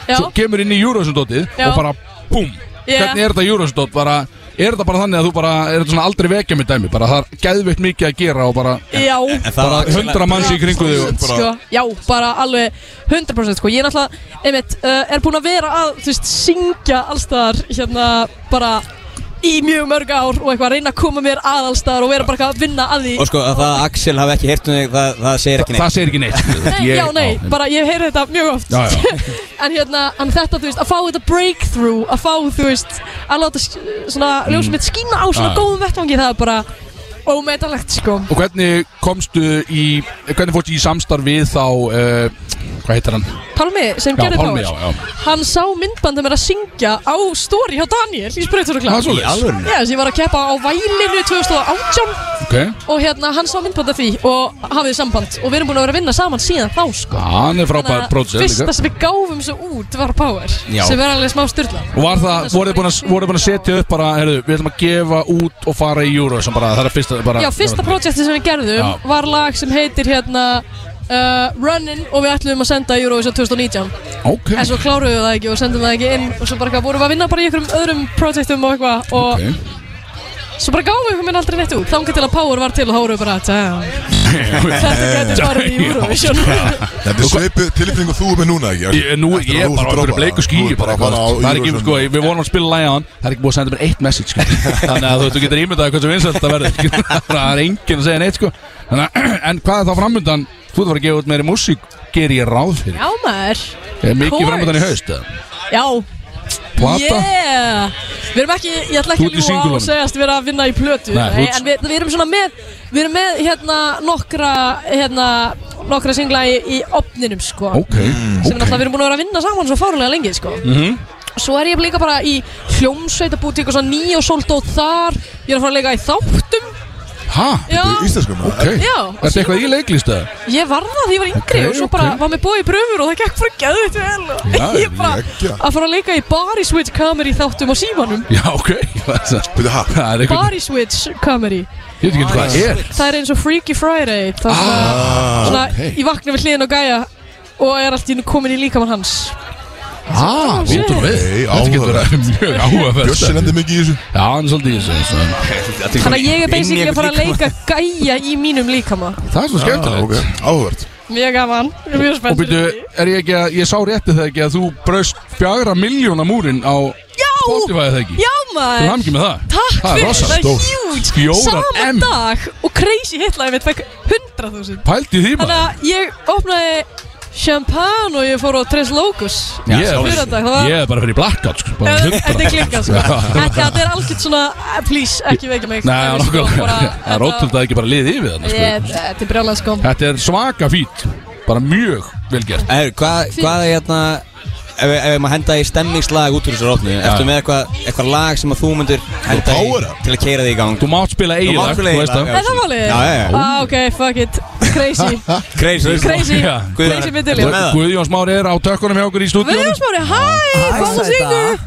[SPEAKER 2] skil Svo kemur inn í Júrasundótið
[SPEAKER 12] Já.
[SPEAKER 2] og bara, búm,
[SPEAKER 12] Já.
[SPEAKER 2] hvernig er þetta Júrasundótt, bara, er þetta bara þannig að þú bara, er þetta svona aldrei vekja með dæmi, bara það er geðveikt mikið að gera og bara,
[SPEAKER 12] Já
[SPEAKER 2] bara hundra manns í kringu þig og
[SPEAKER 12] sko, Já, bara alveg 100% sko Ég er náttúrulega, einmitt, uh, er búin að vera að Þú veist, syngja allstaðar Hérna, bara í mjög mörg ár Og eitthvað, reyna að koma mér að allstaðar Og vera bara eitthvað að vinna að því
[SPEAKER 3] Og sko, að það að Axel hafi ekki heyrt um þig, það, það segir ekki neitt
[SPEAKER 2] Það segir ekki neitt sko.
[SPEAKER 12] Nei, já, nei, bara ég heyri þetta mjög oft
[SPEAKER 3] Já,
[SPEAKER 12] En hérna, en þetta, þú veist, að fá þetta breakthrough Að fá, þú veist, að láta sk- svona ljósum mitt skína á svona
[SPEAKER 2] Já.
[SPEAKER 12] góðum vettvangi Það er bara ómetanlegt, sko
[SPEAKER 2] Og hvernig komstu í, hvernig fórstu í samstarf við þá, uh, hvað heitir hann?
[SPEAKER 12] Pálmi, sem
[SPEAKER 2] Já,
[SPEAKER 12] gerði
[SPEAKER 2] Pálmi, já,
[SPEAKER 12] Power,
[SPEAKER 2] já.
[SPEAKER 12] Hann sá myndbandum er að syngja á story hjá Daniel í sprauturugla
[SPEAKER 2] Það er svoleiðis. Í alvörunni?
[SPEAKER 12] Já, þess ég var að keppa á Vælinu 2018
[SPEAKER 2] Ok.
[SPEAKER 12] Og hérna, hann sá myndband af því og hafið samband Og við erum búin að vera að vinna saman síðan þá sko
[SPEAKER 2] Hann er frábær pródusent líka.
[SPEAKER 12] fyrsta sem við gáfum svo út var Power
[SPEAKER 2] Já.
[SPEAKER 12] Sem er alveg smá styrla
[SPEAKER 2] Og var það, voruð þið búin að, voruð þið búin að setja upp bara, heyrðu, við ætlum að gefa út og fara í Euro sem bara, það er fyrsta, bara
[SPEAKER 12] Já, fyrsta projekti sem við gerðum
[SPEAKER 2] Já.
[SPEAKER 12] var lag sem heitir hérna uh, Runnin og við ætlum að senda í Eurovision 2019
[SPEAKER 2] Ok.
[SPEAKER 12] En svo kláruðum við það ekki og sendum það ekki inn og svo bara eitthvað, vorum við að vinna bara í einhverjum öðrum projektum og eitthvað og svo bara gáum við einhverjum minn aldrei neitt út þangað til að Power var til og þá vorum við bara "Damn." Þetta gæti farið í Eurovision
[SPEAKER 1] Þetta er sveipu tilfinningu þú er með núna ekki
[SPEAKER 2] Ég, nú,
[SPEAKER 1] Eftir að þú ert
[SPEAKER 2] ég er bara
[SPEAKER 1] að
[SPEAKER 2] okkur
[SPEAKER 1] droppa
[SPEAKER 2] bleiku
[SPEAKER 1] það.
[SPEAKER 2] skí
[SPEAKER 1] Þú ert bara að fara á
[SPEAKER 2] Það er ekki,
[SPEAKER 1] Eurovision.
[SPEAKER 2] sko, við vorum að spila lægja á hann Það er ekki búið að senda mér eitt message, sko Þannig að þú veit, þú getur ímyndað hversu vinsælt það verður sko. Það er enginn að segja neitt, sko Þannig, að- En hvað er það framöndan? Þú ert að fara að gefa út meiri músík, ger ég ráð fyrir
[SPEAKER 12] Já maður
[SPEAKER 2] Er mikið
[SPEAKER 12] Course.
[SPEAKER 2] framöndan í haust, eða?
[SPEAKER 12] Já
[SPEAKER 2] Plata?
[SPEAKER 12] Yeah Við erum ekki, ég ætla ekki
[SPEAKER 2] Þú ert í
[SPEAKER 12] að ljúa
[SPEAKER 2] singulunum.
[SPEAKER 12] og segjast við erum að vinna í plötu
[SPEAKER 2] Nei, þú ert-
[SPEAKER 12] En við, við erum svona með, við erum með hérna nokkra, hérna nokkra singla í, í opninum sko
[SPEAKER 2] Ok,
[SPEAKER 12] Sem
[SPEAKER 2] ok.
[SPEAKER 12] okay. náttúrulega við erum búin að vera að vinna saman svo fárlega lengi sko
[SPEAKER 2] Mhm.
[SPEAKER 12] Svo er ég líka bara í hljómsveitabútík og svona nýja og soldóð þar Ég er að fara að leika í þáttum
[SPEAKER 2] Hæ?
[SPEAKER 12] Já.
[SPEAKER 1] Íslensku maður?
[SPEAKER 2] Ok.
[SPEAKER 12] Já.
[SPEAKER 2] Er þetta eitthvað í leiklista?
[SPEAKER 12] Ég var það þegar ég var yngri
[SPEAKER 2] Ok,
[SPEAKER 12] og svo
[SPEAKER 2] ok.
[SPEAKER 12] bara var með bóið í pröfur og það gekk bara geðvitt vel
[SPEAKER 2] Já,
[SPEAKER 12] og ég bara
[SPEAKER 2] geggjað.
[SPEAKER 12] að fara að leika í body switch kameri þáttum á símanum
[SPEAKER 2] Já, ok. Byrðu hæ? Það er eitthvað,
[SPEAKER 12] body switch kameri
[SPEAKER 2] ég veit ekki hvað það er.
[SPEAKER 12] það er eins og Freaky Friday það er svona,
[SPEAKER 2] Ah,
[SPEAKER 12] svona
[SPEAKER 2] ok.
[SPEAKER 12] ég vakna við hliðin á gæja og er allt í nú komin í líkamann hans
[SPEAKER 2] Ah,
[SPEAKER 12] Oh,
[SPEAKER 2] býtum
[SPEAKER 12] shit.
[SPEAKER 2] við.
[SPEAKER 1] Nei,
[SPEAKER 2] Þetta getur
[SPEAKER 1] áhugavert.
[SPEAKER 2] verið mjög áhugavert.
[SPEAKER 1] Bjössi lendir
[SPEAKER 2] mikið í þessu. Já, hann er svolítið í þessu. svo-
[SPEAKER 12] þannig að ég er basically að fara að leika gæja í mínum líkama
[SPEAKER 2] Það er svo skemmtilegt.
[SPEAKER 1] ok. Áhugavert.
[SPEAKER 12] mjög gaman, ég er mjög
[SPEAKER 2] Og
[SPEAKER 12] spennt
[SPEAKER 2] byrju, er ég ekki að, ég sá rétti það ekki að þú braust fjagra miljóna múrin á Spotify það ekki?
[SPEAKER 12] já
[SPEAKER 2] Þú er
[SPEAKER 12] maður
[SPEAKER 2] hamngjum með það?
[SPEAKER 12] Takk
[SPEAKER 2] það
[SPEAKER 12] fyrir, það er huge
[SPEAKER 2] Fjóra
[SPEAKER 12] Sama
[SPEAKER 2] M.
[SPEAKER 12] dag og crazy hitlaði mitt fekk 100.000
[SPEAKER 2] Pældi því
[SPEAKER 12] Þannig
[SPEAKER 2] maður.
[SPEAKER 12] að ég opnaði champagne og ég fór á Tres Locos
[SPEAKER 2] Ég er
[SPEAKER 12] Fyrir dag, það var
[SPEAKER 2] ég er bara fyrir blackout, sko. bara
[SPEAKER 12] Eh,
[SPEAKER 2] 100%.
[SPEAKER 12] Þetta er klikkað sko Þetta þetta er algjört svona eh, Please, ekki vekja mig
[SPEAKER 2] Nei,
[SPEAKER 12] Ég
[SPEAKER 2] já,
[SPEAKER 12] veist,
[SPEAKER 2] nokkuð.
[SPEAKER 12] sko, bara-
[SPEAKER 2] Það er ótrúld að það ekki bara liði yfir þarna, sko.
[SPEAKER 12] Ég- Þetta er brjálega sko
[SPEAKER 2] Þetta er svaka fít. Bara mjög vel gert.
[SPEAKER 3] Er, hvað, hvað er hérna Ef, ef maður henda í stemningslag út úr þessu rótni Ertu með eitthvað eitthva lag sem að þú myndir henda í Til að keira þig í gang
[SPEAKER 2] Þú mátt spila
[SPEAKER 3] Þú
[SPEAKER 2] eigið
[SPEAKER 3] mátt
[SPEAKER 2] lag,
[SPEAKER 3] spila
[SPEAKER 2] þú
[SPEAKER 3] eigið
[SPEAKER 2] veist
[SPEAKER 3] lag,
[SPEAKER 2] það.
[SPEAKER 12] Er það málið?
[SPEAKER 3] Já, já, já.
[SPEAKER 12] Ah, ok, fuck it Crazy
[SPEAKER 3] Crazy
[SPEAKER 12] Crazy
[SPEAKER 2] Já.
[SPEAKER 12] Crazy myndili
[SPEAKER 2] Guðjón Smári er á tökkunum hjá okkur í stúdíu
[SPEAKER 12] Guðjón Smári, hæ Hvað það syngur?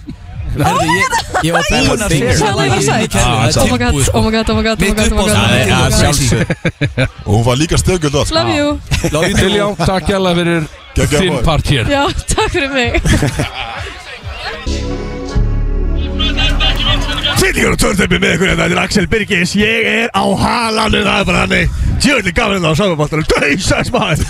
[SPEAKER 13] Ég var búinn að segja
[SPEAKER 12] Sæl að ég var sætt
[SPEAKER 2] Ah.
[SPEAKER 12] Oh my god, oh my god, oh my god, oh my god, oh my god
[SPEAKER 1] Það er
[SPEAKER 12] oh my god.
[SPEAKER 1] sjálfsög Og hún var líka stöðgjöld að
[SPEAKER 12] Love you
[SPEAKER 2] Tiljá, takk hjá fyrir
[SPEAKER 1] Geggjað
[SPEAKER 2] þinn
[SPEAKER 1] boy.
[SPEAKER 2] part hér
[SPEAKER 12] Já, takk fyrir mig
[SPEAKER 8] Fylgjur og törntömpi með ykkur hérna, þetta er Axel Birgis Ég er á halanu, það er bara hannig Tjóðinni gafin hérna á samarbáttanum Dauðsæs maður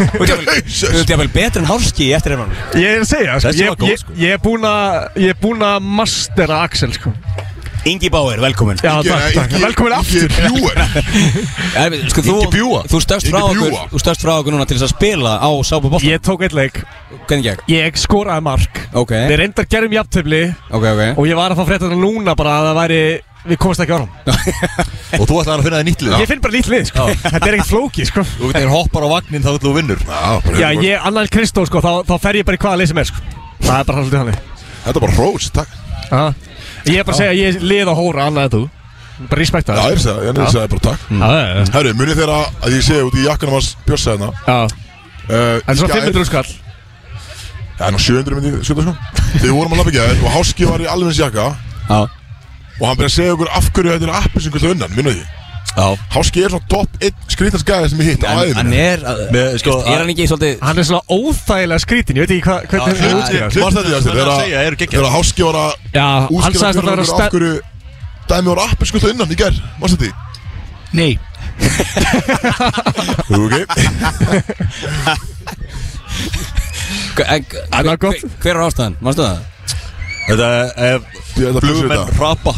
[SPEAKER 3] Þú ert jafnvel betur en hálski í eftir efnum
[SPEAKER 8] Ég er að segja, sko,
[SPEAKER 3] Þessi var
[SPEAKER 8] ég,
[SPEAKER 3] góð,
[SPEAKER 8] ég, ég er búinn að Ég er búinn að mastera Axel, sko
[SPEAKER 3] Ingi Báir, velkomin
[SPEAKER 8] Já, takk, takk, velkomin aftur
[SPEAKER 3] Sko, þú,
[SPEAKER 8] Ingi Bjúga.
[SPEAKER 3] þú stöfst frá
[SPEAKER 8] Ingi
[SPEAKER 3] okkur
[SPEAKER 8] Bjúga.
[SPEAKER 3] Þú stöfst frá okkur núna til þess að spila á Sápa Bóttan
[SPEAKER 8] Ég tók eitt leik
[SPEAKER 3] Hvernig gegn?
[SPEAKER 8] Ég skoraði mark
[SPEAKER 3] Ok,
[SPEAKER 8] Við reyndar gerum jafntöfli
[SPEAKER 3] ok, ok
[SPEAKER 8] Og ég var að fá fréttina núna bara að það væri Við komast ekki áram
[SPEAKER 4] Og þú ætlar að finna það nýtt lið
[SPEAKER 8] Ég finn bara lítið lið, sko
[SPEAKER 4] Já.
[SPEAKER 8] Þetta er ekkert flóki, sko
[SPEAKER 4] Þú veitir hoppar á vagnin þá ætlum þú vinnur
[SPEAKER 8] Já,
[SPEAKER 1] hérna
[SPEAKER 8] ég, annar Kristó, sko, þá, þá fer ég bara í hvaða leið sem er, sko Það er bara svolítið hannig
[SPEAKER 1] Þetta er bara hrós, takk
[SPEAKER 8] Já. Ég er bara að segja að ég er lið á hóra annað en þú Bara respekta
[SPEAKER 1] Já, ég er að segja, ég er að segja bara
[SPEAKER 8] Já, já, já.
[SPEAKER 1] takk Herru, munið þeirra að ég sé út í jakkanum hans Bjössa hérna Eh, Já
[SPEAKER 8] En svo 500 skall
[SPEAKER 1] Það er nú 700 myndi, 700 skall Þegar við vorum að lappa ekki aðeins og Háski var í alveg eins jakka
[SPEAKER 3] Já
[SPEAKER 1] Og hann byrjaði að segja okkur af hverju þetta er appi sem kvöldu unnan, munið því
[SPEAKER 3] Já
[SPEAKER 1] Háski er svona topp 1 skrítast gæði sem ég hitt á
[SPEAKER 3] En-
[SPEAKER 1] æðinu
[SPEAKER 3] hann er að-
[SPEAKER 1] Með, sko,
[SPEAKER 3] Er hann ekki svolítið
[SPEAKER 8] Hann er svona óþægilega skrítin, ég veit ekki hvað, hvernig það
[SPEAKER 1] Já, já,
[SPEAKER 8] er
[SPEAKER 1] klippt þetta í þessu, þegar að- Þegar Háski var að
[SPEAKER 8] Já, hann
[SPEAKER 1] útskýra
[SPEAKER 8] sagðist að það
[SPEAKER 1] fyrir
[SPEAKER 8] var
[SPEAKER 1] okkur af hverju Dæmi var appi skutu innan í gær, varst þetta því?
[SPEAKER 2] Nei
[SPEAKER 3] Hver, hver, hver er ástæðan? Manstu það?
[SPEAKER 4] Þetta er ef
[SPEAKER 1] Þetta flugir
[SPEAKER 4] flugmenn
[SPEAKER 1] þetta.
[SPEAKER 4] rapa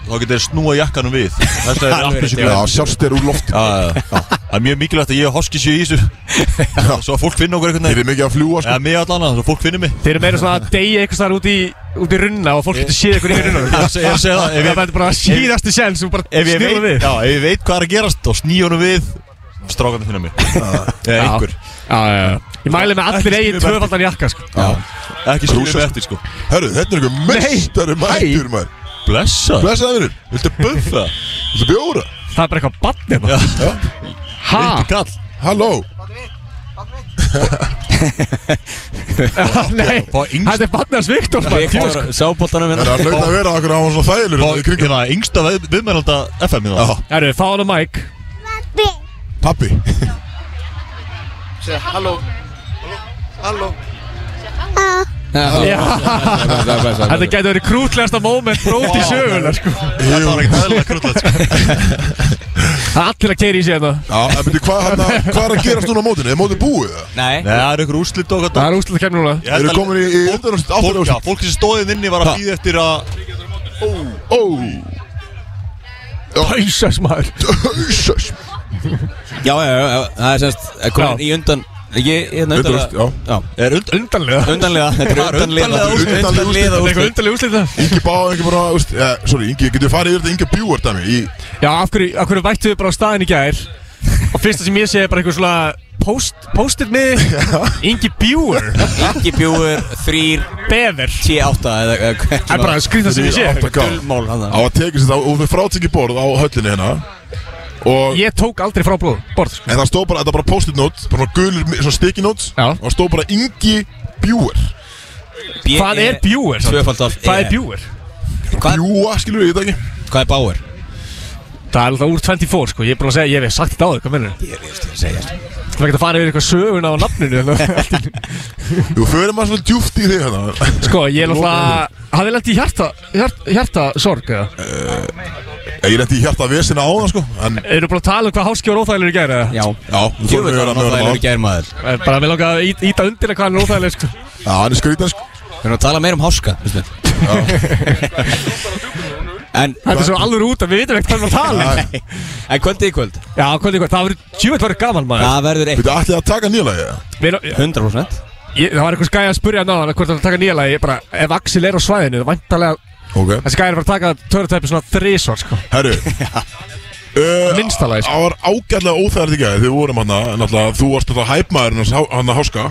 [SPEAKER 4] Þá getur þeir snúa jakkanum við Þess vegna er
[SPEAKER 1] Alveg
[SPEAKER 4] appið
[SPEAKER 1] rétt, já, sjást þér úr loft
[SPEAKER 4] Það er mjög mikilvægt að ég og Hoski séu í þessu Svo að fólk finna okkur einhvern veginn
[SPEAKER 1] Þeir eru mikið að fljúa
[SPEAKER 4] sko Já, mig allan að, svo fólk finnir mig
[SPEAKER 8] Þeir eru meira svona að deyja einhvers þar út í, út í runna og fólk getur séð ykkur í runna
[SPEAKER 4] Ég seg- ég segi það, ef ég-
[SPEAKER 8] Það er bara síðasti sjens og bara
[SPEAKER 4] Ef ég
[SPEAKER 8] snurra
[SPEAKER 4] veit,
[SPEAKER 8] við
[SPEAKER 4] já, ef ég veit hvað er að gerast Þá sný honum við Strákan finna mig Eða einhver
[SPEAKER 8] Ég mæli með allir eigin tvöfaldan jakka sko
[SPEAKER 4] Já Ekki
[SPEAKER 1] Rúsa,
[SPEAKER 4] skrúsa
[SPEAKER 1] sko.
[SPEAKER 4] eftir sko
[SPEAKER 1] Herru, þetta er einhver mestari mættur maður
[SPEAKER 4] Blessa
[SPEAKER 1] Blessaði vinnur, viltu buffa? Viltu bjóra?
[SPEAKER 8] Það er bara eitthvað bann
[SPEAKER 1] hérna
[SPEAKER 8] Ha?
[SPEAKER 4] kall
[SPEAKER 1] Halló
[SPEAKER 8] Nei, þetta er bann hans Viktor
[SPEAKER 3] Sábóltanum
[SPEAKER 1] Það er hlaut að vera okkur á svona þægilegur hérna í kringum.
[SPEAKER 4] Hérna, yngsta við- viðmælanda FM í það
[SPEAKER 8] Erðu, fáðu mæk
[SPEAKER 1] Pappi
[SPEAKER 14] Segð halló Halló
[SPEAKER 8] Já. Þetta
[SPEAKER 3] Þetta
[SPEAKER 8] getur verið krútlegasta moment brót í söguna sko
[SPEAKER 1] Þetta var ekkert
[SPEAKER 4] eðlilega krútlegt sko.
[SPEAKER 8] Það er allir að keira í sig þetta
[SPEAKER 1] Já, en byrju, hvað hérna- hvað er að gerast núna á mótinu? Er mótið búið? eða?
[SPEAKER 3] Nei
[SPEAKER 4] Nei, það eru ykkur úrslit og
[SPEAKER 8] Það er úslega kemur núna
[SPEAKER 4] Ég held
[SPEAKER 1] Eru
[SPEAKER 4] að-
[SPEAKER 1] komin í undanúrslit aftur
[SPEAKER 4] Fólk, já, fólk sem stóðið inni var að býða eftir að
[SPEAKER 1] Ó
[SPEAKER 8] Ísas maður
[SPEAKER 1] Ísas
[SPEAKER 3] Já, já, já, já, það er semst komin í undan Ég, hérna,
[SPEAKER 1] Undan- já.
[SPEAKER 3] Er
[SPEAKER 1] undanlega?
[SPEAKER 3] Undanlega, þetta er undanlega úrslit. Undanlega úrslit.
[SPEAKER 1] undanlega úrslit það Ingi bá, Ingi bara, úst, ja, sorry, Ingi, getur við farið yfir þetta Ingi bjúar dæmi í
[SPEAKER 8] Já, af hverju, af hverju vættu við bara á staðin í gær Og fyrsta sem ég sé er bara einhver svona post, Post-it miði Ingi Bjúur
[SPEAKER 3] Ingi Bjúur, þrýr
[SPEAKER 8] Bever
[SPEAKER 3] T8 eða Það
[SPEAKER 8] er bara að skrýta sem ég sé
[SPEAKER 1] Dulmál hann það Á að tekið sér það og við frátekið borð á höllinni hérna Og
[SPEAKER 8] Ég tók aldrei frá blóð, borð sko.
[SPEAKER 1] En það stóð bara, þetta var bara post-it note Bara svona gulur, svona sticky notes Já Og það stóð bara Ingi Bjúar
[SPEAKER 3] E
[SPEAKER 8] Hvað er Bjúur? Hvað er Bjúur?
[SPEAKER 1] Bjúa, skilur við, ég veit það ekki
[SPEAKER 3] Hvað er Báur?
[SPEAKER 8] Það er alltaf úr 24 sko, ég er búin að segja, ég hef sagt þetta á þig, hvað mennur Ég er
[SPEAKER 3] veist ég að segja
[SPEAKER 8] Það er ekki að fara yfir eitthvað söguna á nafninu hérna.
[SPEAKER 1] Þú fyrir maður svona djúft í þig hérna
[SPEAKER 8] Sko, ég er alltaf, hafði lent í hjarta, hjart, hjarta sorg eða?
[SPEAKER 1] Eh, Ég lendi í hjarta vesina á það sko En
[SPEAKER 8] Eru búin að tala um hvað háski var óþægilegur í gær eða? Eh,
[SPEAKER 3] Já
[SPEAKER 1] Já, við fórum yfir hann
[SPEAKER 3] óþægilegur í gær maður
[SPEAKER 8] Bara mér langaði að ít- íta undir hvað hann er óþægileg sko
[SPEAKER 1] Já, hann er skrítan sko
[SPEAKER 3] Við erum að tala meira um háska veistu. En
[SPEAKER 8] Þetta er svo alveg út að við vitum ekkert hvað við erum að tala um.
[SPEAKER 3] En kvöldi í kvöld
[SPEAKER 8] Já, kvöldi í kvöld, það verður tjúvöld verður gaman maður
[SPEAKER 3] Það verður eitt
[SPEAKER 1] Þú ætlið að taka nýja lagi eða?
[SPEAKER 8] Við erum-
[SPEAKER 3] 100%
[SPEAKER 8] Ég, það var einhvers gæði að spurja hann á hann hvort hann er að taka nýja lagi bara ef Axel er á svæðinu það vantarlega
[SPEAKER 1] okay.
[SPEAKER 8] þessi gæði er bara að taka törutæpi svona þrísvar sko
[SPEAKER 1] Herru
[SPEAKER 8] Minnstalega
[SPEAKER 1] Eh, Það var ágætlega óþægilegt í gæði Þið vorum hann Náttúrulega þú varst náttúrulega hæpmaður Hann að hérna háska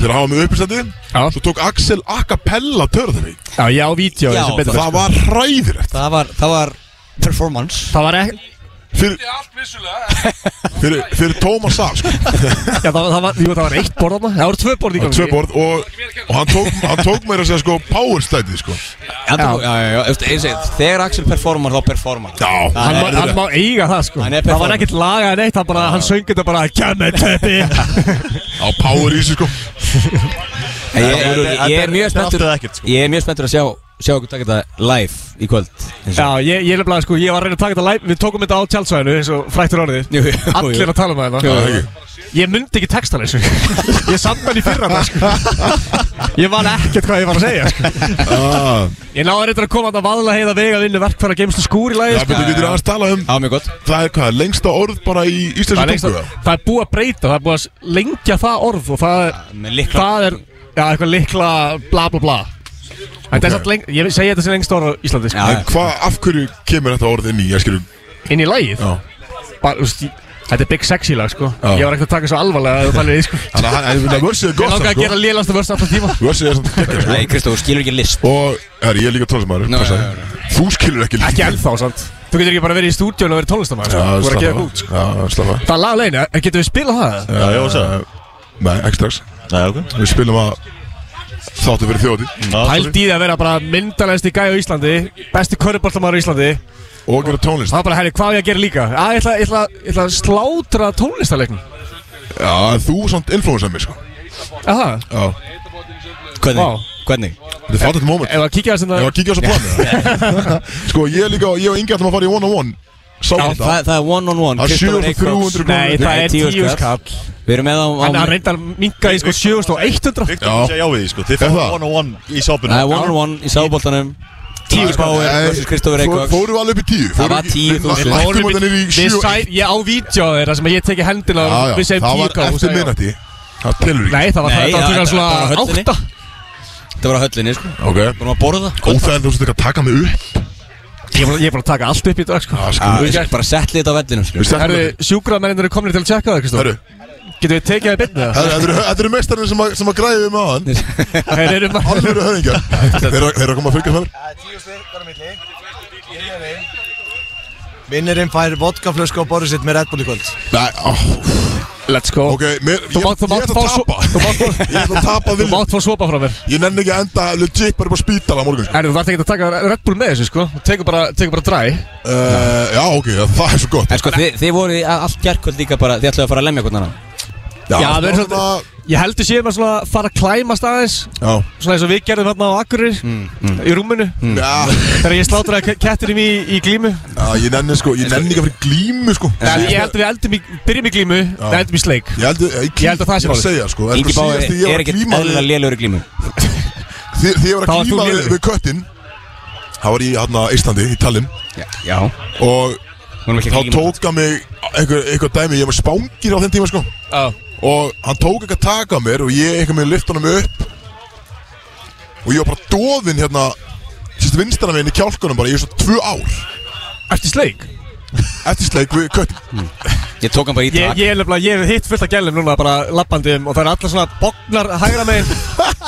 [SPEAKER 1] Þegar hafa mig uppistandi
[SPEAKER 8] Já
[SPEAKER 1] Svo tók Axel a cappella törðinni
[SPEAKER 8] Já, já, vídeo
[SPEAKER 1] Já, það var hræðilegt
[SPEAKER 3] sko. Það var, það var performance
[SPEAKER 8] Það var ekki
[SPEAKER 1] Fyrir Fyrir, fyrir Tómas Sar sko.
[SPEAKER 8] Já, það, það, var, jú, það var eitt borð þarna, það voru tvö borð í
[SPEAKER 1] Það
[SPEAKER 8] gangi
[SPEAKER 1] var Tvö borð Og, og hann, tók, hann tók meira að segja sko Power slætið sko
[SPEAKER 3] Já, já, já, já, veistu, eins og eitt, Þegar Axel performar þá performar
[SPEAKER 1] Já,
[SPEAKER 8] Hann, má- hann má eiga það sko
[SPEAKER 3] Hann
[SPEAKER 8] Það
[SPEAKER 3] er
[SPEAKER 8] var
[SPEAKER 3] performance.
[SPEAKER 8] ekkert lagað neitt, hann, bara, hann söng þetta bara Kjæmið teppi
[SPEAKER 1] Á power í sig sko
[SPEAKER 3] Ég, ég, ég er mjög spenntur
[SPEAKER 4] ekkert, sko.
[SPEAKER 3] Ég er mjög spenntur að sjá Sjá okkur taka þetta live í kvöld eins og-
[SPEAKER 8] Já, ég, ég lefnilega sko, ég var að reyna að taka þetta live Við tókum þetta á tjálsvæðinu, eins og frættur orðið
[SPEAKER 3] Jú, jú, jú.
[SPEAKER 8] Allir að tala um
[SPEAKER 3] Jú,
[SPEAKER 8] það
[SPEAKER 3] jú.
[SPEAKER 8] Ég myndi ekki textan eins Ég samt hann í fyrra dag, sko. Ég man ekkert hvað ég var að segja sko.
[SPEAKER 1] Ah.
[SPEAKER 8] Ég náði reyndar að koma að vaðla heiða vega vinnu verkfæra geimstu skúr í sko. lagi
[SPEAKER 1] Já, betur getur aðeins tala um
[SPEAKER 3] Já, mjög gott
[SPEAKER 1] Það er hvað, lengsta orð bara í
[SPEAKER 8] það, er
[SPEAKER 1] íslensku
[SPEAKER 8] lengst
[SPEAKER 1] tungu
[SPEAKER 8] að- það er búið að breyta, það er búið að s- lengja það orð og það er, það er já, eitthvað likla bla bla bla Þetta er satt leng, ég segi þetta sem lengst orð á Íslandi sko.
[SPEAKER 1] En hvað, af hverju kemur þetta orð inn í, ég skilur
[SPEAKER 8] Inn í lagið
[SPEAKER 1] Já.
[SPEAKER 8] Bara, þú veist, ég- Þetta er big sexy lag sko
[SPEAKER 1] Já.
[SPEAKER 8] Ég var ekkert að taka svo alvarlega að það fælir í sko
[SPEAKER 1] Þannig að hann- en vörsið er
[SPEAKER 8] Ég
[SPEAKER 1] gott sko.
[SPEAKER 8] langaði að gera lélasta vörst alltaf tíma
[SPEAKER 1] Vörsið er samt geggjað, sko.
[SPEAKER 3] Nei, Kristó, þú skilur ekki list
[SPEAKER 1] Og, herri, ég er líka tónlistamæður
[SPEAKER 3] Nú, já, já,
[SPEAKER 1] Þú skilur ekki list
[SPEAKER 8] Ekki ennþá, sant Þú getur ekki bara verið í stúdíun og verið tónlistamæður
[SPEAKER 1] Já,
[SPEAKER 8] Þú voru að
[SPEAKER 1] slappa
[SPEAKER 8] gefa
[SPEAKER 1] af.
[SPEAKER 8] út sko.
[SPEAKER 1] Já, slappa af.
[SPEAKER 8] Það er lag leina, getur við spilað það? Eh,
[SPEAKER 1] Já, já, það Nei, ekki strax
[SPEAKER 4] Nei, ok
[SPEAKER 1] Við spilum að Þáttu fyrir þjóti
[SPEAKER 8] Pælt í því að vera bara myndalegst í gæði á Íslandi Besti köruboltamæður á Íslandi
[SPEAKER 1] Og gera tónlist
[SPEAKER 8] Það er bara, herri, hvað á ég að gera líka? Að, ég ætla, ég ætla, ég ætla að slátra tónlistarleiknum
[SPEAKER 1] Já, en þú er samt influensað mér, sko
[SPEAKER 8] Aha,
[SPEAKER 1] Já
[SPEAKER 3] Hvernig?
[SPEAKER 8] Vá.
[SPEAKER 3] Hvernig?
[SPEAKER 1] Þetta er fattigt moment
[SPEAKER 8] ef að kíkja þess að
[SPEAKER 1] Ég var að kíkja á þessu planu Sko, ég er líka Ég og Ingi ætlum að fara í one on one
[SPEAKER 3] Já,
[SPEAKER 1] Sákvæmt
[SPEAKER 3] það, það er one on one
[SPEAKER 1] Það er
[SPEAKER 3] Kristofur
[SPEAKER 1] 7.300
[SPEAKER 3] Eikroks.
[SPEAKER 1] krónur. Nei,
[SPEAKER 8] það er 10
[SPEAKER 3] skall Við erum með á, á
[SPEAKER 8] Hann er reyndar minga í sko 7100
[SPEAKER 4] Viktor
[SPEAKER 1] Já.
[SPEAKER 4] segja já við því sko Þið
[SPEAKER 1] Er
[SPEAKER 4] fáum
[SPEAKER 1] það?
[SPEAKER 4] one on one í sápunum
[SPEAKER 3] Það er one on one í sáboltanum Tíu spáir versus Kristofur Eikvöks
[SPEAKER 1] Fóru alveg upp í tíu
[SPEAKER 3] Það var 10.000.
[SPEAKER 1] Við lækkum þetta niður í
[SPEAKER 8] Við
[SPEAKER 1] sjö og eitt.
[SPEAKER 8] sæ- Ég á vídeo á þeirra sem ég teki hendina
[SPEAKER 1] Já, já,
[SPEAKER 8] Við segjum
[SPEAKER 1] það
[SPEAKER 8] 10
[SPEAKER 1] var eftir minnati Það telur ekki
[SPEAKER 8] Nei, það var
[SPEAKER 3] Nei,
[SPEAKER 8] þetta
[SPEAKER 3] það-
[SPEAKER 8] var
[SPEAKER 3] það var
[SPEAKER 8] svona
[SPEAKER 3] höllinni.
[SPEAKER 8] 8
[SPEAKER 3] Það var á höllinni sko
[SPEAKER 1] Ok
[SPEAKER 3] Við erum að borða
[SPEAKER 1] Óþægilegt þú veist ekki að taka mig upp
[SPEAKER 8] Ég er búin- ég er búin að taka allt upp í dag sko
[SPEAKER 1] Já,
[SPEAKER 3] Ah,
[SPEAKER 1] sko
[SPEAKER 3] Við erum bara sett lið á vellinu sko
[SPEAKER 1] Við settum
[SPEAKER 8] Herru,
[SPEAKER 1] þetta.
[SPEAKER 8] sjúkraðmennir eru komnir til að tjekka það, Kristóf
[SPEAKER 1] Herru,
[SPEAKER 8] Getum við tekið það í byrnu það?
[SPEAKER 1] herru, þetta eru- þetta eru mestarinn sem að- um sem að græði við maðan
[SPEAKER 8] Þeir eru bara
[SPEAKER 1] Alvöru höfðingjar Þeir eru þeir eru að koma að fylgjast með mér
[SPEAKER 15] Vinnirinn fær vodkaflösku á borðið sitt með Red Bull í kvöld
[SPEAKER 1] Nei, á,
[SPEAKER 8] Let's go
[SPEAKER 1] ok, mér, ég,
[SPEAKER 8] Þú mátt- þú
[SPEAKER 1] ég
[SPEAKER 8] mátt
[SPEAKER 1] ætla
[SPEAKER 8] fá
[SPEAKER 1] að
[SPEAKER 8] svo-
[SPEAKER 1] tapa
[SPEAKER 8] þú mátt fá-
[SPEAKER 1] Ég ætla að tapa
[SPEAKER 8] Þú
[SPEAKER 1] vill
[SPEAKER 8] mátt fá svopa frá mér
[SPEAKER 1] Ég nenni ekki að enda legit bara upp á spítala á morgun sko.
[SPEAKER 8] Herru, þú þarf ekki að taka Red Bull með þessu sko Þú Tekur bara, tekur bara dræ
[SPEAKER 1] uh, Já, ok, já, það er svo gott
[SPEAKER 3] En sko þið, þið voru í allt gerkvöld líka bara Þið ætlaðu að fara að lemja hvernig annan
[SPEAKER 8] Já, það er
[SPEAKER 1] svona
[SPEAKER 8] svolítið- Ég heldur séum að svona fara að klæmast aðeins
[SPEAKER 1] Já, Mm,
[SPEAKER 8] Svona eins og við gerðum hérna á Akureyri Í rúminu
[SPEAKER 1] já,
[SPEAKER 8] Þegar ég slátraði kettinum í, í glímu
[SPEAKER 1] já, ég nenni sko Ég nenni ekki að fyrir glímu sko
[SPEAKER 8] En ég heldur við eldum í, byrjum í glímu Það eldum í sleik
[SPEAKER 1] Ég held, ég,
[SPEAKER 8] Ég held að það sé
[SPEAKER 1] ég er
[SPEAKER 8] málið.
[SPEAKER 1] að segja sko En
[SPEAKER 3] Ingi
[SPEAKER 1] sko
[SPEAKER 3] Báir
[SPEAKER 1] síðast þegar
[SPEAKER 3] er
[SPEAKER 1] ég var að
[SPEAKER 3] ekkert
[SPEAKER 1] glíma
[SPEAKER 3] eðlilega
[SPEAKER 1] við-
[SPEAKER 3] lélugur í glímu
[SPEAKER 1] Þegar þegar ég
[SPEAKER 8] Þá
[SPEAKER 1] var að
[SPEAKER 8] varst þú
[SPEAKER 1] glíma við-
[SPEAKER 8] lélegur.
[SPEAKER 1] við köttin Það var í hérna Íslandi, í Tallinn
[SPEAKER 3] Já
[SPEAKER 1] Og
[SPEAKER 3] Hún er ekki að
[SPEAKER 1] þá
[SPEAKER 3] glíma
[SPEAKER 1] tók að mig einhver, einhver dæmi Ég var spángir á þeim tíma sko
[SPEAKER 8] Já
[SPEAKER 1] og hann tók eitthvað taka á mér og ég eitthvað með lift honum upp og ég var bara dofin hérna sérst vinstana meginn í kjálkunum bara, ég er svo tvö ár
[SPEAKER 8] Eftir sleik?
[SPEAKER 1] Eftir sleik við
[SPEAKER 3] Hmm.
[SPEAKER 1] köttum
[SPEAKER 3] Ég tók hann bara
[SPEAKER 8] Ég, ég er nefnilega, ég hef hitt fullt af gælum núna bara lappandi um og það er allar svona bognar hægra megin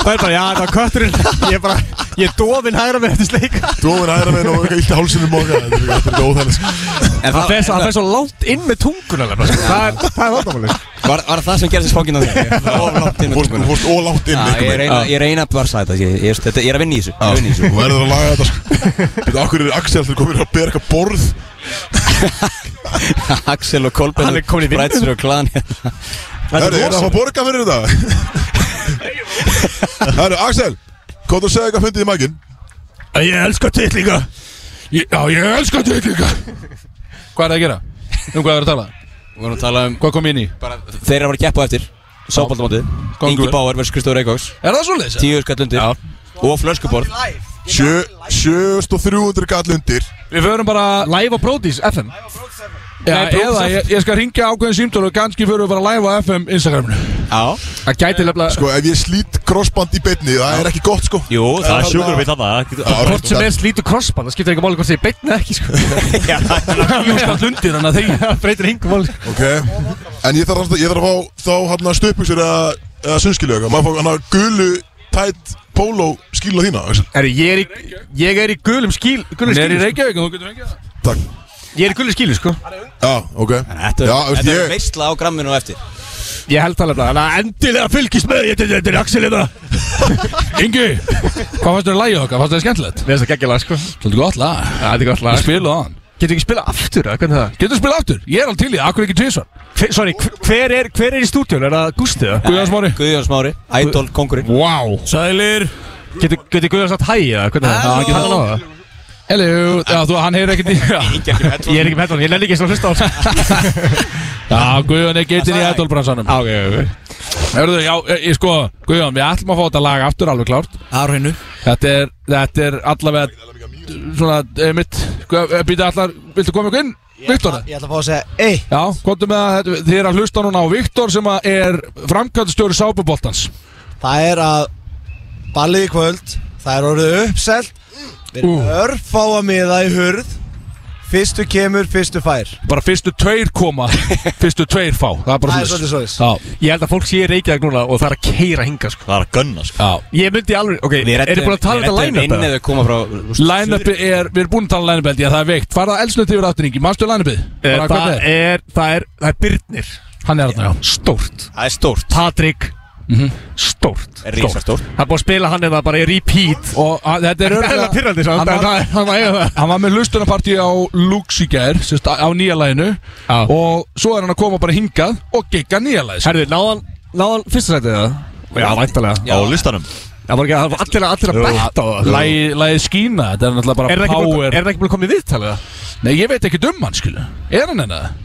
[SPEAKER 8] Það er bara, já, það var kötturinn Ég er bara, ég er dofin hægra megin eftir sleik
[SPEAKER 1] Dofin hægra megin og eitthvað illt í hálsinum og eitthvað, þetta er- þetta er óþægilegt sko.
[SPEAKER 8] En það fer svo- það fer svo langt inn með tunguna nefnilega sko. Það er- það er vandamálið
[SPEAKER 3] Var, var það sem gerðist spókin á því? Fórst
[SPEAKER 1] fórst ólátt
[SPEAKER 3] inn með tunguna. Já, Ah, Ég reyna, ég reyna að barsa þetta, ég, ég, þetta, ég er að vinna í þessu, ég er að vinna í þessu
[SPEAKER 1] Ah. Þú verður að laga þetta sko Þetta okkur er Axel þegar komir að bera eitthvað borð
[SPEAKER 3] Axel og Kolben
[SPEAKER 1] Hann er kominn í vinnu.
[SPEAKER 3] Brætsur og Klan
[SPEAKER 1] Herru, er það að fá borga fyrir þetta? Herru, Axel Hvað þú segja eitthvað fundið í mækin?
[SPEAKER 16] Ég elska titlinga
[SPEAKER 2] Já, ég elska titlinga Hvað er það að gera? Um hvað er það að tala?
[SPEAKER 3] Við vorum að tala um
[SPEAKER 2] Hvað kom inn í?
[SPEAKER 3] Bara, Þeir eru að fara að keppa á eftir Sábaldamótið
[SPEAKER 2] Gangur.
[SPEAKER 3] Ingi Báer vs. Kristóður Reykjavíks
[SPEAKER 2] Er það svoleiðis?
[SPEAKER 3] Tíu skall undir Já. Og flöskuborð
[SPEAKER 1] 7300 gall undir
[SPEAKER 2] Við förum bara Live á Brodís FM Já,
[SPEAKER 1] Nei, Brodís
[SPEAKER 2] eða ég, ég skal ringja ákveðin símtól og kannski förum við bara live á FM Instagraminu
[SPEAKER 3] Já
[SPEAKER 2] Það gæti lefla
[SPEAKER 1] Sko, ef ég slít crossband í beinni, það er ekki gott sko
[SPEAKER 3] Jú,
[SPEAKER 4] það er sjúkur við þarna það er ekki-
[SPEAKER 8] Hvort sem er slítur crossband, það skiptir ekki máli hvort það er beitna ekki sko
[SPEAKER 2] Ljóskall undir hann að þegar
[SPEAKER 8] Það breytir engum máli
[SPEAKER 1] Ok En ég þarf að, ég þarf að fá þá hann að stöpuksur eða, eða sunnskilu eitthvað Maður fá hann að gulu, tætt, póló skíla þína Axel
[SPEAKER 8] Herri, ég er í, ég er í gulum skíl gulum sko.
[SPEAKER 1] Hún er í
[SPEAKER 2] Reykjavík og þú getur ekki það
[SPEAKER 1] Takk
[SPEAKER 8] Ég er í gulum skílu sko
[SPEAKER 1] Já, Ah, ok
[SPEAKER 3] Þetta
[SPEAKER 1] Já, veist,
[SPEAKER 3] þetta er
[SPEAKER 1] ég-
[SPEAKER 3] veistla á gramminu á eftir
[SPEAKER 8] Ég held það alveg Þannig að endilega fylgis með Þetta þetta er Axel hérna. þetta
[SPEAKER 2] Ingi Hvað fannst þér að lægja okkar? Fannst þér skemmtilegt?
[SPEAKER 8] Mér finnst það geggjala sko
[SPEAKER 2] Svolítið gott lag
[SPEAKER 8] Það er gott lag
[SPEAKER 2] Ég spila á hann
[SPEAKER 8] Getur ekki spila aftur eða hvernig það?
[SPEAKER 2] Getur spila aftur? Ég er alveg til í það, akkur ekki tvisvar
[SPEAKER 8] Hver, sorry, hver- hver er, hver er í stúdíun? Er það Gústi það?
[SPEAKER 2] Guðjón Smári
[SPEAKER 3] Guðjón Smári, Ædol, kongurinn
[SPEAKER 2] Vá
[SPEAKER 8] Sælir Getur getur Guðjón sagt hæ eða hvernig það? Já,
[SPEAKER 2] Halló.
[SPEAKER 8] getur hann á það?
[SPEAKER 2] Hello Já, þú, hann heyrir ekkert í Ég
[SPEAKER 8] Ég er ekki með headphone, ég nenni ekki svona hlusta á það
[SPEAKER 2] Já, Guðjón er getinn í ædolbransanum
[SPEAKER 8] Já, ok,
[SPEAKER 2] ok Hörðu, já, ég, ég sko, Guðjón, við ætlum að fá þetta lag aftur alveg klárt
[SPEAKER 5] Árheinu
[SPEAKER 2] Þetta er, þetta er allavega Svona, eh, mitt Býta allar, viltu koma ykkur inn? Viktor
[SPEAKER 15] Ég ætla að fá að segja, ei
[SPEAKER 2] Já, komdu með það, þetta- þið er að hlusta núna á Viktor sem að er framkvæmdastjóri sápuboltans
[SPEAKER 15] Það er að ballið í kvöld Það er orðið uppselt Við erum uh. örfáa miða í hurð Fyrstu kemur, fyrstu fær
[SPEAKER 2] Bara fyrstu tveir koma, fyrstu tveir fá Það er bara
[SPEAKER 15] Það er svolítið svoleiðis.
[SPEAKER 2] Já,
[SPEAKER 8] Ég held að fólk sé í Reykjavík núna og það er að keira hinga sko
[SPEAKER 4] Það er að gunna sko
[SPEAKER 2] já
[SPEAKER 8] Ég myndi alveg, ok, er þið búin að tala um þetta line-up eða?
[SPEAKER 3] koma frá
[SPEAKER 2] Line-upi er, við erum búin að tala um line-upi held ég að það er veikt Farða elsnöti yfir afturningi, mannstu line-upi?
[SPEAKER 8] Eh, Það er, það er, það er Byrnir
[SPEAKER 2] Hann er þarna, já
[SPEAKER 8] Stórt
[SPEAKER 3] Það er stórt
[SPEAKER 8] Patrik Stórt
[SPEAKER 3] Rísastórt.
[SPEAKER 8] Það er búið að spila hann eða bara í repeat
[SPEAKER 2] Og að, þetta er
[SPEAKER 8] Það er
[SPEAKER 2] örugglega-
[SPEAKER 8] pyrrandi svo
[SPEAKER 2] Hann var-
[SPEAKER 8] Það er hann að eiga það
[SPEAKER 2] Hann var með hlustunapartí á Lux í gær sérst, á nýja læginu og svo er hann að koma bara hingað og gegga nýja lægis
[SPEAKER 8] Herðu, náðan, náðan fyrsta sætið það? Já, væntalega
[SPEAKER 4] Á listanum
[SPEAKER 8] Það var ekki, það var allir, að- allir að betta á það
[SPEAKER 2] Lægið skína, þetta er náttúrulega bara
[SPEAKER 8] Er það ekki búin-
[SPEAKER 2] power
[SPEAKER 8] er það ekki búin að koma í viðtalið?
[SPEAKER 2] Nei, ég veit ekki um hann, skilu Er hann enna það?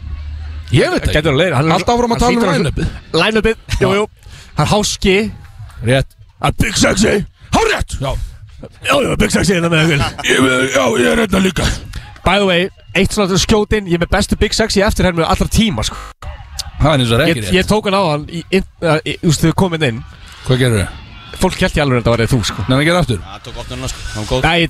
[SPEAKER 2] Ég veit ekki
[SPEAKER 8] Gætur að leira hann er-
[SPEAKER 2] Alltaf áfram að
[SPEAKER 8] hann
[SPEAKER 2] tala um
[SPEAKER 8] hlýtur að-
[SPEAKER 2] line-upið
[SPEAKER 8] Line-upið, jú, jú Það er háski
[SPEAKER 2] Rétt
[SPEAKER 8] Að Big Sexy
[SPEAKER 2] Hárétt, já
[SPEAKER 8] Já, já, Big Sexy er það með ykkur
[SPEAKER 2] Ég veit- Já, ég er hérna líka
[SPEAKER 8] By the way, eitt svona skjótin Ég er með bestu Big Sexy eftir henni allra tíma sko.
[SPEAKER 2] Það er eins og það er
[SPEAKER 8] ég,
[SPEAKER 2] ekki
[SPEAKER 8] ég
[SPEAKER 2] rétt
[SPEAKER 8] tók hann á hann í, inn- uh, í, Þú veist, þau komin inn
[SPEAKER 2] Hvað gerur þau?
[SPEAKER 8] Fólk held ég alveg að þetta var þú sko
[SPEAKER 2] Nei, hann gerir aftur
[SPEAKER 3] Það tók opnuna sko, það var góð
[SPEAKER 8] Nei, ég,